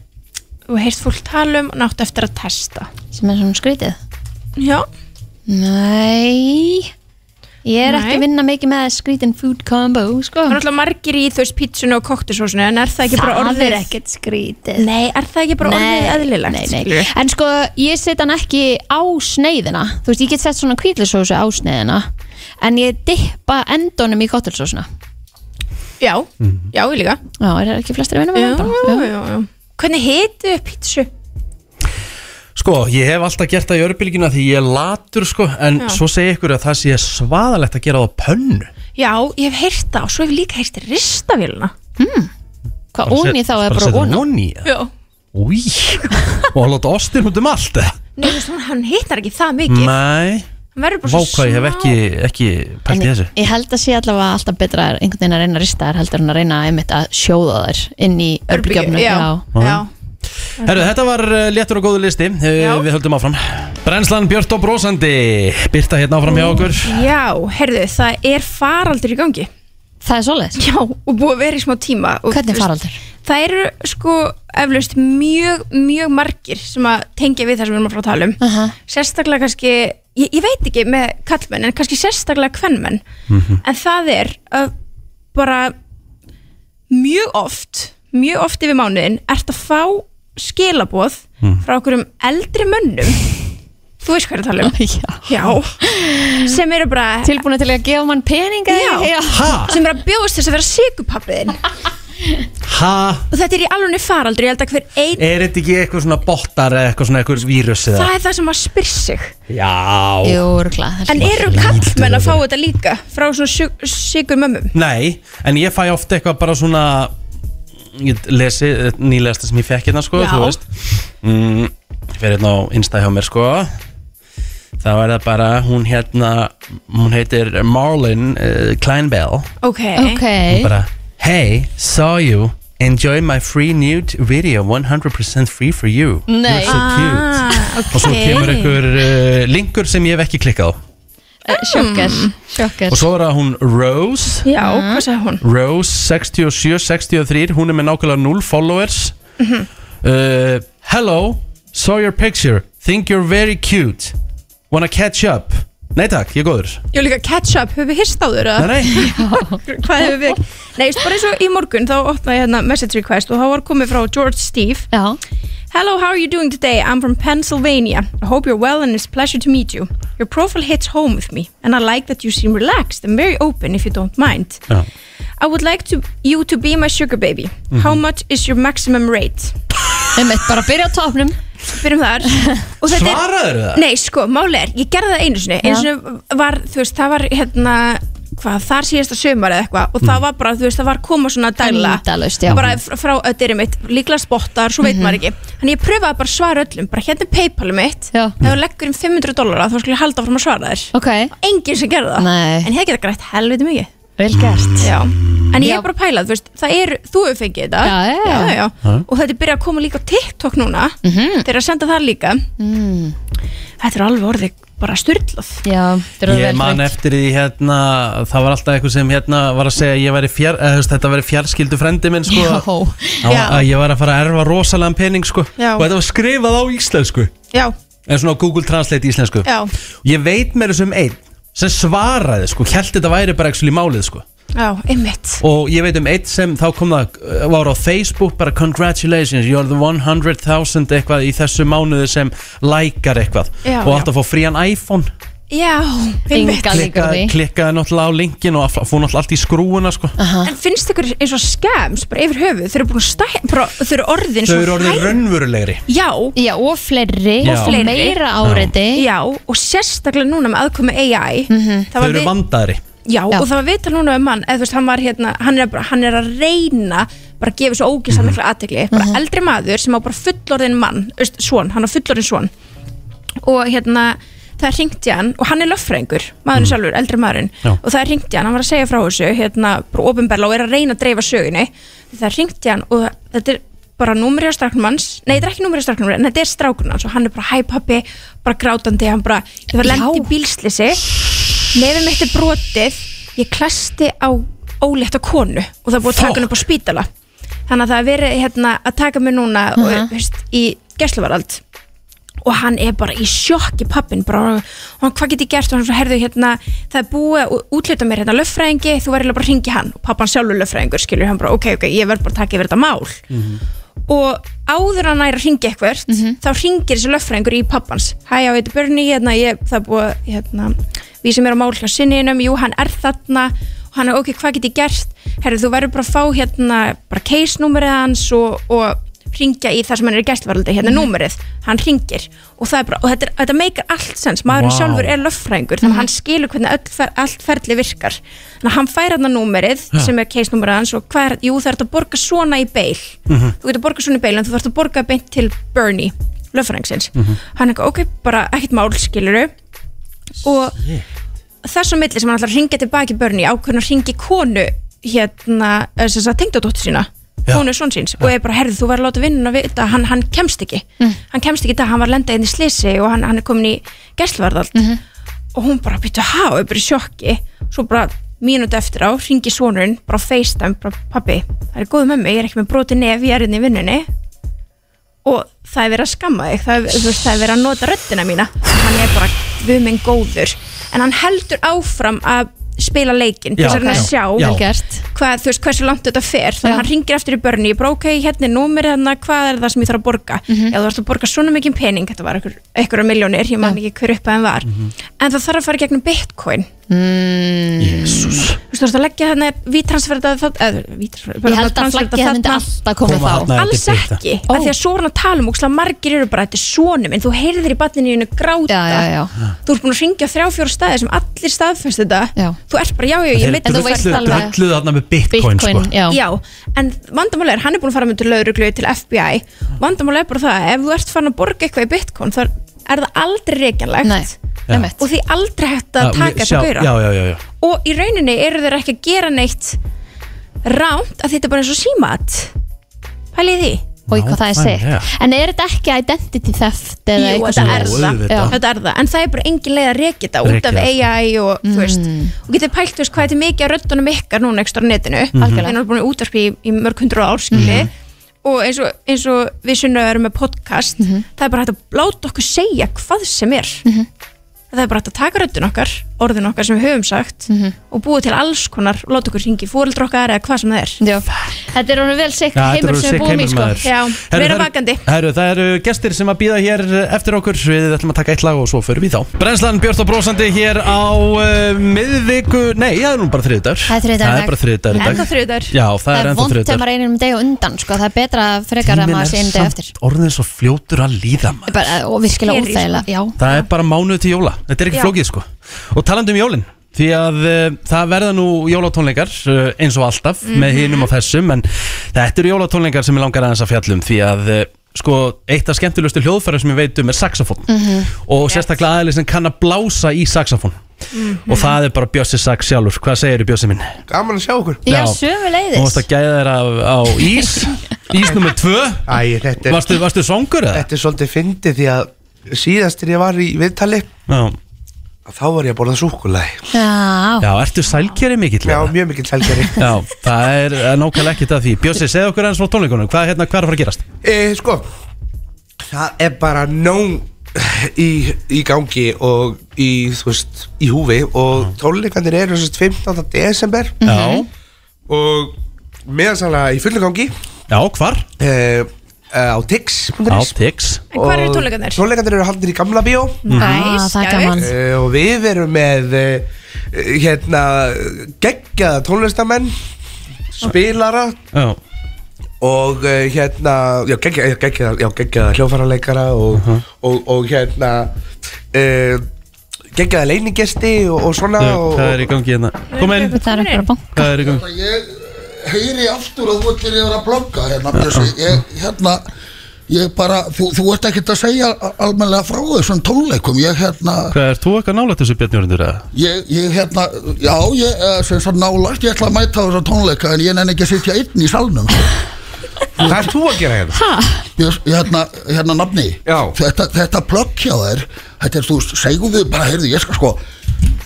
Speaker 6: þú hefur heyrt fólk tala um og náttu eftir að testa
Speaker 2: sem er svona skrítið
Speaker 6: Já,
Speaker 2: Nei Ég er
Speaker 6: Nei.
Speaker 2: ekki að vinna mikið með skrítin food combo sko.
Speaker 6: það er náttúrulega margir í þú veist pítsunni og koktusósinu en er það ekki bara
Speaker 2: Það
Speaker 6: orðið
Speaker 2: er ekkert skrítið
Speaker 6: Nei, er það ekki bara orðið eðlilegt?
Speaker 2: nei, nei. En sko, ég set hann ekki á sneiðina Þú veist, ég get sett svona kvítlisósu á sneiðina En ég dippa endunum í kottilsósuna
Speaker 6: Já,
Speaker 2: Mhm.
Speaker 6: já, ég líka
Speaker 2: Já, er það ekki flestir að vinna með
Speaker 6: já,
Speaker 2: það
Speaker 6: já, já, já. Hvernig hitu pítsu?
Speaker 1: Sko, ég hef alltaf gert það í örbylgina því ég er latur sko En svo segi ykkur að það sé svaðalegt að gera það á pönnu
Speaker 6: Já, ég hef heyrt það og svo hef ég líka heyrt ristavélina
Speaker 2: Hmm. Hvað ón í þá er bara ón
Speaker 1: onni
Speaker 6: Já
Speaker 1: Új, og að láta ostin út um allt eða?
Speaker 6: Nei, þú veist, hún- hann hittar ekki það mikið
Speaker 1: Nei,
Speaker 6: Hann verður bara svo
Speaker 1: vákvað, ég hef
Speaker 6: smá-
Speaker 1: ekki, ekki pælt í þessu
Speaker 2: Ég held að sé allavega alltaf betra er einhvern veginn að reyna að rista þær heldur en að reyna einmitt að sjóða þær inn í örbygjöfnum
Speaker 6: Já, já.
Speaker 1: Herru, þetta var eh, léttur og góður listi, Eh,
Speaker 6: Já.
Speaker 1: við höldum áfram Brennslan Björt og Brósandi, Byrta hérna áfram hjá okkur
Speaker 6: já, herðu, það er faraldur í gangi
Speaker 2: Það er svoleiðis
Speaker 6: Já, og búið að vera í smá tíma og, þú
Speaker 2: Hvernig
Speaker 6: veist,
Speaker 2: faraldur?
Speaker 6: Það eru sko eflaust mjög, mjög margir sem að tengja við það sem við erum að frá að tala um
Speaker 2: Aha.
Speaker 6: sérstaklega kannski ég, ég veit ekki með kallmenn en kannski sérstaklega kvennmenn en það er að bara mjög oft mjög oft yfir mánuðin ert að fá skilaboð frá okkur um eldri mönnum þú veist hvað ég er að tala um
Speaker 2: Já.
Speaker 6: já, sem eru bara
Speaker 2: Tilbúin til að gefa mann peninga
Speaker 6: Já.
Speaker 1: Ha,
Speaker 6: sem eru að bjóðast þess að vera sigupappiðin
Speaker 1: ha,
Speaker 6: og þetta er í alveg faraldri, ég held að hver einn
Speaker 1: er þetta ekki eitthvað svona bottar eða eitthvað svona eitthvað vírus eða?
Speaker 6: það er það sem að spyr sig
Speaker 1: Já
Speaker 2: Jú, örgla
Speaker 6: en eru kallmenn að fá þetta líka frá svona sigur mömmum
Speaker 1: Nei, en ég fæ ofta eitthvað bara svona Ég lesi eh, nýlegasta sem ég fekk hérna sko,
Speaker 6: Já.
Speaker 1: þú veist mm, Ég fer hérna á Insta hjá mér sko Þá er það bara, hún hérna Hún heitir Marlin uh, Kleinbell
Speaker 6: ok,
Speaker 2: Ok,
Speaker 1: Bara, hey, saw you Enjoy my free nude video 100% free for you
Speaker 2: Nei.
Speaker 1: You're so cute
Speaker 6: Ah,
Speaker 1: Og svo kemur einhver uh, linkur sem ég hef ekki klikkað á
Speaker 2: Eh, sjokkar Sjokkar
Speaker 1: Og svo er það hún Rose
Speaker 6: Hmm. já, hvað sagði hún?
Speaker 1: Rose 6763 hún er með nákvæmlega 0 followers
Speaker 6: Mhm.
Speaker 1: uh, Hello saw your picture, think you're very cute wanna catch up Nei takk, ég er góður
Speaker 6: Jú líka ketchup, höfum við hist á þurra?
Speaker 1: Nei, nei,
Speaker 6: Hvað hefur við? Nei, just bara eins og í morgun þá opnaði ég hérna message request og þá var komið frá George Steve
Speaker 2: Já,
Speaker 6: Hello, how are you doing today? I'm from Pennsylvania. I hope you're well and it's a pleasure to meet you. Your profile hits home with me and I like that you seem relaxed and very open if you don't mind.
Speaker 1: Já.
Speaker 6: I would like to, you to be my sugar baby. How much is your maximum rate?
Speaker 2: einmitt bara byrja á topnum
Speaker 6: Byrjum þar. Og þetta er-
Speaker 1: svaraður það?
Speaker 6: Nei, sko, máli er, ég gerði það einu sinni einu
Speaker 2: Já.
Speaker 6: sinni var, þú veist, það var hérna hvað, þar síðasta sömur eða eitthvað og það var bara, þú veist, það var koma svona dæla
Speaker 2: Endalaust, já. Mhm.
Speaker 6: bara fr- frá öðru mitt, líklega spottar svo veit maður ekki, þannig ég pröfaði bara að svara öllum bara hérna er Paypal mitt
Speaker 2: Já.
Speaker 6: ef þú leggur um 500 dólara, þá skulle ég halda áfram að svara þér
Speaker 2: Ok,
Speaker 6: enginn sem gerði það
Speaker 2: Nei.
Speaker 6: en ég hef getað grætt helviti mikið
Speaker 2: vel gert
Speaker 6: Já. en ég
Speaker 2: Já.
Speaker 6: er bara að pæla, þú veist, það er þú hefur fengið þetta
Speaker 2: Já, já, já.
Speaker 6: Já, já. og þetta er byrjað að koma líka á TikTok núna -hmm. þeir eru að senda það líka
Speaker 2: Mhm. mm,
Speaker 6: Þetta er alveg orðið bara styrlað
Speaker 2: Já, þetta er
Speaker 1: Ég man eftir því hérna það var alltaf eitthvað sem hérna var að segja að ég væri fjar, eða, þú veist, þetta væri fjarskildu frendi minn sko,
Speaker 2: Já,
Speaker 1: að, að ég var að fara að erfa rosalega pening sko,
Speaker 6: Já.
Speaker 1: og þetta var skrifað á íslensku
Speaker 6: Já,
Speaker 1: en svona á Google Translate í íslensku
Speaker 6: já,
Speaker 1: Ég veit mér þessum einn sem svaraði sko, held þetta væri bara ekki í málið sko
Speaker 6: já, einmitt
Speaker 1: og ég veit um eitt sem þá kom það uh, var á Facebook bara congratulations you're the 100.000 eitthvað í þessu mánuði sem lækar eitthvað
Speaker 6: Já,
Speaker 1: og átt að fá frían iPhone
Speaker 6: Já, einmitt
Speaker 2: Enga- Líka
Speaker 1: Klikkaði-
Speaker 2: því.
Speaker 1: klikkaði náttúrulega á linkin og að fór náttúrulega allt í skrúuna sko.
Speaker 6: En finnst ykkur eins og skams bara yfir höfuð, þau eru búin að stæ bara, þau eru orðin
Speaker 1: þau
Speaker 6: svo
Speaker 1: eru orðið
Speaker 6: hræ-
Speaker 1: raunverulegri
Speaker 6: Já,
Speaker 2: Já, og fleiri
Speaker 1: Já.
Speaker 2: og meira áreiti
Speaker 6: já, og sérstaklega núna með aðkomi AI mm -hmm.
Speaker 2: Mhm.
Speaker 1: þau eru vandaðri
Speaker 6: Já,
Speaker 2: Já.
Speaker 6: og það var vital núna um hann eða þú veist, hann var hérna, hann er, bara, hann er að reyna bara gefið svo ógislega mikla aðtegli bara eldri maður sem á bara fullorðin mann veist, svon, hann á fullorðin svon og hérna það ringti hann og hann er löffræðingur, maðurinn sjálfur, eldri maðurinn
Speaker 1: Já.
Speaker 6: og það ringti hann, hann var að segja frá þessu hérna, bara ofinberla og er að reyna að dreifa sögunni það ringti hann og þetta er bara númri á stráknum hans, nei þetta er ekki númri á stráknum hans en þetta er stráknum hans og hann er bara hæ pappi bara grátandi, hann bara, ég var lendi í bílslisi nefum mitt er brotið ég klæsti á ólétta konu og það er búið að taka hann upp á spítala þannig að það er verið hérna, að taka mig núna uh og, veist, í gesluvarald og hann er bara í sjokki pappin bara, og hann, hvað get ég gert og hann svo herðu hérna, það er búið að útluta mér hérna löffræðingi, þú verður bara að ringi hann og pappan sjálfur löffræðingur skilur, hann bara ok, ok, ég verð bara að taka yfir þetta mál
Speaker 4: Mhm.
Speaker 6: og áður en hann er að ringi eitthvert þá ringir þessi löffræðingur í pappans hæ, já, þetta er Börni, hérna, ég, það er búið að, hérna, við sem er á mál hjá sinninum jú, hann er þarna og hann er, ok, hvað get ég gert herru, þú verður bara að fá, hérna, bara case-númerið hans og, og ringja í það sem hann er í gæstvaraldi, hérna númerið hann ringir og það er bara og þetta, er- þetta meikar allt sens, maðurinn
Speaker 1: Vá.
Speaker 6: sjálfur er löffræðingur, þannig að hann skilur hvernig öll, fer, allt ferli virkar, þannig að hann fær hann númerið sem er case-númerið hans og hvað er, jú það er þetta að borga svona í beil
Speaker 8: Mhm.
Speaker 6: þú getur borgað svona í beil en þú þarfst að borga beint til Bernie, löffræðingsins
Speaker 1: Mm.
Speaker 6: hann er eitthvað, ok, bara ekkert mál skiluru og þess að milli sem hann ætlar að ringja tilbaki börni ákveðin að ringi konu hérna, þess að tengdadóttu sína
Speaker 1: Já. Mm.
Speaker 6: konu son síns og er bara, herðu, þú verður að láta vinnun að vita, að hann, hann kemst ekki hann kemst ekki í dag, hann var lendað inn í slisi og hann, hann er komin í gæsluvarðald
Speaker 1: Mhm.
Speaker 6: og hún bara býttu að hafa, er bara í sjokki svo bara mínúti eftir á ringi sonurinn, bara á FaceTime, bara pappi það er góð með mig, ég er ekki með broti nef ég er inn í vinnunni og það er verið að skamma þig það er, þú veist, það er verið að nota röddina mína hann er bara guðminn góður en hann heldur áfram að spila leikinn til
Speaker 1: Já,
Speaker 6: þess að hann að
Speaker 1: já,
Speaker 6: sjá
Speaker 1: já.
Speaker 2: gert
Speaker 6: hvað, þú veist, hversu langt þetta fer þannig
Speaker 2: Já.
Speaker 6: að hann ringir eftir í börni, ég bara ok, hérna er númerið hérna, hvað er það sem ég þarf að borga
Speaker 2: Mhm.
Speaker 6: já, þú ert að borga svona mikið pening, þetta var einhver- einhverja miljónir, ég man ekki hver uppaðin var en það þarf að fara í gegnum bitcoin
Speaker 2: Mm.
Speaker 1: Jésús
Speaker 6: þú veist, þú ert að leggja þarna víttransferða það, eða víttransferða
Speaker 2: Ég held að flaggið það myndi alltaf koma
Speaker 1: Koma
Speaker 2: þá
Speaker 1: þarna. Nei,
Speaker 6: alls
Speaker 1: þetta er bita.
Speaker 6: ekki,
Speaker 2: Ó.
Speaker 6: af því að svo er hann að tala um ókslega margir eru bara, þetta er sonu minn þú heyrðir í banninu hennu gráta
Speaker 2: Já, já, já.
Speaker 6: þú ert búin að ringja þrjá fjóra staði sem allir staðfæst þetta
Speaker 2: Já.
Speaker 6: þú ert bara, já, já, ég
Speaker 2: En
Speaker 6: meitt
Speaker 2: þú veist alveg-
Speaker 1: Drölluð þarna með bitcoin,
Speaker 2: Bitcoin,
Speaker 1: sko
Speaker 2: já,
Speaker 6: Já, en vandamálið er, hann er búin að fara með til lauruglu til FBI, vandamálið er bara það að ef þú ert farin að borga eitthvað í bitcoin þá er það aldrei reikjanlegt
Speaker 2: nei, nemmett
Speaker 6: og því aldrei hægt að
Speaker 1: Já,
Speaker 6: taka þetta
Speaker 1: sjá-
Speaker 6: gauðra
Speaker 1: Já, já, já, já
Speaker 6: og í rauninni eru þeir ekki að gera neitt rámt að þetta er bara eins og símat pælið í því
Speaker 2: og í hvað það er
Speaker 1: Nákvæmlega.
Speaker 2: segt en er þetta ekki identity theft
Speaker 6: Jú,
Speaker 2: eða eitthvað
Speaker 6: þetta
Speaker 2: svona?
Speaker 6: er
Speaker 1: Jú,
Speaker 6: það.
Speaker 1: auðvitað.
Speaker 6: þetta er það, en það er bara engin leið að reykja þetta út
Speaker 1: Rekja
Speaker 6: af
Speaker 1: það, sko.
Speaker 6: AI og þú veist,
Speaker 2: Mm.
Speaker 6: og getur pælt þú veist hvað þetta er mikið að röddunum ykkar núna ekstra á netinu mm
Speaker 1: Mhm.
Speaker 6: -hmm.
Speaker 2: Algjörlega.
Speaker 6: en það er búin að útvarpi í, í mörg hundru ár skili og eins og, eins og við sunnaðu erum með podcast
Speaker 2: Mhm.
Speaker 6: það er bara hægt að láta okkur segja hvað sem er það er bara hægt að taka röddun okkar orðin okkar sem við höfum sagt
Speaker 2: Mhm.
Speaker 6: og búa til alls konar og láta okkur hringi fóreldra okkar eða hvað sem það er
Speaker 2: Já. þetta er orðin vel sikk
Speaker 1: Já, þetta
Speaker 2: heimur
Speaker 1: eru
Speaker 2: sem
Speaker 1: sick
Speaker 2: við búum í
Speaker 1: heimur,
Speaker 2: sko
Speaker 1: maður.
Speaker 6: Já,
Speaker 1: Herru,
Speaker 6: vera
Speaker 1: það eru-
Speaker 6: vakandi.
Speaker 1: herru, Það eru gestir sem að býða hér eh, eftir okkur Við ætlum að taka eitt lag og svo förum við þá Brennslan Björn og Brósandi hér á uh, miðviku Nei, það er nú bara þriðdagur
Speaker 2: Það er þriðjudagur
Speaker 1: Það er bara þriðdagur í dag
Speaker 6: ennþá þriðar
Speaker 1: Já, það
Speaker 2: það
Speaker 1: er
Speaker 2: er
Speaker 1: ennþá
Speaker 2: vond þegar
Speaker 1: þriðdagur
Speaker 2: maður einum deg og undan sko það er betra frekar að maður sé einum deg eftir
Speaker 1: orðin svo fljótur að líða maður
Speaker 2: bara, eh, og virkilega
Speaker 6: Hér í, sko.
Speaker 2: óþægilega já,
Speaker 1: Það er bara mánuð til jóla, þetta er ekki
Speaker 6: Já.
Speaker 1: flókið sko Og talandi um jólin Því að uh, það verða nú jólatónleikar uh, eins og alltaf með hinum og þessum En þetta eru jólatónleikar sem ég langar aðeins að fjallum Því að uh, sko eitt af skemmtilegustu hljóðfæra sem ég veit um er saxofón
Speaker 9: Mm.
Speaker 1: Og sérstaklega aðeins sem kann að blása í saxofón
Speaker 9: Mhm.
Speaker 1: Og það er bara Bjössi Sax sjálfur Hvað segirðu Bjössi minn?
Speaker 4: Mm-hmm. Gaman að sjá okkur
Speaker 2: já,
Speaker 1: Já.
Speaker 2: sömu
Speaker 1: Þú varst
Speaker 2: leiðis
Speaker 1: að gæða þér af, á ís Ís nummer tvö
Speaker 4: Æ, þetta er,
Speaker 1: Varstu, varstu songur eða?
Speaker 4: þetta er svolítið fyndið því að síðast þegar ég var í viðtali
Speaker 1: Já,
Speaker 4: að þá var ég að borða súkulæði
Speaker 2: já,
Speaker 1: Já ertu sælkeri mikill?
Speaker 4: Já,
Speaker 1: eða?
Speaker 4: mjög mikill helgari
Speaker 1: Já, það er eh, nákvæmlega ekkert að því Bjössi, segð okkur aðeins frá tónleikunum Hvað, hérna, hvað er að fara að gerast?
Speaker 4: e, Sko, það er bara nóg í, í gangi og í, þú veist, í húfi og tónleikandir eru sérst 15. desember Mhm. og meðansalega í fullu gangi
Speaker 1: Já, Já, hvar?
Speaker 4: e, á tix.is
Speaker 1: Á Tix
Speaker 6: En hvar eru
Speaker 4: Og
Speaker 6: tónleikarnir? Mhm.
Speaker 4: Tónleikarnir eru haldnir í gamla bíó
Speaker 2: Ah, það er gaman
Speaker 4: Eh, og við erum með eh, hérna geggjaða tónlistamenn spilara
Speaker 1: Já,
Speaker 4: og eh, hérna já, geggjaða, geggjaða, já, geggjaða hljófaraleikara og, og, og hérna
Speaker 9: eh,
Speaker 4: uh, geggjaða leiningesti og, og svona
Speaker 1: hvað
Speaker 4: og,
Speaker 1: hvað er í gangi hérna? Kom inn,
Speaker 2: það er bara bank
Speaker 1: hvað er í gangi?
Speaker 4: Ég
Speaker 10: heyri aftur að þú ert verið að blogga hérna, Bjössi. ég, hérna ég bara, þú, þú ert ekkert að segja almenlega frá þessum tónleikum ég hérna,
Speaker 2: Ah.
Speaker 1: Hvað er þú eitthvað nálægt þessu björnjórindur eða?
Speaker 10: ég, ég hérna já, ég er sem svo nálagt ég ætla að mæta á þessa tónleika en ég nenni ekki að sitja einn í salnum
Speaker 4: Hvað er þú að gera hérna?
Speaker 10: Björs, hérna, hérna nafni
Speaker 4: Já.
Speaker 10: þetta, þetta plögg hjá þær þetta er þú veist, segum við bara, heyrðu, ég skal sko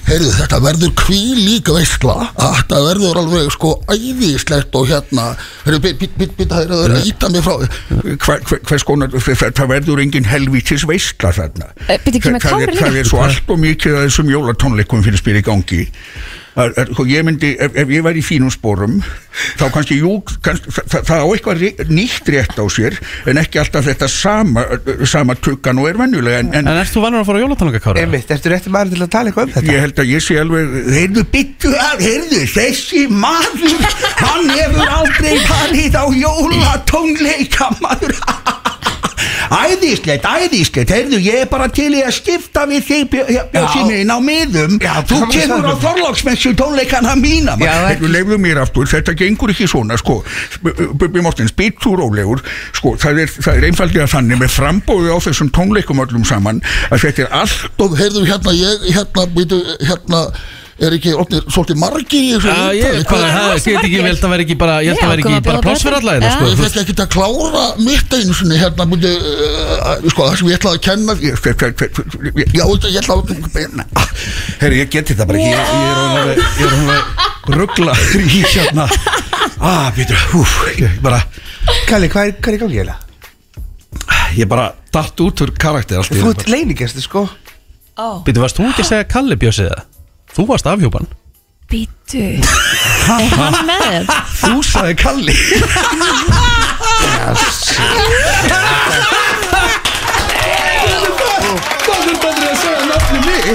Speaker 10: heyrðu, þetta verður kvíl líka veistla, þetta verður alveg sko æðislegt og hérna heyrðu, bit, bit, bit, bit, það er að íta mig frá
Speaker 4: Hver, hver, sko? hvers konar, það verður engin helvítis veistla þarna
Speaker 2: Eh, bíddu, ekki með
Speaker 4: Það- það er-
Speaker 2: Kára
Speaker 4: Það er
Speaker 2: líka?
Speaker 4: svo allt og mikið að þessum jólatónleikum finnst mér í gangi Það er- sko, Ég myndi, ef, ef ég væri í fínum spórum þá kannski, jú, kannski það, það á eitthvað ré, nýtt rétt á sér en ekki alltaf þetta sama sama tukkan og er venjulega en, en
Speaker 1: En ert þú vannur að fara á jólatónleika Kára?
Speaker 4: Einmitt.
Speaker 1: Emi.
Speaker 4: Mitt,
Speaker 9: Ertu rétti maður til að tala eitthvað um þetta?
Speaker 4: Ég held að ég sé alveg, heyrðu, byttu að, heyrðu, þessi maður, hann hefur aldrei farið á jólatónleika, maður. Æðislegt, æðislegt, heyrðu, ég er bara til í að skipta við þig, Björsi
Speaker 9: Já.
Speaker 4: minn, á miðum.
Speaker 9: Já,
Speaker 4: Þú
Speaker 9: það má
Speaker 4: kemur á
Speaker 9: sagði.
Speaker 4: Þorlóksmessu tónleikana
Speaker 9: Já,
Speaker 4: mína,
Speaker 9: það-
Speaker 4: maður. Heyrðu, lefðu mér aftur, þetta gengur ekki svona, sko. Bubbi Mortens, byttu rólegur, sko, það er, það er einfaldið að þannig með frambóðu á þessum tónleikum öllum saman, að þetta er allt
Speaker 10: og heyrðu, hérna, ég, hérna, býtu, hérna er ekki, orðnir, svolítið margir í þessu
Speaker 1: Ég
Speaker 10: viðtali?
Speaker 1: bara, það- ég veit ekki, ég held að vera ekki bara, ég held að vera
Speaker 2: Já, koma
Speaker 1: ekki
Speaker 2: að
Speaker 1: bara
Speaker 2: bjóða
Speaker 1: pláss fyrir alla
Speaker 2: börnum.
Speaker 1: hérna,
Speaker 10: Ég
Speaker 1: sko.
Speaker 10: fekk ekki að klára mitt einu sinni hérna, búti, uh, sko, það sem ég ætlaði að kenna
Speaker 4: Ég- hver- hver- hver- hver-
Speaker 10: Já, ég ætlaði að
Speaker 4: Herri, ég geti það Ah, bara ekki Ég, ég er alveg, ég er alveg ruggla í hérna Ah, býtur, húf, ég bara
Speaker 9: Kalli, hvað er, hvað er í gangi eiginlega?
Speaker 4: Ég bara datt út úr karakter allt í
Speaker 9: Þú
Speaker 4: einu
Speaker 9: ert leiningestu sko
Speaker 1: Býtu, varst þú ekki að segja Kalli Bjössi það? Þú varst afhjúpan
Speaker 6: Býtu
Speaker 2: Er hann með þér?
Speaker 4: bara. Þú sagði Kalli
Speaker 9: ah,
Speaker 4: Hvað er betur að segja nafni mig?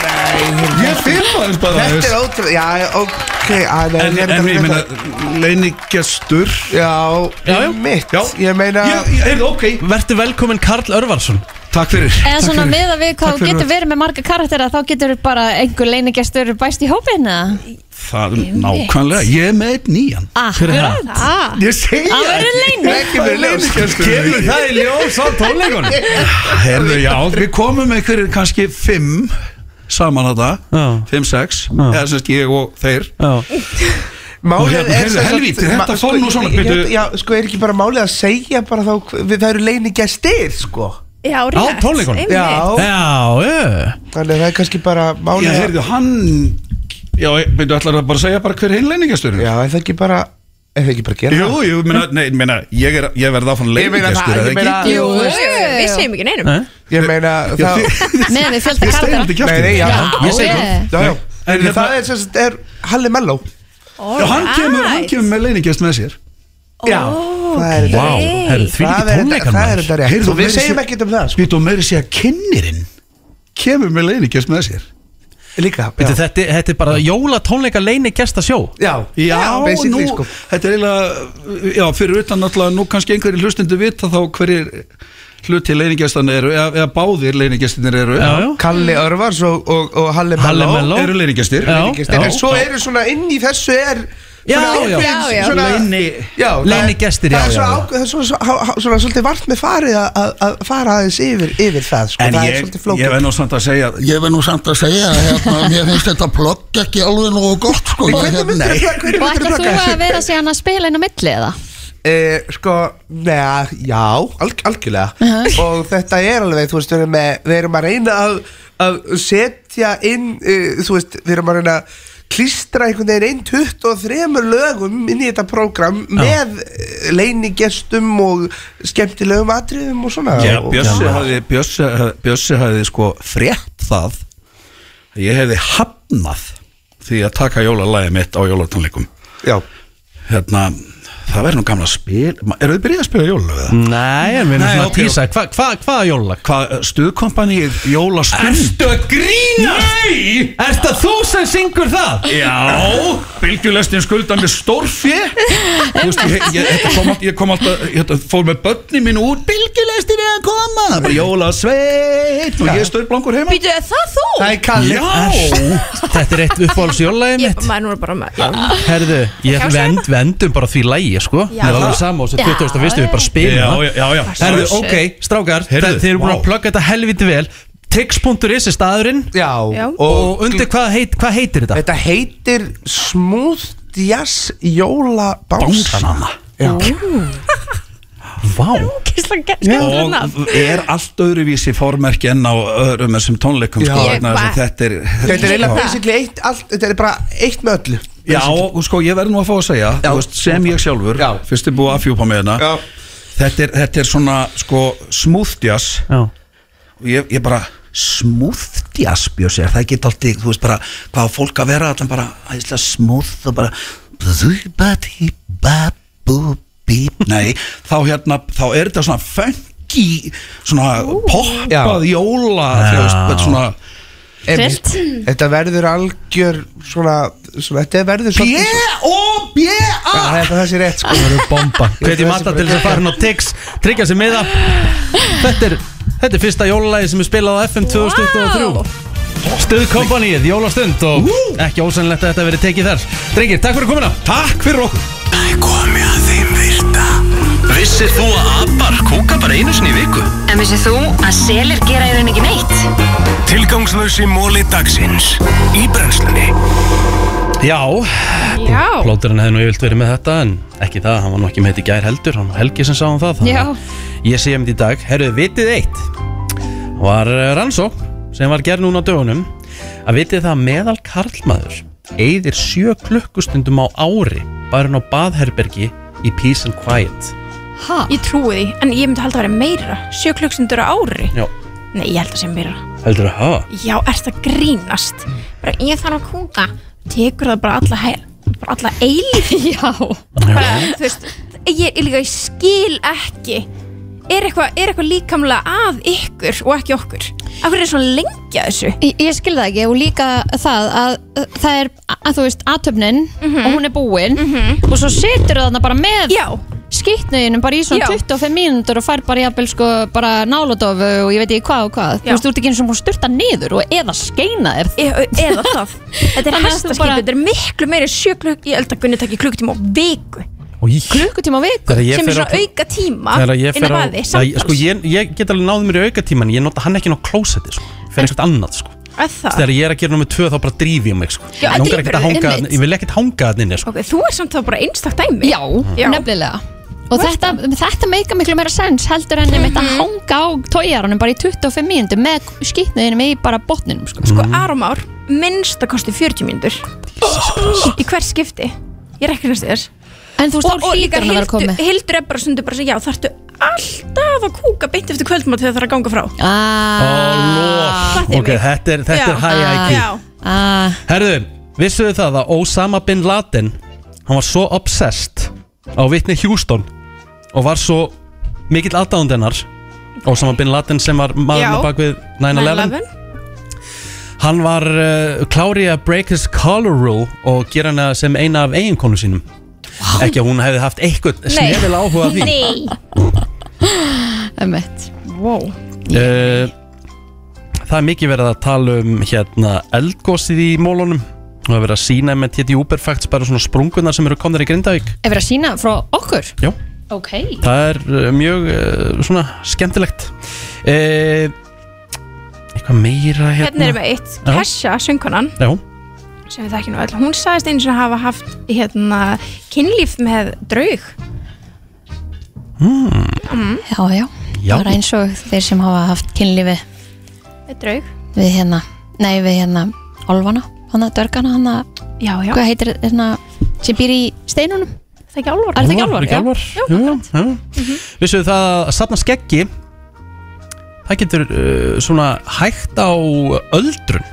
Speaker 4: Nei, ég finn aðeins bara
Speaker 9: Þetta er ótrúlega, já, já, ok að,
Speaker 4: En,
Speaker 9: ég er
Speaker 4: en
Speaker 9: ekki
Speaker 4: ég
Speaker 9: að
Speaker 4: meina,
Speaker 9: frétta-
Speaker 4: leinigestur
Speaker 9: Já,
Speaker 1: Já, já.
Speaker 9: mitt
Speaker 4: Já.
Speaker 9: Ég meina
Speaker 4: Ég, ég, heyrðu, ok
Speaker 1: Vertu velkominn Karl Örvarsson
Speaker 4: Takk fyrir
Speaker 2: Eða
Speaker 4: takk
Speaker 2: svona
Speaker 4: fyrir.
Speaker 2: með að við
Speaker 4: Takk
Speaker 2: hvað þú
Speaker 4: fyrir.
Speaker 2: getur verið með marga karaktera þá getur bara einhver leinigestur bæst í hópina
Speaker 4: Það er nákvæmlega, ég er með einn nýjan
Speaker 1: Hver er það?
Speaker 2: ah,
Speaker 4: Ég segja
Speaker 2: Það verður leyni.
Speaker 4: Kemur
Speaker 1: Kemur það í ljós á tónleikunum?
Speaker 4: Herðu, já, við komum með einhverjir kannski fimm saman þetta
Speaker 1: Já.
Speaker 4: Fimm, sex
Speaker 1: Já.
Speaker 4: Eða semst ég og þeir
Speaker 1: Já,
Speaker 4: Og hérna,
Speaker 9: Málið er
Speaker 4: heyrðu,
Speaker 9: sem sagt-
Speaker 4: helvíti, þetta
Speaker 9: ma-
Speaker 4: fór
Speaker 9: sko,
Speaker 4: nú svona,
Speaker 9: ég- ég-
Speaker 4: byrju.
Speaker 9: Já, sko, er ekki bara málið að segja bara þá við, Það eru leinigestir, sko
Speaker 6: Já, rétt
Speaker 1: tónleikunum.
Speaker 6: einmitt.
Speaker 9: Já,
Speaker 1: já, já
Speaker 9: þannig að það er kannski bara
Speaker 4: Já,
Speaker 9: málið að-
Speaker 4: heyrðu, hann Já, byrju, ætlar það bara að segja bara hver hinn leiningasturinn
Speaker 9: Já, er það ekki bara Er það ekki bara að gera
Speaker 4: Jú, jú, meina, nei, meina, ég, er, ég verð áfram
Speaker 9: Ég meina það,
Speaker 4: leiningastur,
Speaker 9: ég meina
Speaker 6: Jú, jú, við segjum ekki neinum
Speaker 1: Nei.
Speaker 9: Ég meina það
Speaker 2: með við fjölda
Speaker 4: Ég stein
Speaker 2: karaktera
Speaker 4: þetta kjátti
Speaker 9: Nei, nei, já,
Speaker 4: Ég segi
Speaker 2: yeah.
Speaker 4: það
Speaker 9: Já, já
Speaker 4: En
Speaker 9: En
Speaker 4: hérna-
Speaker 9: það er sem sagt, er Halli Mello
Speaker 4: Já, hann kemur, hann kemur með leiningest með sér
Speaker 9: Já Það er
Speaker 1: Vá,
Speaker 9: þetta
Speaker 1: herru, því
Speaker 9: Það
Speaker 1: ekki
Speaker 9: er þetta-
Speaker 1: tónleikan
Speaker 9: það er þetta
Speaker 4: Heyrðu,
Speaker 9: rétt
Speaker 4: þú
Speaker 9: Og við
Speaker 4: meira
Speaker 9: segjum
Speaker 4: sé-
Speaker 9: ekkert um það sko.
Speaker 4: Býtu og meiri segja kynnirinn Kemur með leiningest með sér
Speaker 9: Líka já.
Speaker 1: Þetta, þetta, þetta er bara jólatónleika leini gesta sjó
Speaker 9: Já,
Speaker 4: Já, nú,
Speaker 9: basically sko
Speaker 4: þetta er eiginlega Já, fyrir utan náttúrulega, nú kannski einhverjir hlustendur vita þá hverjir hluti leiningestan eru, eða, eða báðir leiningestinir eru
Speaker 1: Já,
Speaker 9: Kalli Örvars og, og, og Halli Mello
Speaker 1: Halli Mello.
Speaker 4: eru leiningestir
Speaker 1: Já.
Speaker 9: Leiningestir. En svo eru svona inn í þessu er
Speaker 1: Já, já.
Speaker 9: já,
Speaker 6: Já, já.
Speaker 9: Svona,
Speaker 4: Leini-
Speaker 9: já það er-
Speaker 1: Leinigestir, já,
Speaker 9: Það er svo
Speaker 1: já, já.
Speaker 9: ákveð- það er svo- svo- há- há- svona svolítið vart með farið að- að að fara aðeins yfir, yfir það sko.
Speaker 4: En
Speaker 9: Það er
Speaker 4: ég,
Speaker 9: svolítið
Speaker 4: ég
Speaker 9: flókið
Speaker 4: verð nú samt að segja
Speaker 10: Ég verð nú samt að segja að hérna, mér finnst þetta plögg ekki alveg nógu gott sko,
Speaker 9: Hvernig
Speaker 10: hérna,
Speaker 9: myndirðu plugga-
Speaker 2: og
Speaker 9: hvernig myndirðu
Speaker 2: ætlar þú
Speaker 9: plugga
Speaker 2: að
Speaker 9: þessu?
Speaker 2: vera síðan að spila inn á milli eða?
Speaker 9: Eh, sko, neða, já, alg, algjörlega og þetta er alveg, þú veist, við erum, með, við erum að reyna að, að setja inn, uh, þú veist, við erum að reyna að klístra einhvern veginn inn 23 lögum inn í þetta prógram með uh, leinigestum og skemmtilegum atriðum og svona
Speaker 4: Já,
Speaker 9: og,
Speaker 4: Bjössi hafði, Bjössi, hafði- Bjössi hafði sko frétt það að ég hefði hafnað því að taka jólalæði mitt á jólatónleikum
Speaker 9: já,
Speaker 4: hérna,
Speaker 11: það verður nú gamla spil Ma- Eru þið byrjað að spila jólalög eða?
Speaker 1: Nei, en við erum svona að tísa.
Speaker 11: Hvað hva, hva jólalag? Hvað stuðkompanið jólastund? Erstu að grínast? Nei! Erstu að þú sem syngur það? Já, bylgjulestin skulda mér stórfjö Þú veist, ég, ég, þetta kom, allt- ég kom alltaf, ég þetta fór með börnin mín út Bylgjulestin er að koma Það er bara jólasveit og ég stöð blankur heima
Speaker 6: Býtu, er það þú?
Speaker 1: Já Þetta er eitt uppáhaldsjólægi mitt
Speaker 6: Mæn voru bara með já.
Speaker 1: Herðu, ég vend, vendum bara því lægi sko
Speaker 6: Já.
Speaker 1: Það er alveg sama og svo
Speaker 6: Já.
Speaker 1: 2001 við bara spilum
Speaker 11: Já,
Speaker 1: það.
Speaker 11: já, já, já.
Speaker 1: Herðu,
Speaker 11: Sjálfsögðu.
Speaker 1: ok, strákar
Speaker 11: Heyrðu,
Speaker 1: Þeir eru búin
Speaker 11: vá.
Speaker 1: að plugga þetta helviti vel Tix.is er staðurinn
Speaker 9: Já
Speaker 1: Já. Og undir hvað, heit, hvað heitir þetta?
Speaker 9: Þetta heitir Smooth Jazz Jóla Bánsanana Já
Speaker 11: Vá
Speaker 6: Ókislega
Speaker 11: og er allt öðruvísi formerki enn á öðrum þessum tónleikum
Speaker 9: Já.
Speaker 11: sko,
Speaker 9: Ég-
Speaker 11: vegna þess að þetta er
Speaker 9: Þetta er eiginlega
Speaker 11: Já.
Speaker 9: basically eitt, allt, þetta er bara eitt með öllu
Speaker 11: Já, og sko, ég verði nú að fá að segja þú veist, sem ég sjálfur, Já. fyrst er búið að fjúpa með hérna þetta er, þetta er svona sko, smooth jazz
Speaker 1: Já.
Speaker 11: og ég, ég bara smooth jazz bjósi, það get alltaf þú veist bara, hvað á fólk að vera allan bara æsla smooth og bara bzubati, babu, bíp nei, þá hérna, þá er þetta svona funky svona poppað jóla þú veist, þetta er svona
Speaker 9: Einmitt.
Speaker 11: Trillt.
Speaker 9: Þetta verður algjör svona, svona þetta verður
Speaker 11: B-O-B-A
Speaker 9: Það er það sé rétt sko Það
Speaker 1: verður bomba Hveti matta til þess að fara inn á Tix Tryggja sér miða Þetta er, þetta er fyrsta jólalægi sem er spilað á FM 2023 wow. Stuðkompanið, jólastund og ekki ósennilegt að þetta verið tekið þar Drengir, takk fyrir komuna Takk fyrir okkur
Speaker 12: Það er komið að þeim virta Vissir þú að abar kúka bara einu sinni í viku?
Speaker 13: En vissið þú að selir gera í rauninni ekki neitt?
Speaker 12: Tilgangslösi móli dagsins Í brennslunni
Speaker 1: Já,
Speaker 6: Já.
Speaker 1: plóturinn hefði nú yfirlt verið með þetta en ekki það, hann var nú ekki með þetta í gær heldur hann var Helgi sem sá hann það þannig
Speaker 6: Já.
Speaker 1: að Ég sé um þetta í dag, herruðu, vitið eitt var eh, rannsókn sem var gerð núna á dögunum að vitið það að meðal karlmaður eyðir sjö klukkustundum á ári bara á baðherbergi í Peace and Quiet
Speaker 6: Ha? Ég trúi því, en ég myndi halda að vera meira Sjö klukkstundur á ári
Speaker 1: Já,
Speaker 6: Nei, ég held að sé meira
Speaker 1: heldur það hafa
Speaker 6: Já, ert að grínast bara, Ég þarf að kúka Tekur það bara alla, hæ- bara alla eilíf Já bara, Þú veist, ég, ég, líka, ég skil ekki Er eitthvað eitthva líkamlega að ykkur og ekki okkur Af hverju er svo lengi að þessu?
Speaker 2: Ég, ég skil það ekki og líka það að uh, það er, að þú veist, aðtöfnin og hún er búin og svo setur það þarna bara með
Speaker 6: Mhm. Já.
Speaker 2: skýtnöginum bara í svona
Speaker 6: Já.
Speaker 2: 25 mínútur og fær bara jafnvel sko bara náladofu og ég veit ekki hvað og hvað þú
Speaker 6: Já.
Speaker 2: veist, þú ert ekki eins og hún styrta niður og eða skeina þér
Speaker 6: E eða það Þetta er
Speaker 2: Þannig að þú
Speaker 6: hæsta
Speaker 2: bara-
Speaker 6: þetta er miklu meiri sjö klukk Ég held að Gunni takki klukkutíma á viku Klukkutíma á viku,
Speaker 1: Þegar ég
Speaker 6: sem
Speaker 1: fer
Speaker 6: er svona
Speaker 1: á-
Speaker 6: auka tíma
Speaker 1: Þegar ég
Speaker 6: inn á
Speaker 1: fer á,
Speaker 6: baði,
Speaker 1: Nei,
Speaker 6: samtals
Speaker 1: sko, ég, ég get alveg náð mér í aukatíman ég nota hann ekki inn á klósetti sko. fyrir eitthvað annað sko.
Speaker 6: Er það?
Speaker 1: þegar ég er að gera nummið tvö þá bara drífi ég mig sko.
Speaker 6: Já,
Speaker 1: Mig langar ekkert
Speaker 6: drífurðu,
Speaker 1: að hanga,
Speaker 6: einmitt.
Speaker 1: ég vil ekkert hanga hann inni sko.
Speaker 6: Ok, þú er samt þá bara einstak dæmi
Speaker 2: Já, nefnilega og þetta, þetta meika miklu meira sens heldur enn einmitt
Speaker 6: Mhm.
Speaker 2: að hanga á tójarunum bara í 25 mínútur með skýtnöginum í bara botninum sko.
Speaker 6: Sko Arum ár, minnst að kosti 40 mínútur Í hver skipti Ég reknast þér
Speaker 2: En þú veist, þá hlýtur hann að vera komið.
Speaker 6: Hildur er bara stundu bara svo, já þarftu alltaf að kúka beint eftir kvöldmátt þegar það þarf að ganga frá
Speaker 1: ah,
Speaker 6: Fattir
Speaker 1: ok,
Speaker 6: mig.
Speaker 1: þetta er, þetta er high IQ
Speaker 6: Já,
Speaker 2: ah.
Speaker 1: herðu, vissuðu það að Osama Bin Laden hann var svo obsessed á vitni Houston og var svo mikill aðdáðund hennar Osama Bin Laden sem var
Speaker 6: Já.
Speaker 1: maðurinn á bakvið 9-11 Hann var uh, klári að break his color rule og gera hana sem eina af eiginkonu sínum Ekki að hún hefði haft eitthvað snefil áhuga af því
Speaker 6: Nei
Speaker 2: Emmett
Speaker 6: Wow
Speaker 1: uh, Það er mikið verið að tala um hérna eldgósið í mólunum og að vera að sína með tétt í Uberfacts bara svona sprungunar sem eru komnar í Grindavík
Speaker 2: Ef verið að sína frá okkur?
Speaker 1: Já
Speaker 2: Ok
Speaker 1: Það er uh, mjög uh, svona skemmtilegt uh, Eitthvað meira hérna
Speaker 6: Hérna erum við eitt,
Speaker 1: Já.
Speaker 6: Kesha, söngkonan
Speaker 1: Já,
Speaker 6: sem við þekkjum nú öll, hún sagðist einu sem hafa haft hérna, kynlíf með draug Mhm.
Speaker 1: mm.
Speaker 2: Já, já,
Speaker 1: Já.
Speaker 2: það er eins og þeir sem hafa haft kynlífi
Speaker 6: með draug
Speaker 2: við hérna, nei við hérna Olvana, hann að dörgana hann að
Speaker 6: Já, já.
Speaker 2: Hvað heitir hérna sem býr í steinunum?
Speaker 6: Það er ekki álvar
Speaker 2: Er það ekki
Speaker 1: Álfar,
Speaker 2: álvar?
Speaker 1: ekki
Speaker 2: Já.
Speaker 1: álfar? Jú, já. Vissuðu það að safna skeggi eh, Það getur uh, svona hægt á öldrun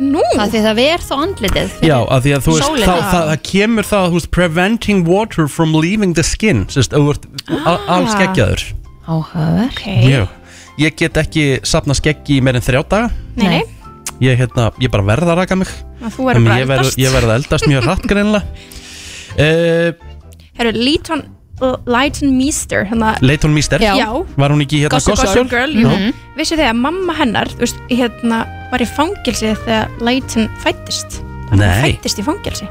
Speaker 2: Nú? Það því það ver þá andlitið fyrir
Speaker 1: Já, að því að þú veist,
Speaker 2: sólina.
Speaker 1: þá, það, það kemur það þú veist, preventing water from leaving the skin sérst, að þú ert
Speaker 6: Ah.
Speaker 1: alls geggjaður
Speaker 2: Áhugaverð
Speaker 1: Mjög. Ég get ekki sapna skeggi í meir en þrjá daga
Speaker 6: Nei,
Speaker 1: Ég, hérna, ég bara verð að raka mig
Speaker 6: Að þú verður
Speaker 1: Þannig
Speaker 6: bara
Speaker 1: ég
Speaker 6: eldast.
Speaker 1: Ég verð að eldast mjög hratt greinlega uh,
Speaker 6: herru, Leighton Leighton Meester hérna,
Speaker 1: Leighton Mister
Speaker 6: Já.
Speaker 1: Var hún ekki hérna
Speaker 6: Gossip, Gossip Girl, Mhm.
Speaker 1: Já.
Speaker 6: jú Vissu þið að mamma hennar, þú veist, hérna var í fangelsi þegar Leighton fættist
Speaker 1: Nei.
Speaker 6: Fættist í fangelsi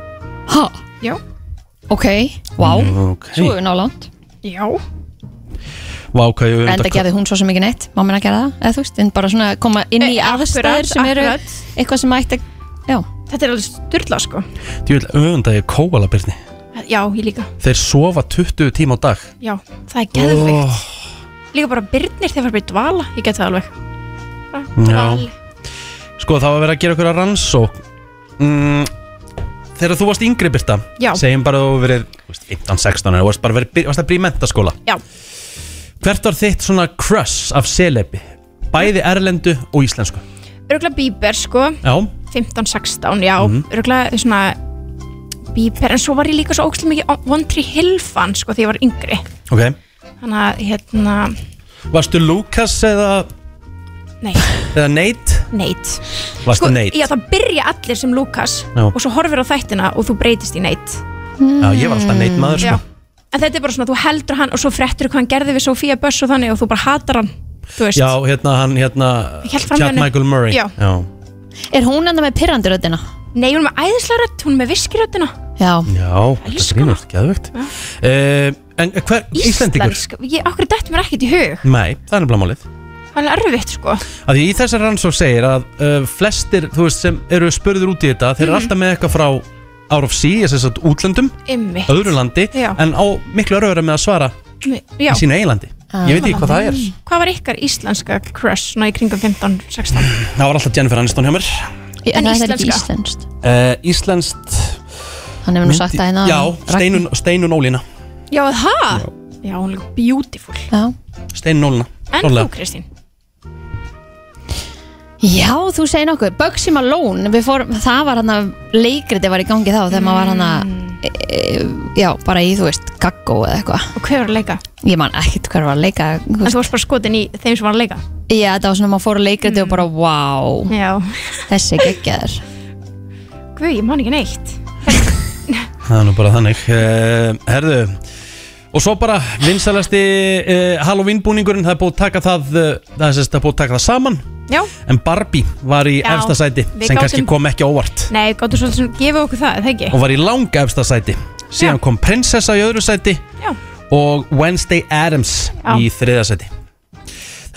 Speaker 2: Ha?
Speaker 6: Já
Speaker 2: Ok, vá
Speaker 1: Nú, ok.
Speaker 2: Svo er nálant
Speaker 6: Já
Speaker 1: Vá, hvað ég
Speaker 2: Enda gerði hún svo sem ekki neitt Má minna gera það, eða þú veist En bara svona koma inn
Speaker 6: Eh,
Speaker 2: í aðstæður sem eru eitthvað sem ætti að Já
Speaker 6: Þetta er alveg styrla sko
Speaker 1: Þú vil öfunda ég kóala byrni
Speaker 6: Já, ég líka
Speaker 1: Þeir sofa 20 tíma á dag
Speaker 6: Já, það er geðveikt
Speaker 1: Oh.
Speaker 6: Líka bara byrnir þegar fyrir dvala Ég get það alveg
Speaker 1: Já Sko þá var verið að gera okkur að rannsók mm, Þegar þú varst yngri Birta
Speaker 6: Já.
Speaker 1: Segjum bara að þú verið þú veist, 15-16 og varst bara verið, varst að byrja í mentaskóla
Speaker 6: Já.
Speaker 1: Hvert var þitt svona crush af selebi? Bæði erlendu og íslensku
Speaker 6: Örgulega Bieber sko
Speaker 1: Já
Speaker 6: 15-16, já
Speaker 1: Mhm.
Speaker 6: Örgulega svona Bieber En svo var ég líka svo ókslega mikið One Tree Hill fan sko þegar ég var yngri
Speaker 1: Ok
Speaker 6: Þannig að hérna
Speaker 1: Varstu Lucas eða,
Speaker 6: Nei,
Speaker 1: eða Nate?
Speaker 6: Nate
Speaker 1: Varstu Nate?
Speaker 6: Já, það byrja allir sem Lukas
Speaker 1: Já.
Speaker 6: Og svo horfir á þættina og þú breytist í Nate
Speaker 1: Já, ég var alltaf Nate maður
Speaker 6: Já.
Speaker 1: sko
Speaker 6: En þetta er bara svona, þú heldur hann og svo frettur hvað hann gerði við Sofía Böss og þannig og þú bara hatar hann Þú veist,
Speaker 1: Já, hérna hann, hérna
Speaker 6: Ég hélt fram hjá
Speaker 1: Chad
Speaker 6: henni.
Speaker 1: Michael Murray
Speaker 6: Já.
Speaker 2: Er hún enda með pirrandi röddina?
Speaker 6: nei, hún er með æðislega rödd, hún er með viskiröddina
Speaker 2: Já,
Speaker 1: Já, þetta grínast, geðvögt
Speaker 6: sko. Já.
Speaker 1: uh, En hver, Íslendingur?
Speaker 6: Íslensk, ég, okkur dætt mér ekkert í hug
Speaker 1: Nei, það er nefnilega málið
Speaker 6: Það er erfitt sko
Speaker 1: Af því í þessar rannsók segir að uh, flestir þú veist, sem eru spurður út í þetta þeir eru
Speaker 6: Mhm.
Speaker 1: alltaf með eitthvað frá out of sea þess að útlöndum,
Speaker 6: Einmitt.
Speaker 1: öðru landi
Speaker 6: Já.
Speaker 1: en á miklu öröður með að svara
Speaker 6: Já. Ah. Mm.
Speaker 1: í sínu eigilandi
Speaker 2: Ah.
Speaker 1: ég veit ekki hvað það er
Speaker 6: Hvað var ykkar íslenska crush svona í kringum 15-16?
Speaker 1: það var alltaf Jennifer Aniston hjá mér
Speaker 2: Ég- en
Speaker 6: En
Speaker 2: það er ekki
Speaker 6: íslenska?
Speaker 2: íslenskt
Speaker 1: uh, Íslenskt
Speaker 2: Hann hefur nú
Speaker 1: myndi-
Speaker 2: sagt það hérna
Speaker 1: Já,
Speaker 2: áðan.
Speaker 1: Steinun, Steinun Ólína
Speaker 6: Já, það? Já, hún er líka beautiful
Speaker 2: Já.
Speaker 1: Steinun Ólína
Speaker 6: En
Speaker 1: klárlega.
Speaker 6: þú Kristín?
Speaker 2: Já, þú segir nokkuð, Bugsy Malone við fórum, það var hann að leikriti var í gangi þá þegar maður var hann að
Speaker 6: Mm.
Speaker 2: e, e, já, bara í, þú veist, gaggó eða eitthvað.
Speaker 6: Og hver var að leika?
Speaker 2: Ég man ekkert hver var að leika þú
Speaker 6: En
Speaker 2: veist.
Speaker 6: þú varst bara skotin í þeim sem var að leika
Speaker 2: Já, þetta var svona, maður fór að leikriti og bara, wow
Speaker 6: Mm. Já.
Speaker 2: þessi geggjaður
Speaker 6: Guð, ég man ekki neitt
Speaker 1: það er nú bara þannig uh, herðu Og svo bara vinsælasti uh, Halloween búningurinn, það er búið að taka það, uh, það er sem sagt, það er búið að taka það saman
Speaker 6: Já
Speaker 1: En Barbie var í
Speaker 6: Já,
Speaker 1: efsta sæti
Speaker 6: við
Speaker 1: sem kannski
Speaker 6: gátum-
Speaker 1: kom ekki á óvart
Speaker 6: Nei, gáttu svolítið sem gefa okkur það, er það ekki?
Speaker 1: og var í langa efsta sæti síðan kom prinsessa í öðru sæti
Speaker 6: Já.
Speaker 1: og Wednesday Addams
Speaker 6: Já.
Speaker 1: í þriða sæti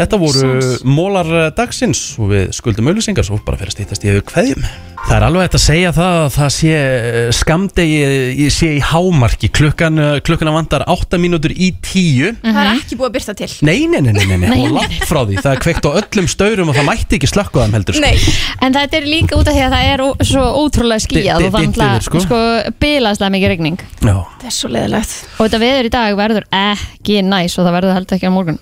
Speaker 1: Þetta voru mólar eh, dagsins og við skuldum auðlýsingar svo bara fyrir að stýttast í yfir kveðjum Það er alveg hægt að segja það að það sé eh, skamdegi eh, sé í hámarki klukkan, eh, klukkuna vandar 8 mínútur í 10
Speaker 2: Mhm.
Speaker 6: Það er ekki búið að byrta til
Speaker 1: Nei, nei, nei, nei, nei, nei,
Speaker 6: Nei.
Speaker 1: og langt frá því Það er kveikt á öllum staurum og það mætti ekki slökka á þeim heldur sko.
Speaker 2: En þetta er líka út af því að það er ó- svo ótrúlega skýjað
Speaker 1: Di-
Speaker 2: og
Speaker 1: di- dimmt
Speaker 2: þannig að
Speaker 1: yfir, sko.
Speaker 2: sko, sko bilaslega mikið regning
Speaker 1: Já.
Speaker 6: Það er svo leðilegt
Speaker 2: og þetta veður í dag verður ekki næs og það verður heldur ekki á morgun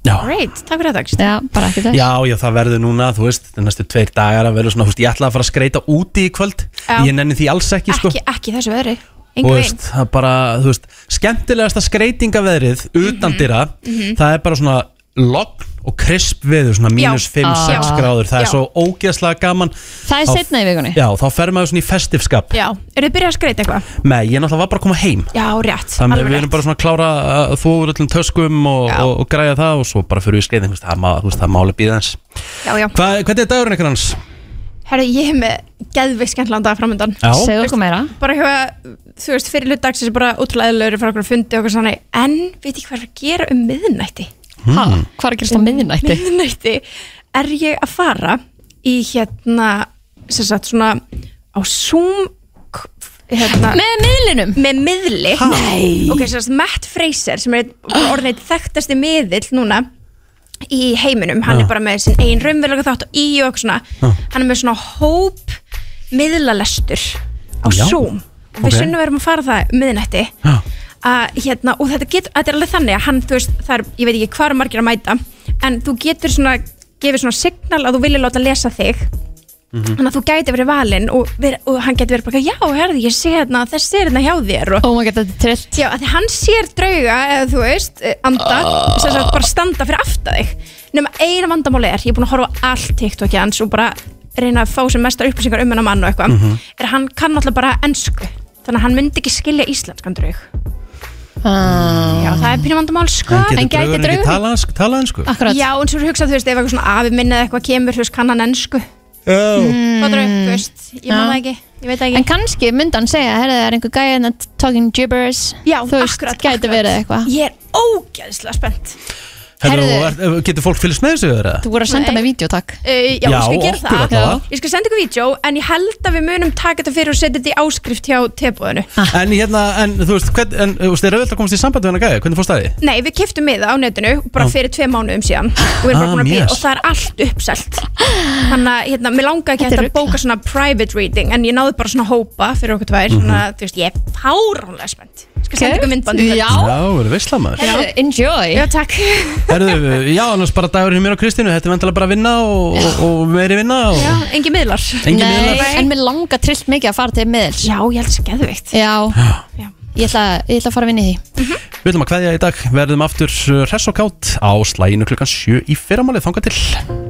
Speaker 1: Já.
Speaker 6: Great, takk fyrir þetta Kristín.
Speaker 2: Já, bara ekki þess
Speaker 1: Já, já, það verður núna, þú veist, það næstu tveir dagar að verður svona, þú veist, ég ætla að fara að skreita úti í kvöld,
Speaker 6: Já.
Speaker 1: ég nenni því alls
Speaker 2: Ah,
Speaker 1: ekki, sko.
Speaker 6: Ekki, ekki í þessu veðri
Speaker 1: Og þú
Speaker 6: Engu
Speaker 1: veist, það er bara, þú veist, skemmtilegasta skreitingaveðrið utan dyra,
Speaker 6: Mhm.
Speaker 1: það er bara svona logn og krisp veður, svona mínus
Speaker 2: Já.
Speaker 1: 5-6
Speaker 2: Ah.
Speaker 1: gráður, það er
Speaker 6: Já.
Speaker 1: svo ógeðslega gaman.
Speaker 2: Það er
Speaker 1: Þá-
Speaker 2: seinna í vikunni.
Speaker 1: Já, þá fer maður svona í festifskap.
Speaker 6: Já, eru þið byrjað að skreita eitthvað?
Speaker 1: Nei, ég náttúrulega var bara að koma heim.
Speaker 6: Já, rétt,
Speaker 1: Þannig að
Speaker 6: alveg
Speaker 1: við
Speaker 6: rétt
Speaker 1: erum bara svona að klára að þú úr öllum töskum og, og, og græja það og svo bara fyrir við skeiðin, þú veist, það má- þú veist, það er máli býða eins.
Speaker 6: Já, já
Speaker 1: Hva, hvernig er dagurinn ykkur hans?
Speaker 6: Herra, ég hef með geðveikt skemmtilega dag framöndan
Speaker 1: Já. Segðu
Speaker 2: okkur meira
Speaker 6: Bara eitthvað, þú veist, fyrir hlut dagsins er bara útrúlega eðlöður frá okkur að fundi og okkur sannig En, veit ég hvað er að gera um miðnætti?
Speaker 2: Ha,
Speaker 1: Hmm.
Speaker 2: hvað er að gerast á miðnætti?
Speaker 6: Um, Miðnætti er ég að fara í hérna, sem sagt, svona á Zoom k- hérna,
Speaker 2: Með miðlinum?
Speaker 6: Með miðli
Speaker 2: Ha? Nei.
Speaker 6: Ok, sem sagt, Matt Fraser, sem er einn- bara orðinn eitt þekktasti miðill núna í heiminum, hann
Speaker 2: Já.
Speaker 6: er bara með sinn einn raunverulega þátt og í og eitthvað svona hann er með svona hóp miðlalestur á
Speaker 2: Já.
Speaker 6: Zoom og við
Speaker 2: Ok.
Speaker 6: sunnum erum að fara það um miðnætti
Speaker 1: Já.
Speaker 6: að, hérna, og þetta, get, þetta er alveg þannig að hann, þú veist, það er, ég veit ekki hvað er margir að mæta en þú getur svona gefið svona signal að þú vilja láta lesa þig
Speaker 5: Mhm.
Speaker 6: þannig að þú gæti verið valinn og, veri, og hann gæti verið bara, já, herði, ég sé hérna þessi er hérna hjá þér og,
Speaker 2: oh my god, þetta er trillt
Speaker 6: já, að því hann sér drauga, eða þú veist eh, anda,
Speaker 2: Ah.
Speaker 6: sem sagt bara standa fyrir afta þig nema eina vandamáli er, ég er búin að horfa á allt TikTokið hans og bara reyna að fá sem mestar upplýsingar um hennar mann og eitthvað
Speaker 2: Mhm.
Speaker 6: er að hann kann alltaf bara ensku þannig að hann myndi ekki skilja íslenskan draug
Speaker 2: Ah.
Speaker 6: já, það er pínu vandamál sko
Speaker 1: En getur draugurinn ekki talað ensku- talað ensku?
Speaker 6: Já, en svo hugsa, þú veist, ef eitthvað svona afi minni eða eitthvað kemur, þú veist, kann hann ennsku
Speaker 1: Mm.
Speaker 6: Fattar þú, þú veist, ég man
Speaker 2: Já.
Speaker 6: það ekki Ég veit það ekki
Speaker 2: En kannski myndi hann segja, herðu, það er einhver gæðin að talking gibberish Já, þú veist, akkurat, gæti verið eitthvað
Speaker 6: Ég er ógæðslega spennt
Speaker 1: Hefur
Speaker 2: Herðu.
Speaker 1: þú vært- Getur fólk fylgst með þessu eða?
Speaker 2: Þú voru að senda
Speaker 6: Nei.
Speaker 2: mig vídeo, takk
Speaker 6: Uh, já, ég
Speaker 1: Já,
Speaker 6: skal gera
Speaker 1: okkur
Speaker 6: það
Speaker 1: allavega.
Speaker 6: Ég skal senda ykkur vídeo, en ég held að við munum taka þetta fyrir og setja þetta í áskrift hjá tebúðinu
Speaker 1: En hérna, en þú veist, hvern, en, þú veist, er auðvitað að komast í samband við hennar gæði? Hvernig fórst það í?
Speaker 6: Nei, við keftum miða á netinu bara
Speaker 1: Já.
Speaker 6: fyrir tvei mánuðum síðan og, við erum bara
Speaker 1: Ah,
Speaker 6: búin að bíða
Speaker 1: yes.
Speaker 6: og það er allt uppselt Þannig að hérna, mér langaði ekki
Speaker 2: Þetta er
Speaker 6: hægt að bóka svona private reading en ég náði bara svona hópa fyrir okkur tvær
Speaker 1: Mhm.
Speaker 6: þannig að þú veist, ég er fáránlega spennt Ég Skal senda ykkur myndbandi
Speaker 1: Já, verður veistla maður
Speaker 2: Enjoy
Speaker 6: Já, takk
Speaker 1: Herðu, já, annars bara dagurinn hjá mér og Kristínu Þetta er vantilega bara að vinna og, og, og meiri vinna og,
Speaker 6: Já, engin miðlar
Speaker 1: Engir miðlar.
Speaker 2: Nei, en mér langar trillt mikið að fara til miðls
Speaker 6: Já, ég held þessi geðvikt
Speaker 2: Já, Ég, ætla, ég ætla að fara að vinna í því
Speaker 1: Við eh, ætlum að kveðja í dag Verðum aftur uh, hress og kátt á slæginu klukkan 7 í fyrramálið Þanga til